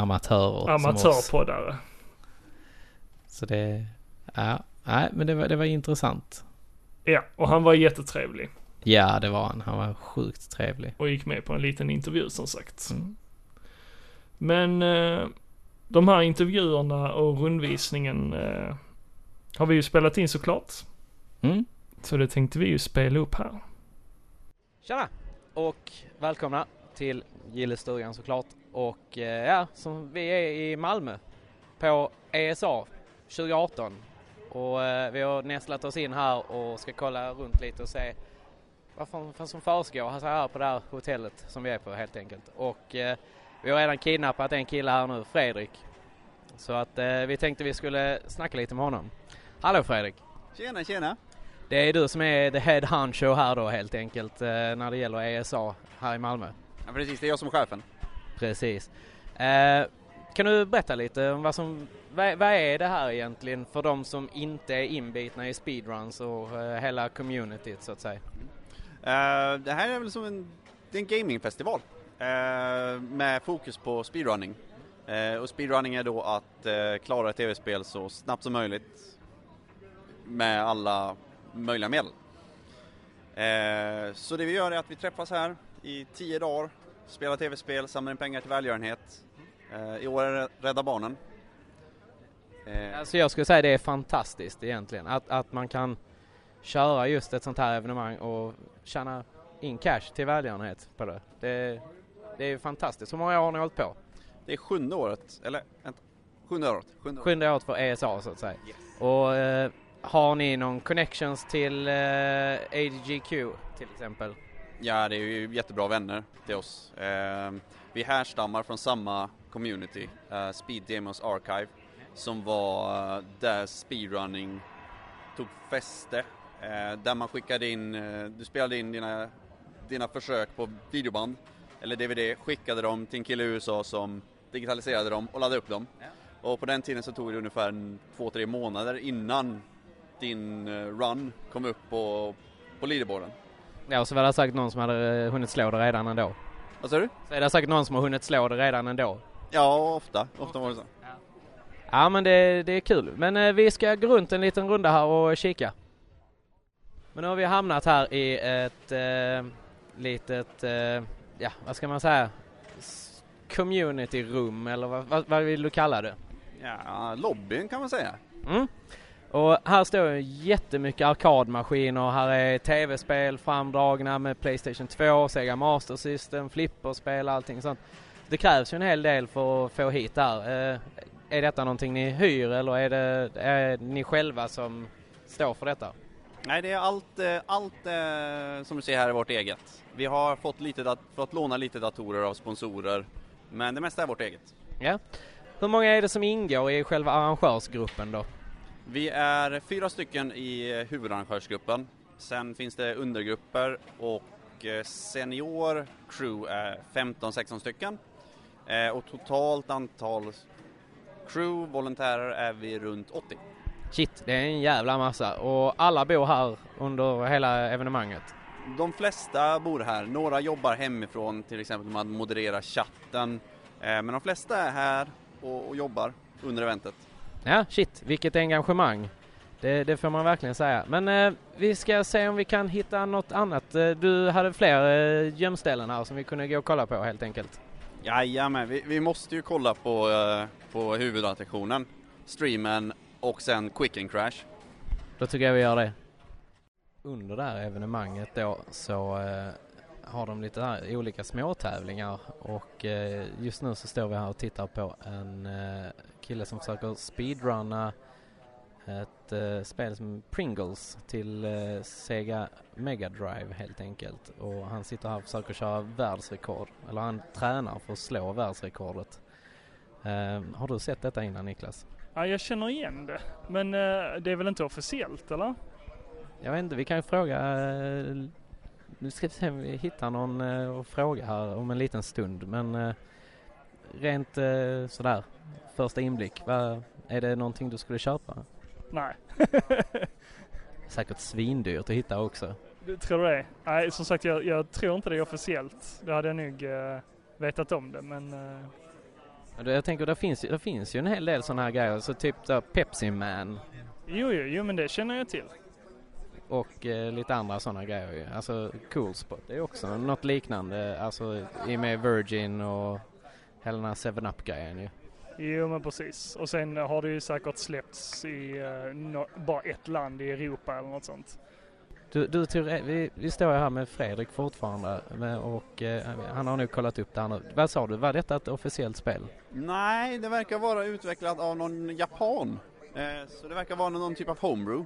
Amatörer som oss. amatörpoddare. Så det, ja, nej, men det var, det var intressant. Ja, och han var jättetrevlig Ja, det var han. Han var sjukt trevlig. och gick med på en liten intervju som sagt. Mm. Men eh, de här intervjuerna och rundvisningen eh, har vi ju spelat in såklart. Mm. Så det tänkte vi ju spela upp här. Tjena! och välkomna till Gillestugan såklart. Och eh, ja, som vi är i Malmö på E ESA 2018. Och eh, vi har nästlat oss in här och ska kolla runt lite och se vad fan, fan som försiggår alltså här på det här hotellet som vi är på helt enkelt. Och eh, vi har redan kidnappat en kille här nu, Fredrik. Så att eh, vi tänkte vi skulle snacka lite med honom. Hallå Fredrik! Tjena, tjena! Det är du som är the head honcho här då helt enkelt eh, när det gäller ESA här i Malmö. Ja, precis, det är jag som är chefen. Precis. Eh, kan du berätta lite om vad som, vad, vad är det här egentligen för de som inte är inbitna i speedruns och eh, hela communityt så att säga? Eh, det här är väl som en, det är en gamingfestival eh, med fokus på speedrunning. Eh, och speedrunning är då att eh, klara ett tv-spel så snabbt som möjligt med alla möjliga medel. Eh, så det vi gör är att vi träffas här i tio dagar, spelar tv-spel, samlar in pengar till välgörenhet. Eh, I år är det Rädda Barnen. Eh, Alltså jag skulle säga det är fantastiskt egentligen att, att man kan köra just ett sånt här evenemang och tjäna in cash till välgörenhet på det. Det, det är ju fantastiskt. Hur många år har ni hållit på? det är sjunde året, eller vänta, sjunde året. Sjunde året. Sjunde året för ESA så att säga. Och eh, har ni någon connections till eh, ADGQ till exempel? Ja, det är ju jättebra vänner till oss. Eh, vi härstammar från samma community, eh, Speed Demos Archive, som var eh, där speedrunning tog fäste. Eh, där man skickade in, eh, du spelade in dina, dina försök på videoband, eller DVD, skickade dem till en kille i USA som digitaliserade dem och laddade upp dem. Och på den tiden så tog det ungefär en- två, tre månader innan din eh, run kom upp på, på leaderboarden. Ja, och så var det säkert någon som hade eh, hunnit slå det redan ändå. Vad sa du? Så är det säkert någon som har hunnit slå det redan ändå. Ja, ofta. Ofta var det så. Ja men det, det är kul. Men eh, vi ska gå runt en liten runda här och kika. Men nu har vi hamnat här i ett eh, litet, eh, ja vad ska man säga, S- community room eller vad, vad, vad vill du kalla det? Ja, lobbyn kan man säga. Mm. Och här står ju jättemycket arkadmaskiner. Här är tv-spel framdragna med Playstation 2, Sega Master System, flipperspel allting sånt. Det krävs ju en hel del för att få hit där. Eh, är detta någonting ni hyr eller är det är ni själva som står för detta? Nej, det är allt, eh, allt eh, som du ser här är vårt eget. Vi har fått, lite dat- fått låna lite datorer av sponsorer, men det mesta är vårt eget. Ja. Hur många är det som ingår i själva arrangörsgruppen då? Vi är fyra stycken i eh, huvudarrangörsgruppen. Sen finns det undergrupper och eh, senior crew är 15-16 stycken. Eh, Och totalt antal crew, volontärer, är vi runt 80. Shit, det är en jävla massa och alla bor här under hela evenemanget. De flesta bor här, några jobbar hemifrån till exempel med att moderera chatten. Eh, Men de flesta är här och, och jobbar under eventet. Ja, shit, vilket engagemang. Det, det får man verkligen säga. Men eh, vi ska se om vi kan hitta något annat. Eh, du hade fler eh, gömställen här som vi kunde gå och kolla på helt enkelt. Jajamän, vi, vi måste ju kolla på, eh, på huvudattraktionen, streamen och sen Quick and Crash. Då tycker jag vi gör det. Under det här evenemanget då så eh, har de lite här olika småtävlingar och eh, just nu så står vi här och tittar på en eh, kille som försöker speedrunna ett eh, spel som Pringles till eh, Sega Mega Drive helt enkelt och han sitter här och försöker köra världsrekord eller han tränar för att slå världsrekordet. Eh, har du sett detta innan Niklas? Ja, jag känner igen det. Men eh, det är väl inte officiellt eller? Jag vet inte, vi kan ju fråga... eh, Nu ska vi se om vi hittar någon eh, och fråga här om en liten stund. Men eh, rent eh, sådär, första inblick. Vad, är det någonting du skulle köpa? Nej. Säkert svindyrt att hitta också. Du tror du det? Nej, som sagt jag, jag tror inte det är officiellt. Då hade jag nog eh, vetat om det men... eh, Men det- Jag tänker, det finns, ju- det finns ju en hel del sådana här grejer. Så typ så här Pepsi Man jo, jo, jo men det känner jag till. och eh, lite andra sådana grejer ju. Alltså Cool Spot, det är också något liknande. Alltså i och med Virgin och hela den här 7-Up-grejen ju. Jo men precis. Och sen har det ju säkert släppts i eh, nå- bara ett land i Europa eller något sånt. Du, du Ture, vi, vi står ju här med Fredrik fortfarande men- och eh, han har nu kollat upp det här nu. Vad sa du, var detta ett officiellt spel? Nej, det verkar vara utvecklat av någon japan. Eh, så det verkar vara någon typ av homebrew.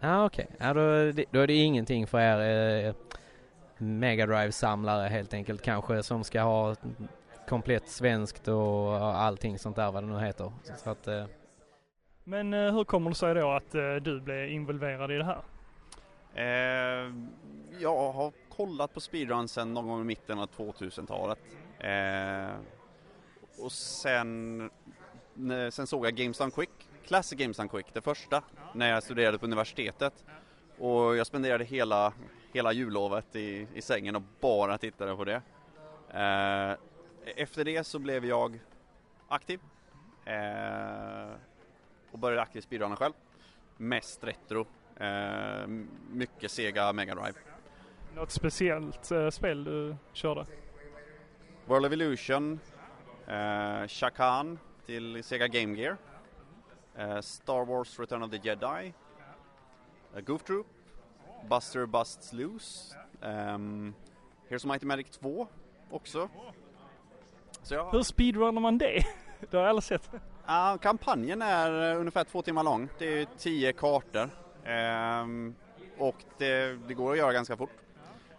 Ja ah, okej, ja, då, är det- då är det ingenting för er eh, Mega drive samlare helt enkelt kanske som ska ha ett komplett svenskt och allting sånt där vad det nu heter. Så, så att, eh, Men eh, hur kommer det sig då att eh, du blev involverad i det här? Eh, jag har kollat på speedrun sedan någon gång i mitten av 2000-talet. Eh, och sen, ne- sen såg jag Games Done Quick, Classic Games Done Quick, det första, när jag studerade på universitetet. Och jag spenderade hela, hela jullovet i, i sängen och bara tittade på det. Eh, efter det så blev jag aktiv. Eh, och började aktivt speedrunna själv. Mest retro. Eh, m- mycket Sega Mega Drive. Något speciellt eh, spel du körde? World of Illusion, eh, Shakan till Sega Game Gear, eh, Star Wars Return of the Jedi, eh, Goof Troop, Buster Busts Loose, ehm, Here's of Mighty Magic 2 också. Så Hur jag, speedrunnar man det? Det har jag aldrig sett. Ah, kampanjen är eh, ungefär två timmar lång, det är tio kartor. Ehm, och det, det går att göra ganska fort.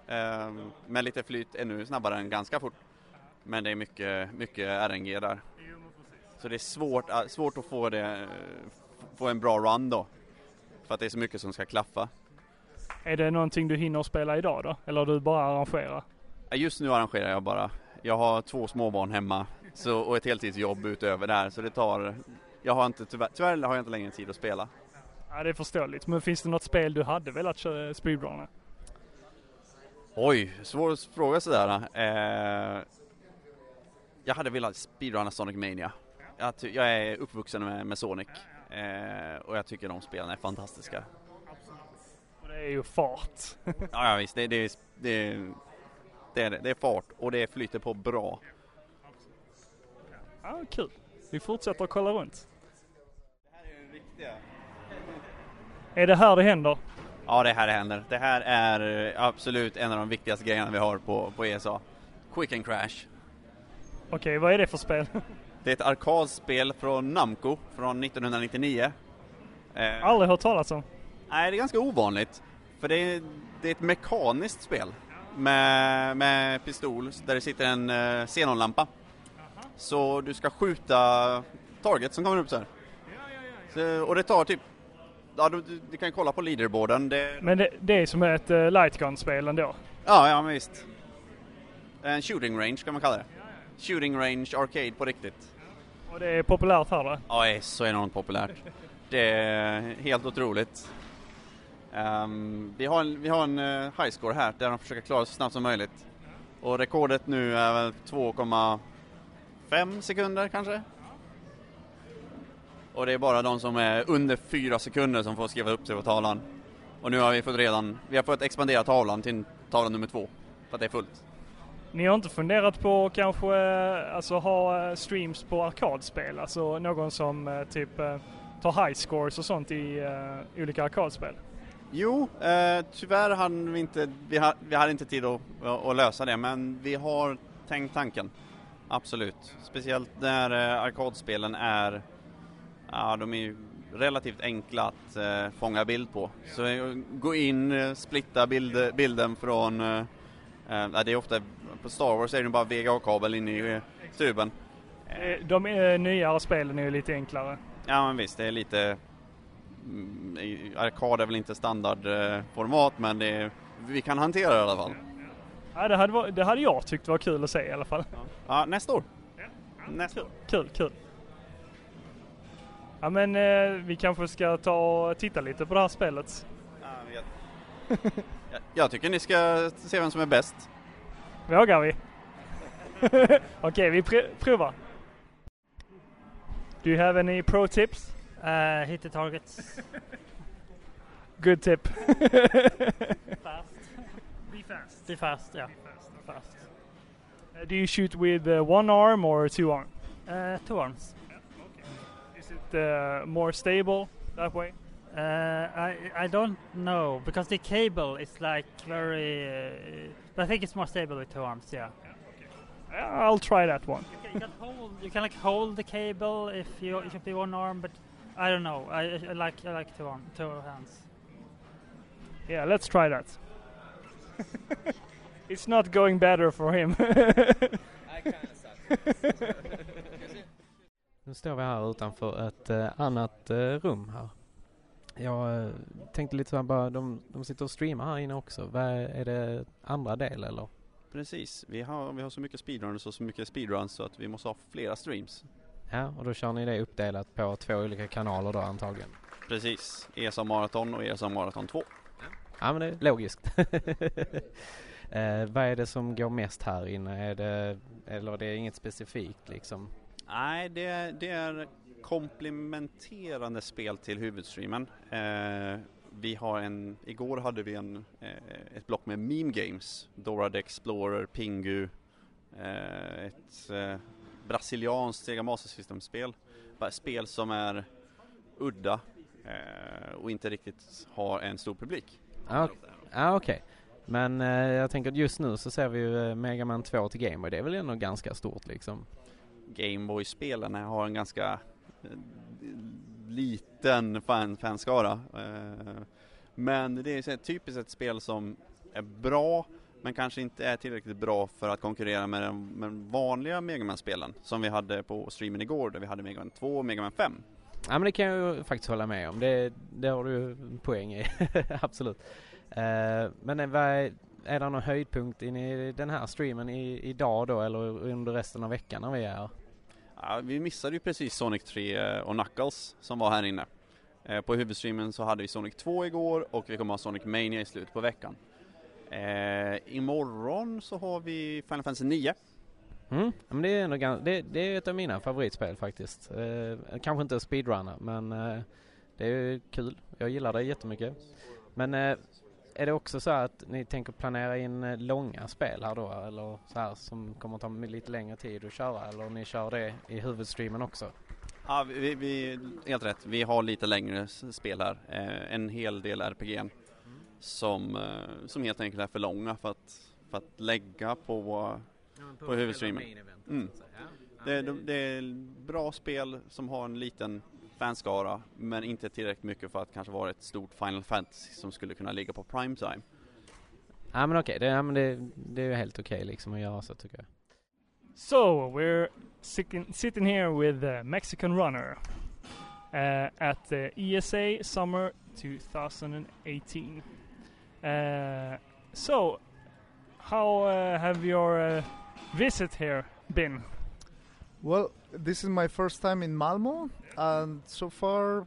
Ehm, med lite flyt ännu snabbare än ganska fort. Men det är mycket, mycket RNG där. Så det är svårt, att- svårt att få, det, eh, f- få en bra run då. För att det är så mycket som ska klaffa. Är det någonting du hinner spela idag då? Eller du bara arrangerar? Eh, Just nu arrangerar jag bara. Jag har två småbarn hemma så, och ett heltidsjobb utöver det här. Så det tar... Jag har inte, tyvärr, tyvärr har jag inte längre tid att spela. Ja, det är förståeligt. Men finns det något spel du hade velat köra speedrunna? Oj, svår fråga sådär. Eh, jag hade velat speedrunna Sonic Mania. Jag, ty- jag är uppvuxen med, med Sonic eh, och jag tycker de spelen är fantastiska. Och Det är ju fart. Ja, ja visst, det, det, det, det, är, det. det är fart och det flyter på bra. Ja, kul. Vi fortsätter att kolla runt. Är det här det händer? Ja, det här händer. Det här är eh, absolut en av de viktigaste grejerna vi har på, på ESA. Quick and Crash. Okej, vad är det för spel? Det är ett arkadspel från Namco från 1999. Eh, Aldrig hört talas om. Nej, det är ganska ovanligt. För det är, det är ett mekaniskt spel med, med pistol där det sitter en eh, xenonlampa. Så du ska skjuta target som kommer upp så här. Så, och det tar typ... Ja, du, du, du kan kolla på leaderboarden. Det, Men det, det är som ett uh, Lightgun-spel ändå. ja, ja, men visst. En shooting range kan man kalla det. Shooting range arcade på riktigt. Och det är populärt här då. Ja, det är så enormt populärt. Det är helt otroligt. Ehm, vi har en, vi har en eh, high score här där de försöker klara sig så snabbt som möjligt. Och rekordet nu är väl 2,5 sekunder kanske? Och det är bara de som är under 4 sekunder som får skriva upp sig på tavlan. Och nu har vi fått redan, vi har fått expandera tavlan till tavla nummer två. För att det är fullt. Ni har inte funderat på kanske eh, alltså, ha eh, streams på arkadspel? Alltså någon som eh, typ eh, tar high scores och sånt i eh, olika arkadspel? Jo, eh, tyvärr hann vi inte, vi, ha, vi hade inte tid att, att lösa det, men vi har tänkt tanken. Absolut. Speciellt när eh, arkadspelen är, ja de är ju relativt enkla att eh, fånga bild på. Så eh, gå in, eh, splitta bild, bilden från, eh, eh, ja, det är ofta, på Star Wars är det ju bara VGA-kabel in i eh, tuben. Eh, De eh, nyare spelen är ju lite enklare. Ja men visst, det är lite... mm, i- Arkad är väl inte standardformat men det är, vi kan hantera det i alla fall. Ja, det, hade, var- det hade jag tyckt var kul att se i alla fall. Ja, nästa år. Nästa år. Kul, kul. Ja men eh, vi kanske ska ta och titta lite på det här spelet. Ja, jag vet. Jag- Jag tycker ni ska se vem som är bäst. Vågar vi? Okej, vi pr- provar. Do you have any pro tips? Uh, hit the targets Good tip. fast. Be fast. Be fast, yeah. Fast. Uh, do you shoot with uh, one arm or two arm? Uh, two arms. Is it uh, more stable that way? Uh, I I don't know because the cable is like very. Uh, but I think it's more stable with two arms. Yeah. I'll try that one. Okay, you can hold. You can like hold the cable if you it should be one arm, but I don't know. I, I like I like two arm two hands. Yeah, let's try that. it's not going better for him. Nu står vi här utanför ett eh, annat eh, rum här. Jag eh, tänkte lite så här bara, de, de sitter och streamar här inne också. Vad är- är det andra del eller? Precis, vi har, vi har så mycket speedruns och så mycket speedruns så att vi måste ha flera streams. Ja, och då kör ni det uppdelat på två olika kanaler då antagligen. Precis, E ESA Marathon och ESA Marathon 2. Ja men det är logiskt. eh, vad är det som går mest här inne? Är det, eller det är inget specifikt liksom? Nej, det, det är komplementerande spel till huvudstreamen. Eh, vi har en, igår hade vi en, eh, ett block med meme games. Dora the Explorer, Pingu, eh, ett eh, brasilianskt Sega Master System-spel. Bara Spel som är udda eh, och inte riktigt har en stor publik. Ja, ok- ja okej. Men eh, jag tänker att just nu så ser vi ju eh, Mega Man 2 till Game Boy. Det är väl ändå ganska stort liksom? Gameboy-spelen har en ganska eh, liten fan, fanskara. Eh, Men det är så här typiskt ett spel som är bra men kanske inte är tillräckligt bra för att konkurrera med den, med den vanliga Mega man spelen som vi hade på streamen igår där vi hade Mega Man 2 och Mega Man 5. Ja men det kan jag ju faktiskt hålla med om. Det, det har du ju en poäng i. Absolut. Eh, men eh, vad är, är det någon höjdpunkt in i den här streamen i, idag då eller under resten av veckan när vi är här? Ja, vi missade ju precis Sonic 3 och Knuckles som var här inne. Eh, På huvudstreamen så hade vi Sonic 2 igår och vi kommer ha Sonic Mania i slutet på veckan. Eh, imorgon så har vi Final Fantasy 9 Mm? Ja, men det är ändå gan- det, det är ett av mina favoritspel faktiskt. Eh, kanske inte att speedrunna men eh, det är ju kul. Jag gillar det jättemycket. Men eh, är det också så att ni tänker planera in eh, långa spel här då eller så här som kommer ta lite längre tid att köra eller ni kör det i huvudstreamen också? Ja, vi, vi, helt rätt. Vi har lite längre s- spel här. Eh, en hel del RPG'n som, eh, som helt enkelt är för långa för att, för att lägga på... på huvudstreamen. Mm. Det, de, det är bra spel som har en liten fanskara men inte tillräckligt mycket för att kanske vara ett stort Final Fantasy som skulle kunna ligga på prime time. Ja men okej, det, ja, men det, det är ju helt okej liksom att göra så tycker jag. So we're sitting, sitting here with the Mexican runner uh, at the ESA Summer 2018. Uh, so, how uh, have your uh, visit here been? Well, this is my first time in Malmo, and so far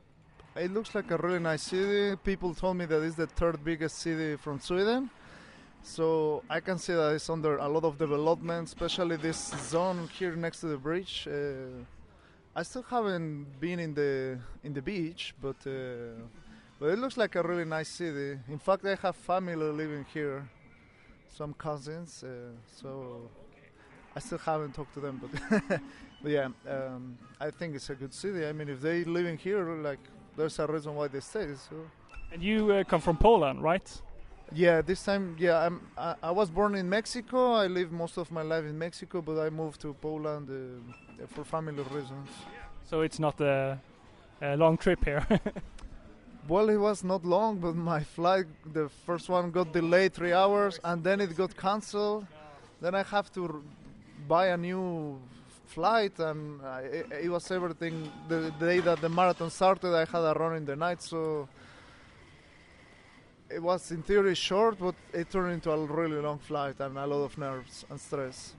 it looks like a really nice city. People told me that it's the third biggest city from Sweden. So I can see that it's under a lot of development, especially this zone here next to the bridge. Uh, I still haven't been in the in the beach, but uh, but it looks like a really nice city. In fact, I have family living here, some cousins. Uh, so I still haven't talked to them, but but yeah, um, I think it's a good city. I mean, if they living here, like there's a reason why they stay. So And you uh, come from Poland, right? yeah, this time, yeah, I'm, I, I was born in Mexico. I lived most of my life in Mexico, but I moved to Poland uh, for family reasons. So it's not a, a long trip here. Well, it was not long, but my flight, the first one, got delayed three hours, and then it got cancelled. Then I have to r- buy a new flight, and I, it, it was everything. The day that the marathon started, I had a run in the night, so it was in theory short, but it turned into a really long flight and a lot of nerves and stress.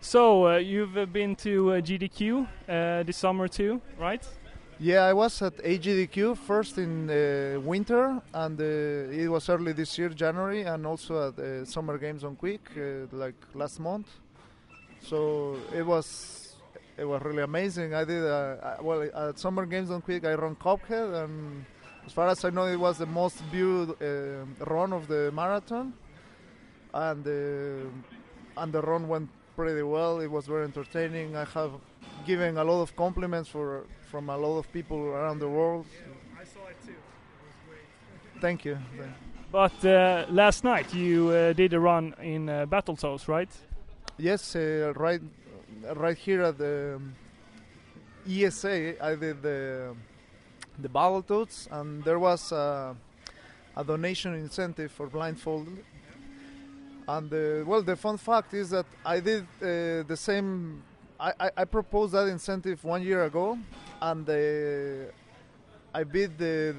so uh, you've uh, been to uh, GDQ uh, this summer too, right? Yeah, I was at AGDQ first in uh, winter, and uh, it was early this year, January, and also at uh, Summer Games on Quick, uh, like last month. So it was it was really amazing. I did uh, I- well at Summer Games on Quick. I ran Cophead, and as far as I know, it was the most viewed uh, run of the marathon, and uh, and the run went pretty well. It was very entertaining. I have given a lot of compliments for from a lot of people around the world. Thank you. Thank- But uh, last night you uh, did a run in uh, Battletoads, right? Yes, uh, right, right here at the um, ESA, I did the the Battletoads, and there was a, a donation incentive for blindfold. And uh, well, the fun fact is that I did uh, the same. I, I, I proposed that incentive one year ago, and uh, I beat the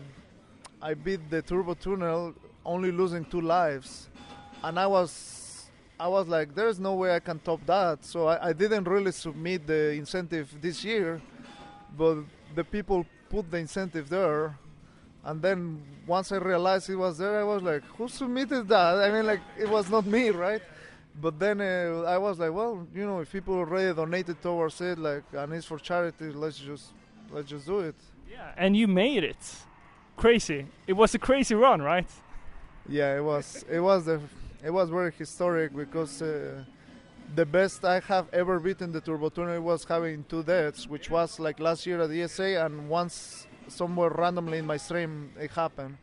I beat the Turbo Tunnel, only losing two lives, and I was I was like, there's no way I can top that. So I, I didn't really submit the incentive this year, but the people put the incentive there. And then once I realized it was there, I was like, who submitted that? I mean, like, it was not me, right? But then uh, I was like, well, you know, if people already donated towards it, like, and it's for charity, let's just, let's just do it. Yeah, and you made it. Crazy. It was a crazy run, right? Yeah, it was it was the it was very historic because uh, the best I have ever beaten the Turbo Tunnel was having two deaths, which was like last year at ESA, and once somewhere randomly in my stream it happened.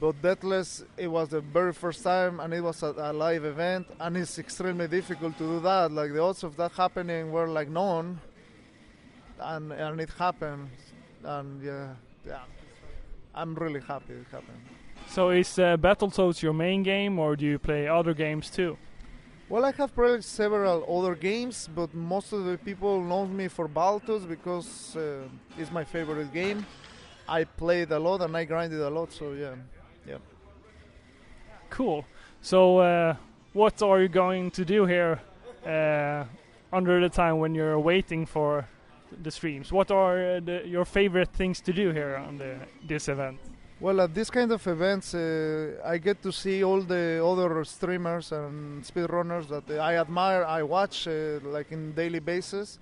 But Deathless, it was the very first time, and it was a, a live event, and it's extremely difficult to do that. Like the odds of that happening were like none, and and it happened, and yeah, yeah, I'm really happy it happened. So is uh, Battletoads your main game, or do you play other games too? Well, I have played several other games, but most of the people know me for Baltus because uh, it's my favorite game. I played a lot and I grinded a lot, so yeah, yeah. Cool. So uh, what are you going to do here uh, under the time when you're waiting for the streams? What are uh, the, your favorite things to do here on the, this event? Well, at these kind of events, uh, I get to see all the other streamers and speedrunners that I admire, I watch uh, like in daily basis.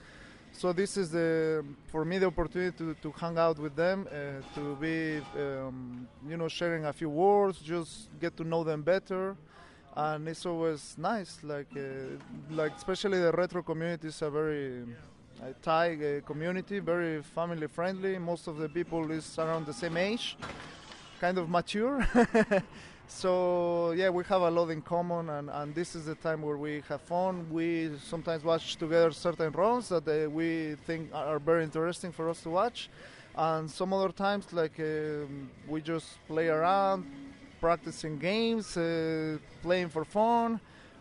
So this is the for me the opportunity to, to hang out with them, uh, to be um, you know sharing a few words, just get to know them better, and it's always nice. Like uh, like especially the retro community is a very uh, Thai uh, community, very family friendly. Most of the people is around the same age kind of mature. so yeah, we have a lot in common, and, and this is the time where we have fun. We sometimes watch together certain rounds that uh, we think are are very interesting for us to watch, and some other times like um, we just play around, practicing games, uh, playing for fun.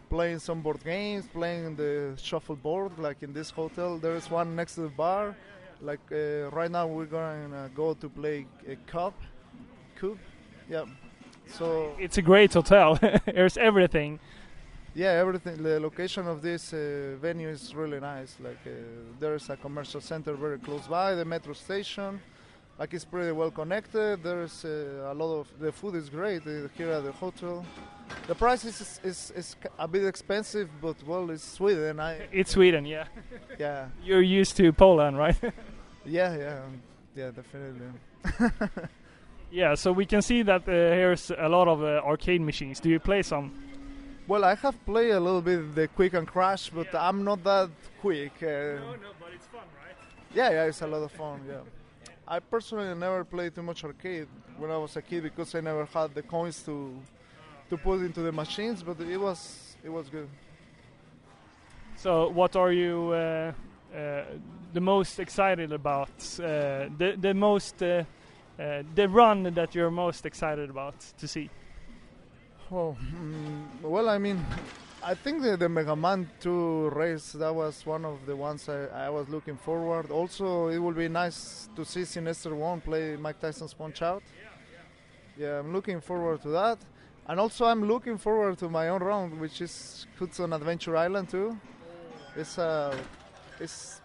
Playing some board games, playing the shuffleboard, like in this hotel. There is one next to the bar. Like uh, right now, we're gonna go to play a cup, cool. Yeah. So It's a great hotel. There's everything. yeah, everything. The location of this uh, venue is really nice. Like uh, there is a commercial center very close by, the metro station. Like it's pretty well connected. There is uh, a lot of the food is great uh, here at the hotel. The price is is, is is ca- a bit expensive, but well, it's Sweden. I It's Sweden, yeah. yeah You're used to Poland, right? yeah yeah yeah definitely. yeah, so we can see that uh, here's a lot of uh, arcade machines. Do you play some? Well, I have played a little bit the quick and crash, but I'm not that quick. Uh, but it's fun, right? Yeah, yeah, it's a lot of fun. Yeah, I personally never played too much arcade when I was a kid because I never had the coins to to put into the machines. But it was it was good. So, what are you uh, uh, the most excited about? Uh, the the most uh, uh, the run that you're most excited about to see? Well, mm, well, I mean, I think the, the Mega Man 2 race that was one of the ones I, I was looking forward. Also, it will be nice to see Sinister One play Mike Tyson's Punch Out. Yeah, I'm looking forward to that, and also I'm looking forward to my own round, which is Hudson Adventure Island too. It's uh, it's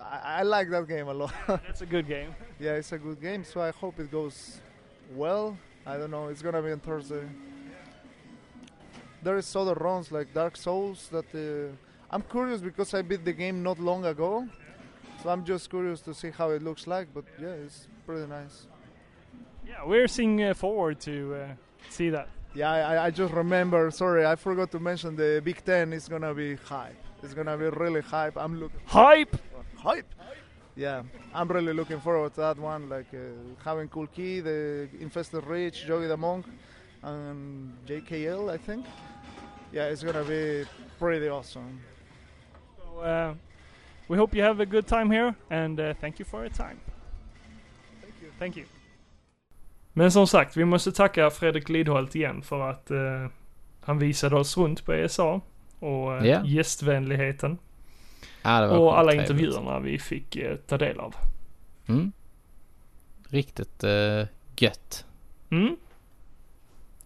I, I like that game a lot. That's a good game. yeah, it's a good game, so I hope it goes well. I don't know, it's gonna be on Thursday. There is other rounds like Dark Souls that uh, I'm curious because I beat the game not long ago, so I'm just curious to see how it looks like. But yeah, it's pretty nice. Yeah, we're seeing uh, forward to uh, see that. Yeah, I, I- I just remember. Sorry, I forgot to mention the Big Ten is gonna be hype. It's gonna be really hype. I'm looking Hype! hype. yeah, I'm really looking forward to that one. Like uh, having Kulki, the Infested Rich, Jogi the Monk, and JKL, I think. Yeah, it's gonna be pretty awesome. So, uh, we hope you have a good time here and uh, thank you for your time. Thank you. Thank you. Men som sagt, vi måste tacka Fredrik Lidholt igen för att eh, han visade oss runt på ESA och eh, Ja. gästvänligheten Ja, det var och alla skittrevligt. intervjuerna vi fick eh, ta del av. Mm. Riktigt eh, gött. Mm.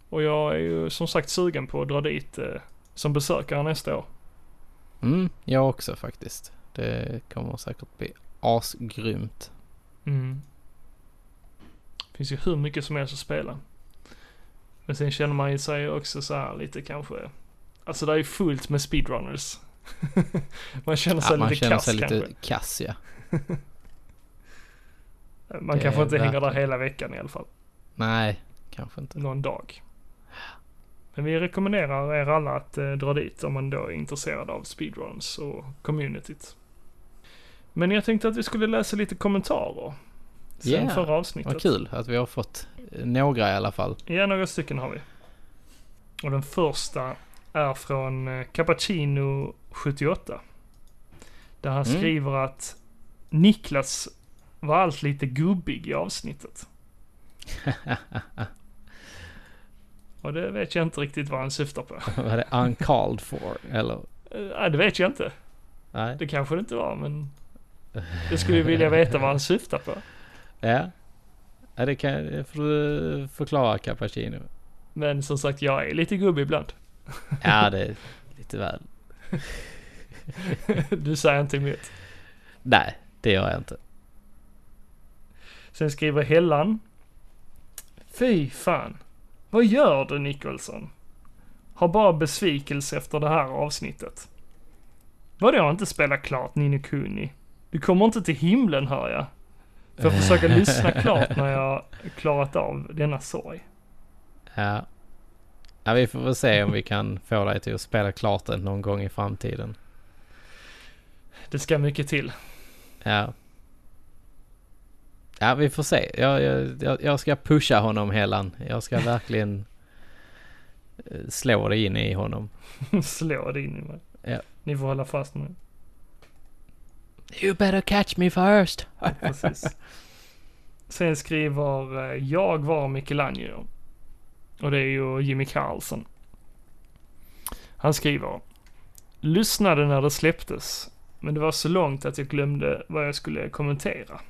Och jag är ju som sagt sugen på att dra dit eh, som besökare nästa år. Mm, jag också faktiskt. Det kommer säkert bli asgrymt. Mm. Finns ju hur mycket som helst att spela. Men sen känner man ju sig också så här lite kanske. Alltså det är ju fullt med speedrunners. man känner sig Ja, man lite känner kass sig kanske. lite kass ja. Man Det kanske är inte hänger där verkligen. hela veckan i alla fall. Nej, kanske inte. Någon dag. Men vi rekommenderar er alla att eh, dra dit om man då är intresserad av speedruns och communityt. Men jag tänkte att vi skulle läsa lite kommentarer. Sen Yeah, förra avsnittet. Vad kul att vi har fått eh, några i alla fall. Ja, några stycken har vi. Och den första är från eh, Cappuccino78. Där han Mm. skriver att Niklas var allt lite gubbig i avsnittet. Och det vet jag inte riktigt vad han syftar på. Vad är det uncalled for? Eller? Eh, det vet jag inte. Nej. Det kanske det inte var, men jag skulle ju vilja veta vad han syftar på. Ja. ja det, kan, det får du förklara Cappuccino. Men som sagt, jag är lite gubbig ibland. Ja, det är lite väl. Du säger inte emot. Nej, det gör jag inte. Sen skriver Hellan. Fy fan. Vad gör du Nicholson? Har bara besvikelse efter det här avsnittet. Vadå inte spela klart Nino Kuni? Du kommer inte till himlen hör jag. Får jag försöka lyssna klart när jag klarat av denna sorg. Ja. ja, vi får väl se om vi kan få dig till att spela klart den någon gång i framtiden. Det ska mycket till. Ja. Ja, vi får se. Jag, jag, jag- jag ska pusha honom, Helan. Jag ska verkligen eh, slå det in i honom. Slå det in i mig. Ja. Ni får hålla fast mig. You better catch me first. Precis. Sen skriver eh, jag var Michelangelo. Och det är ju Jimmy Carlsson. Han skriver. Lyssnade när det släpptes. Men det var så långt att jag glömde vad jag skulle kommentera.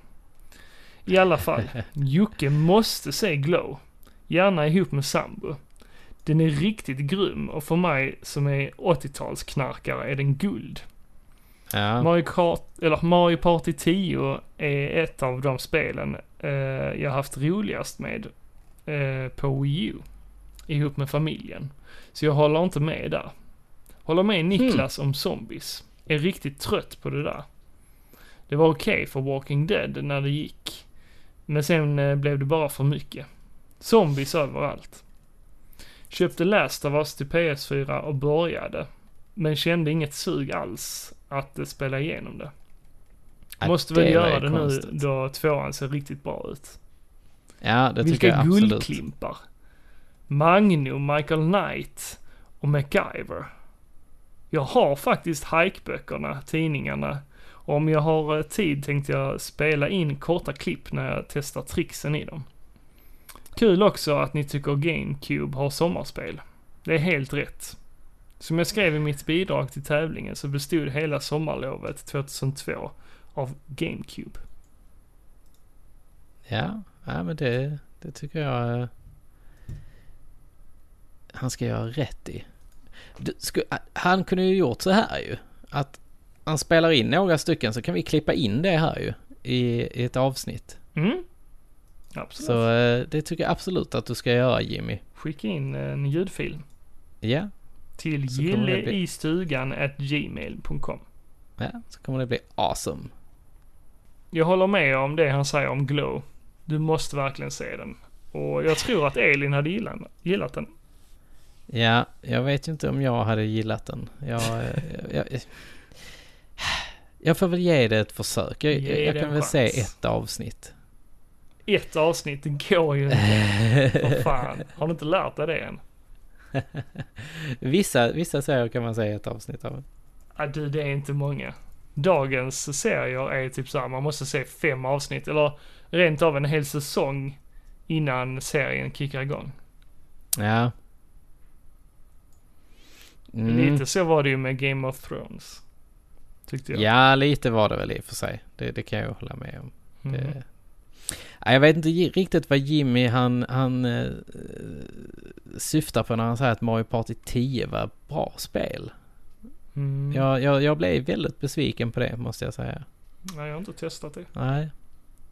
I alla fall. Jocke måste se Glow. Gärna ihop med sambo. Den är riktigt grym och för mig som är 80-talsknarkare är den guld. Ja, Mario, Kart, eller Mario Party 10 är ett av de spelen eh, jag har haft roligast med eh, på Wii U. Ihop med familjen. Så jag håller inte med där. Håller med Niklas om zombies. Är riktigt trött på det där. Det var okej för Walking Dead när det gick. Men sen eh, blev det bara för mycket. Zombies överallt. Köpte Last of Us till PS4 och började. Men kände inget sug alls att eh, spela igenom det. Ja, Måste väl Äh, det var göra ju det nu konstigt. då tvåan ser riktigt bra ut. ja det tycker jag Vilka absolut. guldklimpar. Magnum, Michael Knight och MacGyver. Jag har faktiskt hikeböckerna, tidningarna. Och om jag har eh, tid tänkte jag spela in korta klipp när jag testar tricksen i dem. Kul också att ni tycker GameCube har sommarspel. Det är helt rätt. Som jag skrev i mitt bidrag till tävlingen så bestod hela sommarlovet 2002 av GameCube. Ja, ja men det, det tycker jag eh, han ska göra rätt i. Du, sku, han kunde ju gjort så här ju. Att han spelar in några stycken så kan vi klippa in det här ju. I, i ett avsnitt. Mm? Absolut. Så eh, det tycker jag absolut att du ska göra Jimmy. Skicka in eh, en ljudfil Ja, till Så kommer det bli- gilleistugan at gmail.com. ja så kommer det bli awesome. Jag håller med om det han säger om Glow. Du måste verkligen se den. Och jag tror att Elin hade gillat, gillat den. Ja, jag vet ju inte om jag hade gillat den. Jag, eh, jag, jag, eh, Jag får väl ge det ett försök. Jag, Ge jag, jag det kan en väl se chans. ett avsnitt. Ett avsnitt, det går ju inte. Vad fan, har du inte lärt dig det än? Vissa, vissa serier kan man säga ett avsnitt av. Ja, du, det är inte många. Dagens serier är typ så här, man måste se fem avsnitt eller rent av en hel säsong innan serien kickar igång. Ja. Mm. Lite så var det ju med Game of Thrones. Tyckte jag. Ja, lite var det väl i och för sig. Det, det kan jag hålla med om. Mm. Det... Nej, jag vet inte gi- riktigt vad Jimmy han, han eh, syftar på när han säger att Mario Party 10 var bra spel. Mm. Jag, jag, jag blev väldigt besviken på det måste jag säga. Nej, jag har inte testat det. Nej.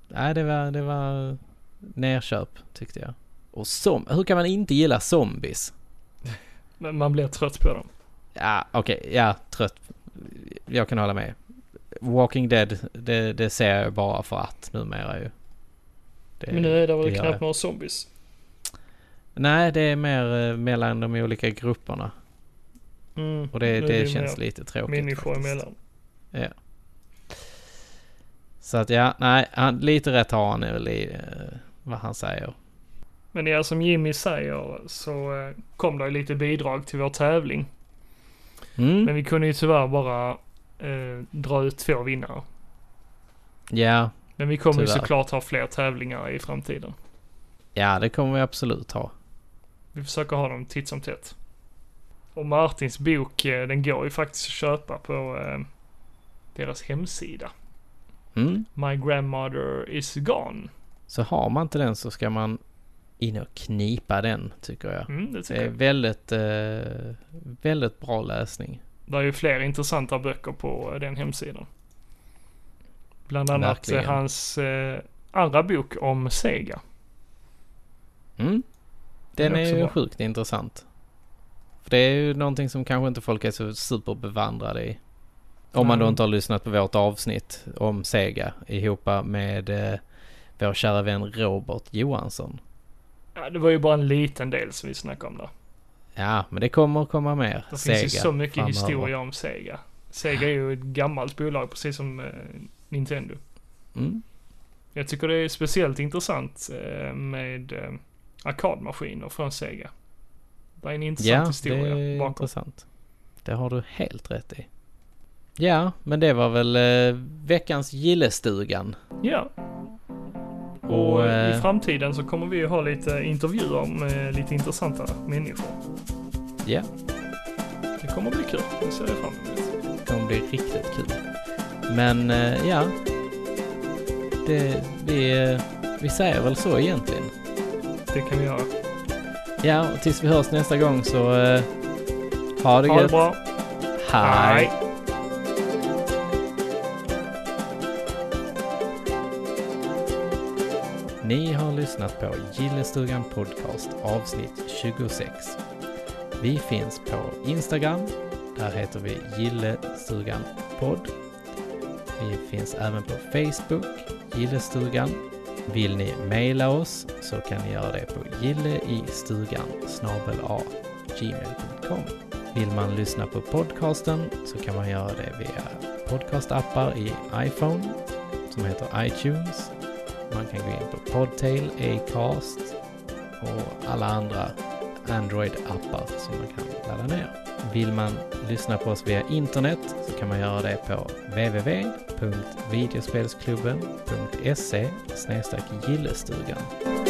Nej, det var, det var nerköp tyckte jag. Och som, hur kan man inte gilla zombies? Men man blir trött på dem. Ja, okej, ja, trött. Jag kan hålla med. Walking Dead, det, det ser jag bara för att numera ju. Det- Men nu är det väl gör jag. knappt några zombies. Nej, det är mer eh, mellan de olika grupperna. Mm. Och det, Nu det, är ju känns mer lite tråkigt. Människor faktiskt. emellan. Så att ja, nej, han, lite rätt har han väl i eh, vad han säger. Men ja, som Jimmy säger så eh, kom det ju lite bidrag till vår tävling. Men Mm. vi kunde ju tyvärr bara eh, dra ut två vinnare. Ja, Men vi kommer ju Tyvärr. såklart ha fler tävlingar i framtiden. ja, det kommer vi absolut ha. Vi försöker ha dem titt som tätt. Och Martins bok, eh, den går ju faktiskt att köpa på eh, deras hemsida. Mm. My grandmother is gone. Så har man inte den så ska man in och knipa den, tycker jag. Mm, det tycker Det är jag. väldigt, eh, väldigt bra läsning. Det är ju fler intressanta böcker på eh, den hemsidan. Bland annat eh, Verkligen. hans eh, andra bok om Sega. Mm. Den Den är är också ju bra. sjukt intressant. För det är ju någonting som kanske inte folk är så superbevandrade i. Om man då Nej. inte har lyssnat på vårt avsnitt om Sega ihop med eh, vår kära vän Robert Johansson. Ja, det var ju bara en liten del som vi snackade om där. Ja, men det kommer komma mer Det Sega finns ju så mycket framöver. historia om Sega. Sega är ju ett gammalt bolag precis som eh, Nintendo. Mm. Jag tycker det är speciellt intressant eh, med eh, arkadmaskiner från Sega. Det är en intressant Ja, det historia är bakom. intressant. Det har du helt rätt i. Ja, men det var väl eh, veckans gillestugan. Ja. Och, Och, eh, i eh, framtiden så kommer vi ju ha lite intervjuer med lite intressanta människor. Ja. Det kommer bli kul. Det ser jag fram emot. kommer bli riktigt kul. Men eh, ja, det, vi, eh, vi säger väl så egentligen. Det kan vi göra. Ja, och tills vi hörs nästa gång så eh, ha det Ha det gött. bra. Hej. Ni har lyssnat på Gillestugan Podcast avsnitt 26. Vi finns på Instagram. Där heter vi Gillestugan Podd. Vi finns även på Facebook, Gillestugan. Vill ni mejla oss så kan ni göra det på gilleistugan gmail.com. Vill man lyssna på podcasten så kan man göra det via podcastappar i iPhone som heter iTunes man kan gå in på Podtail, Acast och alla andra Android-appar som man kan ladda ner. Vill man lyssna på oss via internet så kan man göra det på www.videospelsklubben.se gillestugan.